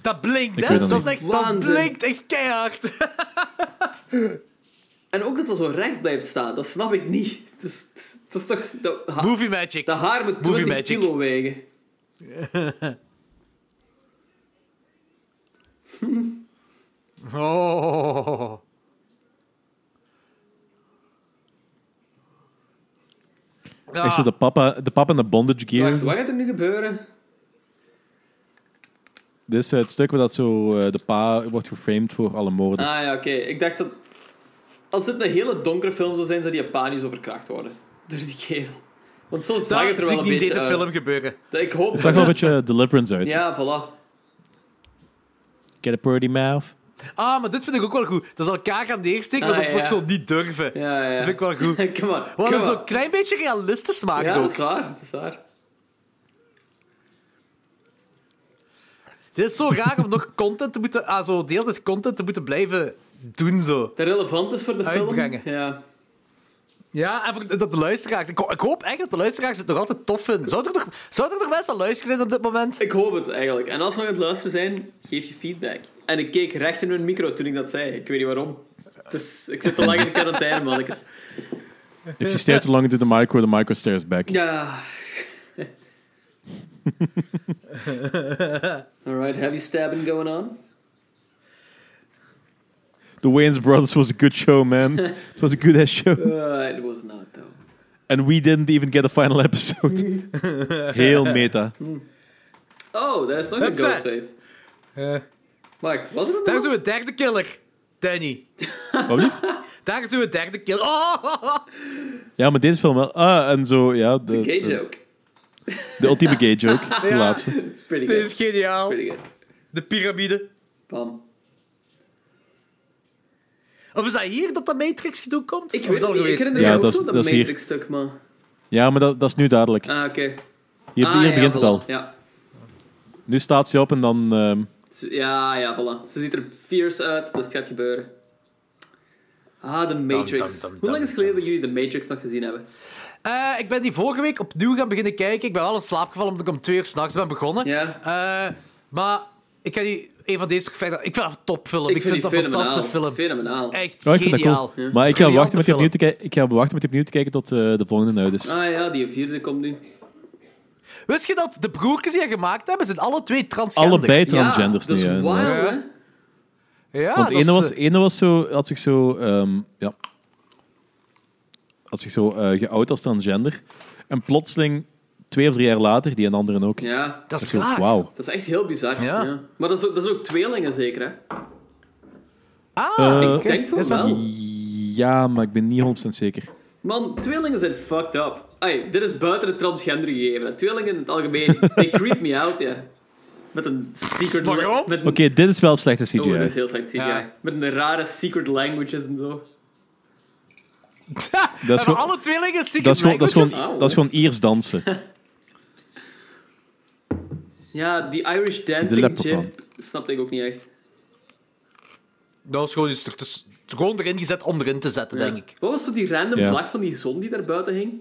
[SPEAKER 5] Dat blinkt,
[SPEAKER 6] Ik
[SPEAKER 5] hè?
[SPEAKER 6] weet dat
[SPEAKER 5] Dat, is
[SPEAKER 6] niet.
[SPEAKER 5] echt, dat
[SPEAKER 7] Waanzin.
[SPEAKER 5] blinkt echt keihard.
[SPEAKER 7] En ook dat dat zo recht blijft staan, dat snap ik niet. Dat is, dat is toch... Dat, ha-
[SPEAKER 5] Movie magic.
[SPEAKER 7] dat haar moet
[SPEAKER 5] Movie
[SPEAKER 7] 20
[SPEAKER 5] magic.
[SPEAKER 7] kilo wegen.
[SPEAKER 5] Oh. Ja.
[SPEAKER 6] Echt zo de papa, de papa in de bondage gear.
[SPEAKER 7] Wacht, wat gaat er nu gebeuren?
[SPEAKER 6] Dit is eh, het stuk waar dat zo eh, de pa wordt geframed voor alle moorden.
[SPEAKER 7] Ah ja, oké. Ik dacht dat... Als dit een hele donkere film zou zijn, zou die Japanisch overkracht worden. Door die kerel. Want zo zag het
[SPEAKER 5] dat Ah, zie
[SPEAKER 7] er
[SPEAKER 5] ik
[SPEAKER 7] wel een
[SPEAKER 5] niet in
[SPEAKER 7] beetje
[SPEAKER 5] deze
[SPEAKER 7] uit.
[SPEAKER 5] film gebeuren.
[SPEAKER 7] Ik hoop...
[SPEAKER 6] Het zag wel een beetje eh, Deliverance uit.
[SPEAKER 7] Ja, voilà.
[SPEAKER 6] Get a pretty mouth.
[SPEAKER 5] Ah, maar dit vind ik ook wel goed. Dat ze elkaar gaan neersteken,
[SPEAKER 7] Ah,
[SPEAKER 5] maar dat
[SPEAKER 7] ja.
[SPEAKER 5] ook zo niet durven.
[SPEAKER 7] Ja, ja, ja.
[SPEAKER 5] Dat vind ik wel goed.
[SPEAKER 7] Come on,
[SPEAKER 5] Wat
[SPEAKER 7] come
[SPEAKER 5] het
[SPEAKER 7] on.
[SPEAKER 5] zo'n klein beetje realistisch maakt
[SPEAKER 7] Ja, dat
[SPEAKER 5] ook.
[SPEAKER 7] is waar, dat is waar.
[SPEAKER 5] Dit is zo raar om nog content te moeten... Ah, zo de hele tijd content te moeten blijven doen, zo.
[SPEAKER 7] Dat relevant is voor de
[SPEAKER 5] Uitbrengen.
[SPEAKER 7] film. Ja.
[SPEAKER 5] Ja, en voor- dat de luisteraars... Ik, ho- ik hoop echt dat de luisteraars het nog altijd tof vinden. Zou er nog, zou er nog mensen aan luisteren zijn op dit moment?
[SPEAKER 7] Ik hoop het eigenlijk. En als ze nog aan het luisteren zijn, geef je feedback. En ik keek recht in hun micro toen ik dat zei. Ik weet niet waarom. Het is, ik zit te lang in de quarantaine, mannetjes.
[SPEAKER 6] If you stare too long into the micro, the micro stares back.
[SPEAKER 7] Ja. Alright, heavy stabbing going on.
[SPEAKER 6] The Wayans Brothers was a good show, man. It was a good ass show.
[SPEAKER 7] Uh, it was not though.
[SPEAKER 6] And we didn't even get a final episode. Heel meta.
[SPEAKER 7] Oh, daar is nog een
[SPEAKER 5] Upset.
[SPEAKER 7] Ghostface. Wacht, was er
[SPEAKER 5] Daar
[SPEAKER 7] een
[SPEAKER 5] is uw derde killer, Danny.
[SPEAKER 6] Wat lief?
[SPEAKER 5] Daar is uw derde killer. Oh!
[SPEAKER 6] Ja, maar deze film wel. Ah, en zo, ja. De,
[SPEAKER 7] gay
[SPEAKER 6] de-
[SPEAKER 7] joke?
[SPEAKER 6] de ultieme gay joke. De
[SPEAKER 5] Ja.
[SPEAKER 6] laatste.
[SPEAKER 7] It's pretty
[SPEAKER 5] Dit is
[SPEAKER 7] good.
[SPEAKER 5] geniaal.
[SPEAKER 7] Pretty good.
[SPEAKER 5] De piramide.
[SPEAKER 7] Bam.
[SPEAKER 5] Of is dat hier dat dat Matrix gedoe komt?
[SPEAKER 7] Ik
[SPEAKER 5] Of is
[SPEAKER 7] weet
[SPEAKER 5] dat
[SPEAKER 7] het
[SPEAKER 5] al
[SPEAKER 7] niet, ik
[SPEAKER 5] geweest?
[SPEAKER 7] herinner
[SPEAKER 6] Ja,
[SPEAKER 7] me ook
[SPEAKER 6] dat is-
[SPEAKER 7] zo dat
[SPEAKER 6] dat is hier.
[SPEAKER 7] Matrix-stuk, maar...
[SPEAKER 6] Ja, maar dat, dat is nu duidelijk.
[SPEAKER 7] Ah, oké.
[SPEAKER 6] Hier,
[SPEAKER 7] Ah,
[SPEAKER 6] hier
[SPEAKER 7] ja,
[SPEAKER 6] begint het
[SPEAKER 7] voilà.
[SPEAKER 6] al.
[SPEAKER 7] Ja.
[SPEAKER 6] Nu staat ze op en dan. ehm,
[SPEAKER 7] Ze- Ja, ja, voilà. Ze ziet er fierce uit, dus het gaat gebeuren. Ah, de Matrix.
[SPEAKER 5] dum, dum,
[SPEAKER 7] Hoe lang is het geleden dat jullie de Matrix nog gezien hebben?
[SPEAKER 5] Eh, ik ben die vorige week opnieuw gaan beginnen kijken. Ik ben al in slaap gevallen omdat ik om twee uur s'nachts ben begonnen.
[SPEAKER 7] Ja.
[SPEAKER 5] Eh, maar ik heb die, een van deze gevechten... Ik vind dat een topfilm. Ik, vind
[SPEAKER 7] die
[SPEAKER 5] dat een fantastische
[SPEAKER 7] fenomenaal.
[SPEAKER 5] film.
[SPEAKER 7] Fenomenaal.
[SPEAKER 5] Echt
[SPEAKER 6] ja, ik vind dat
[SPEAKER 5] geniaal.
[SPEAKER 6] cool. Maar ik ga,
[SPEAKER 5] Briljante
[SPEAKER 6] wachten met die
[SPEAKER 5] film.
[SPEAKER 6] opnieuw te kijken- ik ga wachten met die opnieuw te kijken tot eh, de volgende nou dus.
[SPEAKER 7] Ah ja, die vierde komt nu.
[SPEAKER 5] Wist je dat de broertjes die dat gemaakt hebben, zijn alle twee transgender?
[SPEAKER 6] Allebei transgenders
[SPEAKER 7] ja, dat is
[SPEAKER 6] nu. hè,
[SPEAKER 7] wild,
[SPEAKER 6] inderdaad.
[SPEAKER 7] hè?
[SPEAKER 5] Ja. Ja,
[SPEAKER 6] Want de
[SPEAKER 5] dat is,
[SPEAKER 6] ene was,
[SPEAKER 5] eh,
[SPEAKER 6] de ene was zo, had zich zo, ehm, ja, had zich zo eh geout als transgender. En plotseling, twee of drie jaar later, die en anderen ook.
[SPEAKER 7] Ja,
[SPEAKER 5] dat is
[SPEAKER 6] Zo,
[SPEAKER 5] raar.
[SPEAKER 6] Wauw.
[SPEAKER 7] dat is echt heel bizar.
[SPEAKER 5] Ja.
[SPEAKER 7] Ja. Maar dat is, ook, dat is ook tweelingen zeker, hè?
[SPEAKER 5] Ah,
[SPEAKER 6] Eh,
[SPEAKER 7] Ik denk van
[SPEAKER 5] is dat-
[SPEAKER 7] wel.
[SPEAKER 6] Ja, maar ik ben niet 100% zeker.
[SPEAKER 7] Man, tweelingen zijn fucked up. Ai, dit is buiten het transgender gegeven. hè. Tweelingen in het algemeen, they creep me out, ja. Met een secret...
[SPEAKER 5] Waarom?
[SPEAKER 7] la- Met een,
[SPEAKER 6] Oké, dit is wel slechte CGI.
[SPEAKER 7] Oh, dat is heel slecht CGI.
[SPEAKER 5] Ja.
[SPEAKER 7] Met een rare secret languages en zo.
[SPEAKER 5] We hebben
[SPEAKER 6] gewoon-
[SPEAKER 5] alle tweelingen secret
[SPEAKER 6] dat, is gewoon, dat, is
[SPEAKER 5] languages.
[SPEAKER 6] gewoon, dat is gewoon Iers dansen.
[SPEAKER 7] Ja, die Irish
[SPEAKER 6] De
[SPEAKER 7] dancing
[SPEAKER 6] leprechaun.
[SPEAKER 7] jib snapte ik ook niet echt.
[SPEAKER 5] Dat is gewoon iets er- het is gewoon erin gezet om erin te zetten, denk ik.
[SPEAKER 7] Wat was zo die random
[SPEAKER 6] Ja.
[SPEAKER 7] vlag van die zon die daar buiten hing?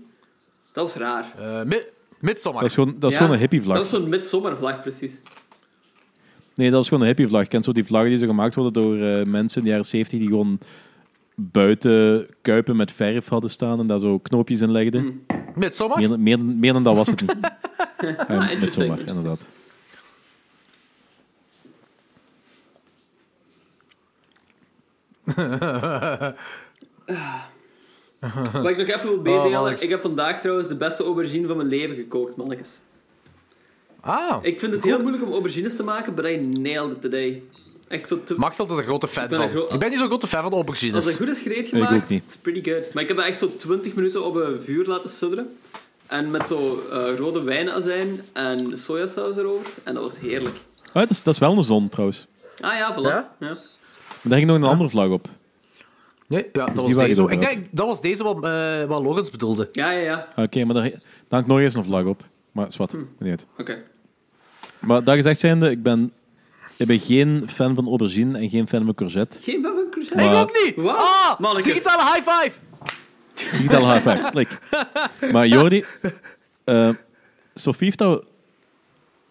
[SPEAKER 7] Dat was raar.
[SPEAKER 5] Eh mi- midsommar.
[SPEAKER 6] Dat is gewoon, dat
[SPEAKER 7] Ja,
[SPEAKER 6] is gewoon een hippie vlag.
[SPEAKER 7] Dat was zo'n midzomervlag, precies.
[SPEAKER 6] Nee, dat is gewoon een hippie vlag. Kent zo die vlaggen die zo gemaakt worden door eh, mensen in de jaren 70 die gewoon buiten kuipen met verf hadden staan en daar zo knoopjes in legden.
[SPEAKER 5] Midsommar?
[SPEAKER 6] Meer, meer, meer dan dat was het niet. Ah,
[SPEAKER 7] interesting,
[SPEAKER 6] met zomaar,
[SPEAKER 7] interesting.
[SPEAKER 6] inderdaad.
[SPEAKER 7] Wat ik nog even wil meedelen,
[SPEAKER 5] Oh, Alex.
[SPEAKER 7] ik heb vandaag trouwens de beste aubergine van mijn leven gekookt, mannetjes.
[SPEAKER 5] Ah,
[SPEAKER 7] Ik vind het heel moeilijk om aubergines te maken, but I nailed it today. Echt zo te...
[SPEAKER 5] Machtel is een grote fan
[SPEAKER 7] ben
[SPEAKER 5] van.
[SPEAKER 7] een gro-
[SPEAKER 5] Ik ben niet zo'n grote fan van
[SPEAKER 7] Als het
[SPEAKER 5] aubergines.
[SPEAKER 7] goed is gereed
[SPEAKER 6] ook
[SPEAKER 7] gemaakt,
[SPEAKER 6] niet.
[SPEAKER 7] it's pretty good. Maar ik heb dat echt zo 20 minuten op een vuur laten sudderen. En met zo eh, rode wijnazijn en sojasaus erover. En dat was heerlijk.
[SPEAKER 6] Ah, dat, is, dat is wel een zon trouwens.
[SPEAKER 7] Ah ja, voilà.
[SPEAKER 5] Ja?
[SPEAKER 7] Ja?
[SPEAKER 6] Maar daar ging nog een andere vlag op.
[SPEAKER 5] Nee, ja, dat was
[SPEAKER 6] die waar je
[SPEAKER 5] deze.
[SPEAKER 6] het
[SPEAKER 5] Ik
[SPEAKER 6] over
[SPEAKER 5] denk, dat was deze wat, eh wat Lorenz bedoelde.
[SPEAKER 7] Ja, ja, ja.
[SPEAKER 6] Ah, Oké, maar daar, daar hangt nog eens een vlag op. Maar zwart, maakt niet uit.
[SPEAKER 7] Oké.
[SPEAKER 6] Maar dat gezegd zijnde, ik ben, ik ben geen fan van aubergine en geen fan van courgette.
[SPEAKER 7] Geen van mijn crochet.
[SPEAKER 6] Maar-
[SPEAKER 5] Ik ook niet!
[SPEAKER 7] Wat?
[SPEAKER 5] Ah,
[SPEAKER 7] Mannekes.
[SPEAKER 5] digitale high five!
[SPEAKER 6] Digitale high five, klik. Maar Jordi, eh Sophie heeft dat,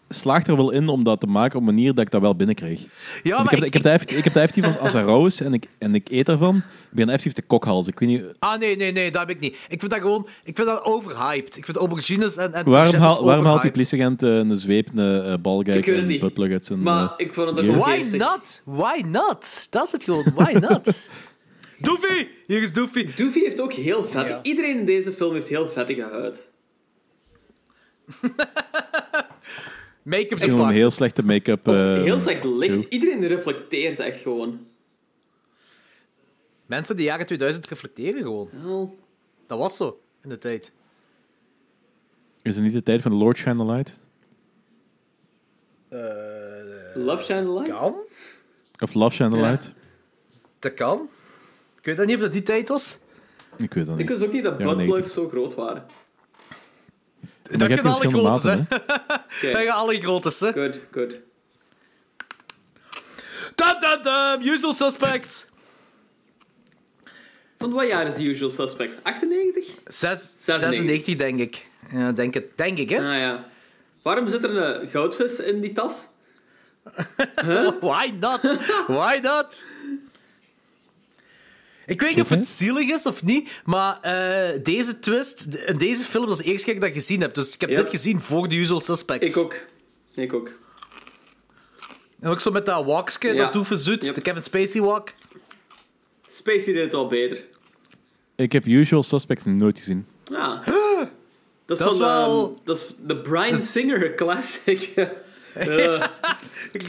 [SPEAKER 6] slaagt er wel in om dat te maken op een manier dat ik dat wel
[SPEAKER 7] Oh,
[SPEAKER 6] binnenkrijg.
[SPEAKER 5] Ja,
[SPEAKER 6] Want
[SPEAKER 5] maar
[SPEAKER 6] ik, heb, ik, heb de effectief- ik heb de effectief als Azaroos en ik, en ik eet daarvan. Ik ben effectief de kokhals. Ik weet niet,
[SPEAKER 5] Ah, nee, nee, nee, dat heb ik niet. Ik vind dat gewoon... Ik vind dat overhyped. Ik vind aubergines en, en
[SPEAKER 6] waarom,
[SPEAKER 5] courgettes
[SPEAKER 6] haal, waarom haalt die
[SPEAKER 5] overhyped.
[SPEAKER 6] politieagent eh, een zweep, een eh, balgijk
[SPEAKER 7] Ik weet het
[SPEAKER 6] en
[SPEAKER 7] niet.
[SPEAKER 6] buttplug uit zijn...
[SPEAKER 7] Maar
[SPEAKER 6] eh,
[SPEAKER 7] ik vond het ook
[SPEAKER 6] Ja.
[SPEAKER 7] wel
[SPEAKER 5] Why
[SPEAKER 7] geestig.
[SPEAKER 5] not? Why not? Dat is het gewoon. Why not? Doofy! Hier is Doofy.
[SPEAKER 7] Doofy heeft ook heel vettig...
[SPEAKER 5] Ja.
[SPEAKER 7] Iedereen in deze film heeft heel vettige huid.
[SPEAKER 5] Make-up is
[SPEAKER 6] gewoon een
[SPEAKER 5] fuck.
[SPEAKER 6] heel slechte make-up.
[SPEAKER 7] Of
[SPEAKER 6] eh,
[SPEAKER 7] heel slecht licht.
[SPEAKER 6] crew.
[SPEAKER 7] Iedereen reflecteert echt gewoon.
[SPEAKER 5] Mensen die jaren 2000 reflecteren gewoon.
[SPEAKER 7] Wel,
[SPEAKER 5] Dat was zo in de tijd.
[SPEAKER 6] Is het niet de tijd van Lord Shine the Light?
[SPEAKER 7] Love Shine the Light?
[SPEAKER 5] Kan?
[SPEAKER 6] Of Love Shine the
[SPEAKER 7] Ja.
[SPEAKER 6] Light?
[SPEAKER 5] Dat kan. Ik weet dat niet of dat die tijd was.
[SPEAKER 6] Ik weet dat niet.
[SPEAKER 7] Ik wist ook niet dat
[SPEAKER 6] Ja, nee,
[SPEAKER 7] buttplugs zo groot waren.
[SPEAKER 6] Maar
[SPEAKER 5] Dat
[SPEAKER 6] je
[SPEAKER 5] kunnen alle
[SPEAKER 6] hebt die
[SPEAKER 5] grotes, hè.
[SPEAKER 6] verschillende maten,
[SPEAKER 7] Oké,
[SPEAKER 5] Dat gaan alle grotes, hè.
[SPEAKER 7] good, good.
[SPEAKER 5] Dum, dum, dum. Usual suspects.
[SPEAKER 7] Van wat jaar is The Usual Suspects? 98?
[SPEAKER 5] Zes, 96,
[SPEAKER 7] 96,
[SPEAKER 5] denk ik. Ja, denk, het, denk ik, hè.
[SPEAKER 7] Ah ja. Waarom zit er een goudvis in die tas?
[SPEAKER 5] Why not? Why not? Ik weet niet of het zielig is of niet, maar eh, deze twist, de- deze film was de eerste keer dat ik dat gezien heb. Dus ik heb
[SPEAKER 7] Ja.
[SPEAKER 5] dit gezien voor The Usual Suspects.
[SPEAKER 7] Ik ook. Ik ook.
[SPEAKER 5] En ook zo met dat walkske,
[SPEAKER 7] Ja.
[SPEAKER 5] dat doeven zoet,
[SPEAKER 7] Yep.
[SPEAKER 5] de Kevin Spacey walk.
[SPEAKER 7] Spacey deed het al beter.
[SPEAKER 6] hè. Ik heb Usual Suspects nooit gezien.
[SPEAKER 7] Ja. Ah. Dat is
[SPEAKER 5] Dat is
[SPEAKER 7] van wel...
[SPEAKER 5] wel-
[SPEAKER 7] dat is de Brian Singer classic. Eh,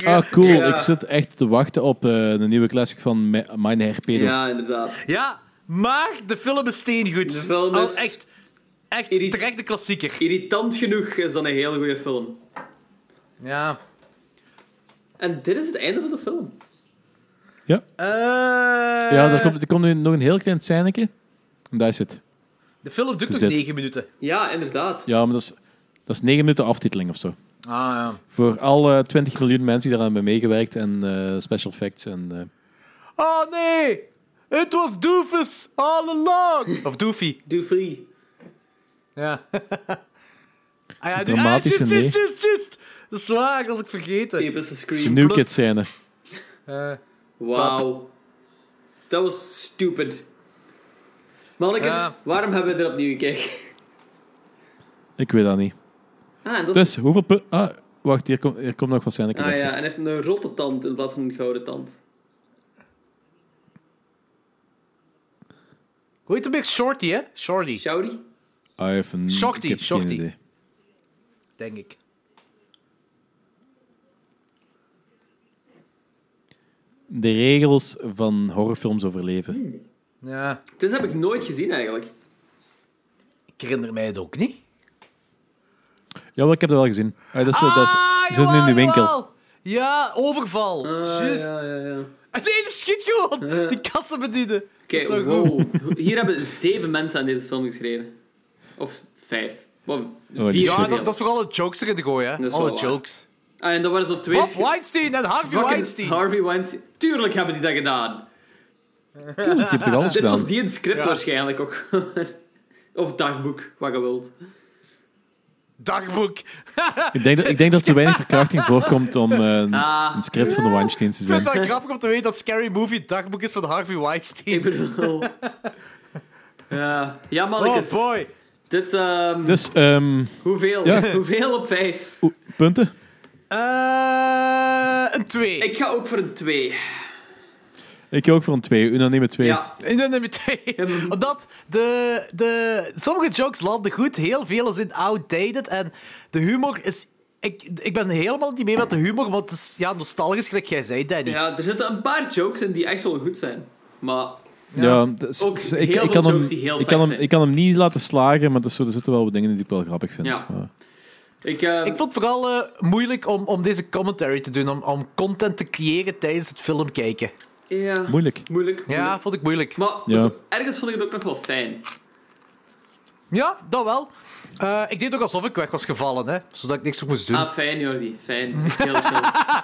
[SPEAKER 6] Ah, cool.
[SPEAKER 7] Ja.
[SPEAKER 6] Ik zit echt te wachten op eh, de nieuwe classic van Mi- Mijn Herpedo.
[SPEAKER 7] ja, inderdaad.
[SPEAKER 5] Ja, maar de film is steengoed.
[SPEAKER 7] De film
[SPEAKER 5] Al
[SPEAKER 7] is-
[SPEAKER 5] echt, echt
[SPEAKER 7] Irrit-
[SPEAKER 5] terecht de klassieker.
[SPEAKER 7] Irritant genoeg is dat een hele goede film.
[SPEAKER 5] Ja.
[SPEAKER 7] En dit is het einde van de film.
[SPEAKER 5] Eh,
[SPEAKER 6] Ja,
[SPEAKER 7] Eh.
[SPEAKER 6] er komt, er komt nu nog een heel klein scènetje. En daar is het.
[SPEAKER 5] De film duurt
[SPEAKER 6] Dus
[SPEAKER 5] nog
[SPEAKER 6] dit.
[SPEAKER 5] 9 minuten.
[SPEAKER 7] Ja, inderdaad.
[SPEAKER 6] Ja, maar dat is, dat is 9 minuten aftiteling of zo.
[SPEAKER 5] Ah, ja.
[SPEAKER 6] Voor alle 20 miljoen mensen die daaraan hebben meegewerkt en eh, special effects. En, eh,
[SPEAKER 5] Oh nee! Het was Doofus all along! Of Doofy.
[SPEAKER 7] Doofy.
[SPEAKER 5] Ja. ah ja, die, ah,
[SPEAKER 6] Dramatische
[SPEAKER 5] just,
[SPEAKER 6] nee.
[SPEAKER 5] just, just, just. Dat is waar, dat was ik vergeten.
[SPEAKER 7] Deep is the scream.
[SPEAKER 6] New Kids scène.
[SPEAKER 7] Wauw. Dat was stupid. Mannekes,
[SPEAKER 5] Ja.
[SPEAKER 7] waarom hebben we er opnieuw gekeken?
[SPEAKER 6] Ik weet dat niet.
[SPEAKER 7] Ah, en dat is...
[SPEAKER 6] Dus, hoeveel punten... Ah, wacht, hier, kom, hier komt nog wat scène.
[SPEAKER 7] Ah ja, en hij heeft een rotte tand in plaats van een gouden tand.
[SPEAKER 5] Hoe heet een beetje Shorty, hè? Shorty,
[SPEAKER 7] Shouty?
[SPEAKER 5] Shorty,
[SPEAKER 6] Ah, Ik heb geen
[SPEAKER 5] shorty.
[SPEAKER 6] idee.
[SPEAKER 5] denk ik.
[SPEAKER 6] De regels van horrorfilms overleven.
[SPEAKER 5] Ja.
[SPEAKER 7] Dit heb ik nooit gezien eigenlijk.
[SPEAKER 5] Ik herinner mij het ook niet.
[SPEAKER 6] Jawel, ik heb dat wel gezien. Ah, dat is, eh, dat is
[SPEAKER 5] Ah,
[SPEAKER 6] zitten in de winkel.
[SPEAKER 5] Ja, overval. Juist.
[SPEAKER 7] Ja, ja, ja.
[SPEAKER 5] Ah, Nee, die schiet gewoon. Die kassen bedienen.
[SPEAKER 7] Oké,
[SPEAKER 5] Dat is wel
[SPEAKER 7] wow. Hier hebben zeven mensen aan deze film geschreven. Of vijf. Wat,
[SPEAKER 6] Oh,
[SPEAKER 5] Ja,
[SPEAKER 7] vier.
[SPEAKER 6] die shit.
[SPEAKER 7] personen.
[SPEAKER 5] Ah, dat, dat is voor alle jokes erin te gooien,
[SPEAKER 7] Dat
[SPEAKER 5] hè.
[SPEAKER 7] is
[SPEAKER 5] Alle
[SPEAKER 7] wel waar.
[SPEAKER 5] jokes.
[SPEAKER 7] Ah, en dat waren zo twee...
[SPEAKER 5] Bob
[SPEAKER 7] sch-
[SPEAKER 5] Weinstein en Harvey
[SPEAKER 7] fucking
[SPEAKER 5] Weinstein.
[SPEAKER 7] Harvey Weinstein. Tuurlijk hebben die dat gedaan.
[SPEAKER 6] Tuurlijk, je hebt toch alles
[SPEAKER 7] Dit
[SPEAKER 6] gedaan?
[SPEAKER 7] was die in het script
[SPEAKER 5] Ja.
[SPEAKER 7] waarschijnlijk ook. of dagboek, wat je wilt.
[SPEAKER 5] Dagboek.
[SPEAKER 6] Ik denk, dat- ik denk dat er weinig verkrachting voorkomt om eh, een,
[SPEAKER 7] Ah.
[SPEAKER 6] een script van de Weinsteins te
[SPEAKER 5] Ik vind
[SPEAKER 6] zijn.
[SPEAKER 5] het wel grappig om te weten dat Scary Movie het dagboek is van Harvey
[SPEAKER 7] Ik
[SPEAKER 5] Weinstein.
[SPEAKER 7] bedoel... Ja, ja
[SPEAKER 5] Oh
[SPEAKER 7] mannetjes.
[SPEAKER 5] boy.
[SPEAKER 7] dit, ehm,
[SPEAKER 6] Dus, ehm,
[SPEAKER 7] hoeveel?
[SPEAKER 6] Ja.
[SPEAKER 7] Hoeveel op vijf?
[SPEAKER 6] oe, punten?
[SPEAKER 5] Eh, een 2.
[SPEAKER 7] Ik ga ook voor een twee.
[SPEAKER 6] Ik ga ook voor een 2, unaniem 2.
[SPEAKER 7] Ja.
[SPEAKER 5] In de nummer 2.
[SPEAKER 7] maar-
[SPEAKER 5] Omdat de, de, sommige jokes landen goed, heel veel zijn outdated. En de humor is. Ik, ik ben helemaal niet mee met de humor, want het is ja, nostalgisch, gelijk jij zei, Danny.
[SPEAKER 7] ja, er zitten een paar jokes in die echt wel goed zijn. Maar
[SPEAKER 6] Ja, dus-
[SPEAKER 7] Ook
[SPEAKER 6] dus
[SPEAKER 7] heel veel
[SPEAKER 6] kan hem,
[SPEAKER 7] jokes die heel
[SPEAKER 6] ik
[SPEAKER 7] slecht
[SPEAKER 6] kan hem,
[SPEAKER 7] zijn.
[SPEAKER 6] ik kan hem niet laten slagen, maar dus, zo, er zitten wel wat dingen in die ik wel grappig vind.
[SPEAKER 7] Ja.
[SPEAKER 6] Maar-
[SPEAKER 7] ik... ehm,
[SPEAKER 5] Ik vond het vooral eh, moeilijk om, om deze commentary te doen, om, om content te creëren tijdens het film kijken.
[SPEAKER 7] ja.
[SPEAKER 6] moeilijk.
[SPEAKER 7] Moeilijk.
[SPEAKER 5] Ja, vond ik moeilijk.
[SPEAKER 7] Maar
[SPEAKER 6] Ja.
[SPEAKER 7] ergens vond ik het ook nog wel fijn.
[SPEAKER 5] Ja, dat wel. Eh, ik deed ook alsof ik weg was gevallen, hè, zodat ik niks meer moest doen.
[SPEAKER 7] Ah, fijn Jordi, fijn. Echt heel chill.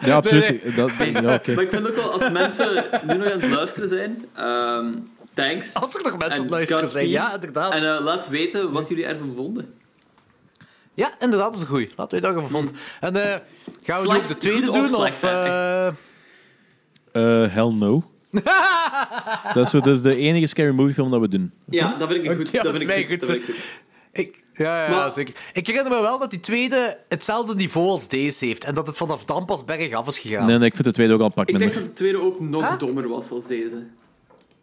[SPEAKER 6] Ja, absoluut.
[SPEAKER 5] nee.
[SPEAKER 6] Dat, ja, oké.
[SPEAKER 7] Maar ik vind ook wel, als mensen nu nog aan het luisteren zijn, ehm, thanks.
[SPEAKER 5] Als er nog mensen aan
[SPEAKER 7] En
[SPEAKER 5] het luisteren zijn,
[SPEAKER 7] Godspeed.
[SPEAKER 5] ja, inderdaad.
[SPEAKER 7] En eh, laat weten wat jullie ervan vonden.
[SPEAKER 5] Ja, inderdaad, dat is een goeie. Laten we daar even vond. En eh, gaan we nu
[SPEAKER 7] Slecht,
[SPEAKER 5] ook de tweede
[SPEAKER 7] Hmm. goed of
[SPEAKER 5] doen?
[SPEAKER 7] slecht,
[SPEAKER 5] Of,
[SPEAKER 7] hè?
[SPEAKER 5] eh,
[SPEAKER 6] Eh, hell no. dat, is, dat is de enige scary movie film dat we doen.
[SPEAKER 7] Ja, dat vind ik goed.
[SPEAKER 5] Ja,
[SPEAKER 7] dat
[SPEAKER 5] dat
[SPEAKER 7] vind
[SPEAKER 5] is
[SPEAKER 7] ik goed.
[SPEAKER 5] mij
[SPEAKER 7] Dat
[SPEAKER 5] goed,
[SPEAKER 7] vind ik
[SPEAKER 5] ik,
[SPEAKER 7] goed.
[SPEAKER 5] ja, ja
[SPEAKER 7] Maar-
[SPEAKER 5] zeker. Ik herinner me wel dat die tweede hetzelfde niveau als deze heeft. En dat het vanaf dan pas bergaf is gegaan.
[SPEAKER 6] Nee, nee, ik vind de tweede ook al een pak
[SPEAKER 7] Nou. Ik denk
[SPEAKER 6] nummer.
[SPEAKER 7] dat de tweede ook nog
[SPEAKER 5] Huh?
[SPEAKER 7] dommer was als deze.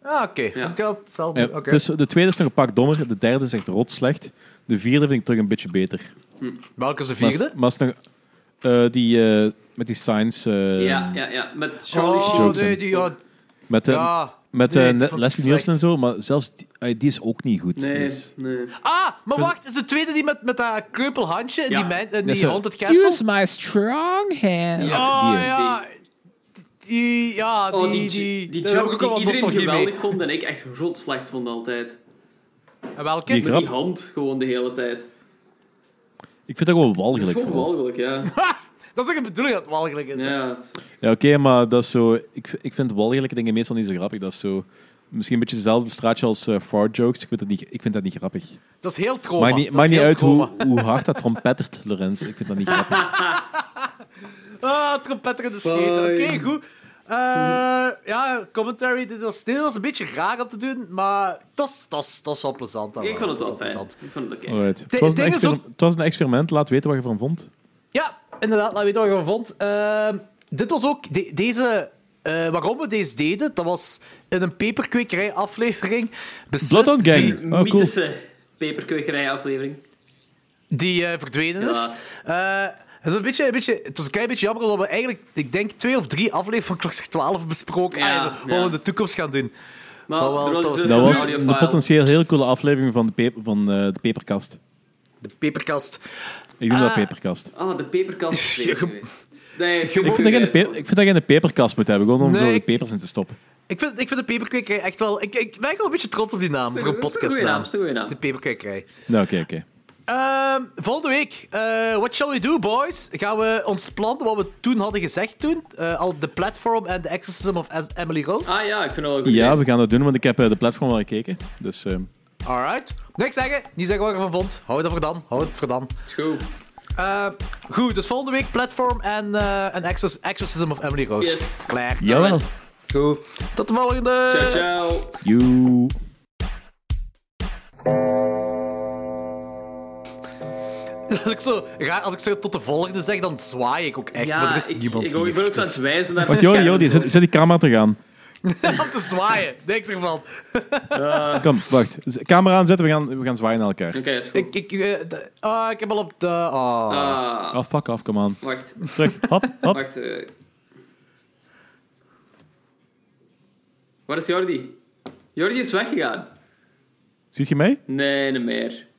[SPEAKER 5] Ah, oké.
[SPEAKER 7] Ja.
[SPEAKER 5] Ik had hetzelfde.
[SPEAKER 6] Ja,
[SPEAKER 5] Oké.
[SPEAKER 6] dus de tweede is nog een pak dommer, de derde is echt rot slecht. De vierde vind ik toch een beetje beter.
[SPEAKER 5] Welke is de
[SPEAKER 6] Maar-
[SPEAKER 5] vierde?
[SPEAKER 6] Maar is nog, eh, die, eh, met die science... eh,
[SPEAKER 7] ja, ja, ja. Met Charlie
[SPEAKER 5] Oh,
[SPEAKER 7] Sheen.
[SPEAKER 6] Jokes
[SPEAKER 5] nee,
[SPEAKER 6] en-
[SPEAKER 5] die... Ja,
[SPEAKER 6] Met, eh,
[SPEAKER 5] ja.
[SPEAKER 6] met
[SPEAKER 5] Nee,
[SPEAKER 6] eh,
[SPEAKER 5] het
[SPEAKER 6] Ne-
[SPEAKER 5] vond ik
[SPEAKER 6] Leslie
[SPEAKER 5] slecht.
[SPEAKER 6] Nielsen en zo, maar zelfs die, eh, die is ook niet goed.
[SPEAKER 7] Nee,
[SPEAKER 6] Dus-
[SPEAKER 7] nee.
[SPEAKER 5] Ah, maar wacht. Is de tweede die met, met dat kreupelhandje in
[SPEAKER 7] Ja.
[SPEAKER 5] die, mijn, in die
[SPEAKER 6] zo.
[SPEAKER 5] Haunted Castle?
[SPEAKER 6] my strong hand.
[SPEAKER 7] Ja.
[SPEAKER 5] Oh,
[SPEAKER 6] Die,
[SPEAKER 5] ja. Die, ja, Ah, die...
[SPEAKER 7] Oh, die, die,
[SPEAKER 5] daar heb ik
[SPEAKER 7] joke
[SPEAKER 5] ook al
[SPEAKER 7] die
[SPEAKER 5] wat
[SPEAKER 7] iedereen
[SPEAKER 5] nostalgie
[SPEAKER 7] geweldig
[SPEAKER 5] mee.
[SPEAKER 7] vond en ik echt rot slecht vond altijd.
[SPEAKER 5] En welke?
[SPEAKER 6] Die
[SPEAKER 7] Met
[SPEAKER 6] Grap.
[SPEAKER 7] die hand gewoon de hele tijd.
[SPEAKER 6] Ik vind dat gewoon
[SPEAKER 7] Dat is
[SPEAKER 6] walgelijk.
[SPEAKER 7] gewoon
[SPEAKER 6] vooral.
[SPEAKER 7] walgelijk, ja.
[SPEAKER 5] Dat is ook een bedoeling dat het walgelijk is. hè?
[SPEAKER 7] ja.
[SPEAKER 6] Ja, oké, maar dat is zo... Ik, ik vind walgelijke dingen meestal niet zo grappig. Dat is zo... Misschien een beetje hetzelfde straatje als eh, fart jokes. Ik vind dat niet, ik vind dat niet grappig.
[SPEAKER 5] Dat is heel trauma.
[SPEAKER 6] Maakt niet,
[SPEAKER 5] Dat is
[SPEAKER 6] maakt niet
[SPEAKER 5] heel
[SPEAKER 6] uit
[SPEAKER 5] trauma.
[SPEAKER 6] hoe, hoe hard dat trompettert, Lorenz. Ik vind dat niet grappig.
[SPEAKER 5] Ah, trompetter in de scheet. Oké,
[SPEAKER 7] Fijn.
[SPEAKER 5] goed. Eh, ja, commentary. Dit was, dit was een beetje raar om te doen, maar het was, het was, het was wel plezant. dan
[SPEAKER 7] Ik vond het wel
[SPEAKER 5] Het was
[SPEAKER 7] fijn.
[SPEAKER 5] plezant.
[SPEAKER 7] Ik vond het oké.
[SPEAKER 6] Alright. Het, was een
[SPEAKER 5] ding is
[SPEAKER 6] exper-
[SPEAKER 5] ook-
[SPEAKER 6] het was een experiment. Laat weten wat je ervan vond.
[SPEAKER 5] Ja, inderdaad. Laat weten wat je ervan vond. Ehm, dit was ook... de- deze... eh, waarom we deze deden, dat was in een peperkwekerij aflevering.
[SPEAKER 6] Blood on Gang.
[SPEAKER 5] Die,
[SPEAKER 7] Die
[SPEAKER 6] Oh, cool.
[SPEAKER 7] mythische peperkwekerij aflevering.
[SPEAKER 5] die eh, verdwenen is. Eh, het, is een beetje, een beetje, het was een klein beetje jammer omdat we eigenlijk, ik denk, twee of drie afleveringen van Klokslag 12 besproken
[SPEAKER 7] Ja,
[SPEAKER 5] hebben. Wat
[SPEAKER 7] ja.
[SPEAKER 5] we in de toekomst gaan doen.
[SPEAKER 7] Maar
[SPEAKER 5] Maar wel,
[SPEAKER 7] er
[SPEAKER 5] dat
[SPEAKER 7] was dus
[SPEAKER 5] was-
[SPEAKER 7] een
[SPEAKER 6] Dat was
[SPEAKER 7] audiofile.
[SPEAKER 6] een potentieel heel coole aflevering van de, peper, van, eh, de peperkast.
[SPEAKER 5] De peperkast.
[SPEAKER 6] Ik noem dat
[SPEAKER 5] Ah.
[SPEAKER 6] peperkast.
[SPEAKER 7] Ah, de peperkast aflevering. Nee, ik
[SPEAKER 6] Ik
[SPEAKER 7] vind
[SPEAKER 6] vind, dat je in de pe- ik vind dat je in de peperkast moet hebben, gewoon om
[SPEAKER 5] Nee,
[SPEAKER 6] zo de
[SPEAKER 5] ik-
[SPEAKER 6] pepers in te stoppen.
[SPEAKER 5] Ik vind, ik vind de peperkwekerij echt wel... Ik, ik ben wel een beetje trots op die naam, voor een podcastnaam.
[SPEAKER 7] Dat is een goede naam.
[SPEAKER 5] De peperkwekerij.
[SPEAKER 6] Nou, oké, oké.
[SPEAKER 5] Ehm, volgende week, eh, what shall we do, boys? Gaan we ons plan, wat we toen hadden gezegd toen, eh, al de platform en de exorcism of As- Emily Rose.
[SPEAKER 7] Ah ja, ik vind het wel een goed.
[SPEAKER 6] Ja, we gaan dat doen, want ik heb eh, de platform al gekeken. Dus eh,
[SPEAKER 5] Alright. Niks zeggen, niet zeggen wat je ervan vond. Hou dat voor dan, hou het voor dan.
[SPEAKER 7] Goed.
[SPEAKER 5] Eh, goed, dus volgende week platform en, eh en exor- exorcism of Emily Rose.
[SPEAKER 7] Yes.
[SPEAKER 5] Klaar.
[SPEAKER 6] jawel.
[SPEAKER 5] Goed. Tot de volgende.
[SPEAKER 7] Ciao, ciao.
[SPEAKER 6] You.
[SPEAKER 5] Als ik zo, raar, als ik zo tot de volgende zeg, dan zwaai ik ook echt. maar er is
[SPEAKER 7] ik,
[SPEAKER 5] niemand
[SPEAKER 7] ik, ik
[SPEAKER 5] hier,
[SPEAKER 7] ben ook zo
[SPEAKER 5] dus-
[SPEAKER 7] aan het wijzen naar
[SPEAKER 6] Wacht,
[SPEAKER 7] de
[SPEAKER 6] Jordi,
[SPEAKER 7] schermen.
[SPEAKER 6] Jordi, zet, zet die camera te gaan.
[SPEAKER 5] Om te zwaaien. Niks ervan.
[SPEAKER 6] Kom, wacht. Z- Camera aanzetten, we gaan, we gaan zwaaien naar elkaar.
[SPEAKER 7] Oké, is goed.
[SPEAKER 5] Ik, ik, eh, d- ah, ik heb al op de... ah.
[SPEAKER 7] Ah,
[SPEAKER 6] Oh, fuck off, kom aan.
[SPEAKER 7] wacht,
[SPEAKER 6] Terug, hop, hop.
[SPEAKER 7] wacht. eh. Waar is Jordi? Jordi is weggegaan.
[SPEAKER 6] Ziet je mij?
[SPEAKER 7] Nee, niet meer.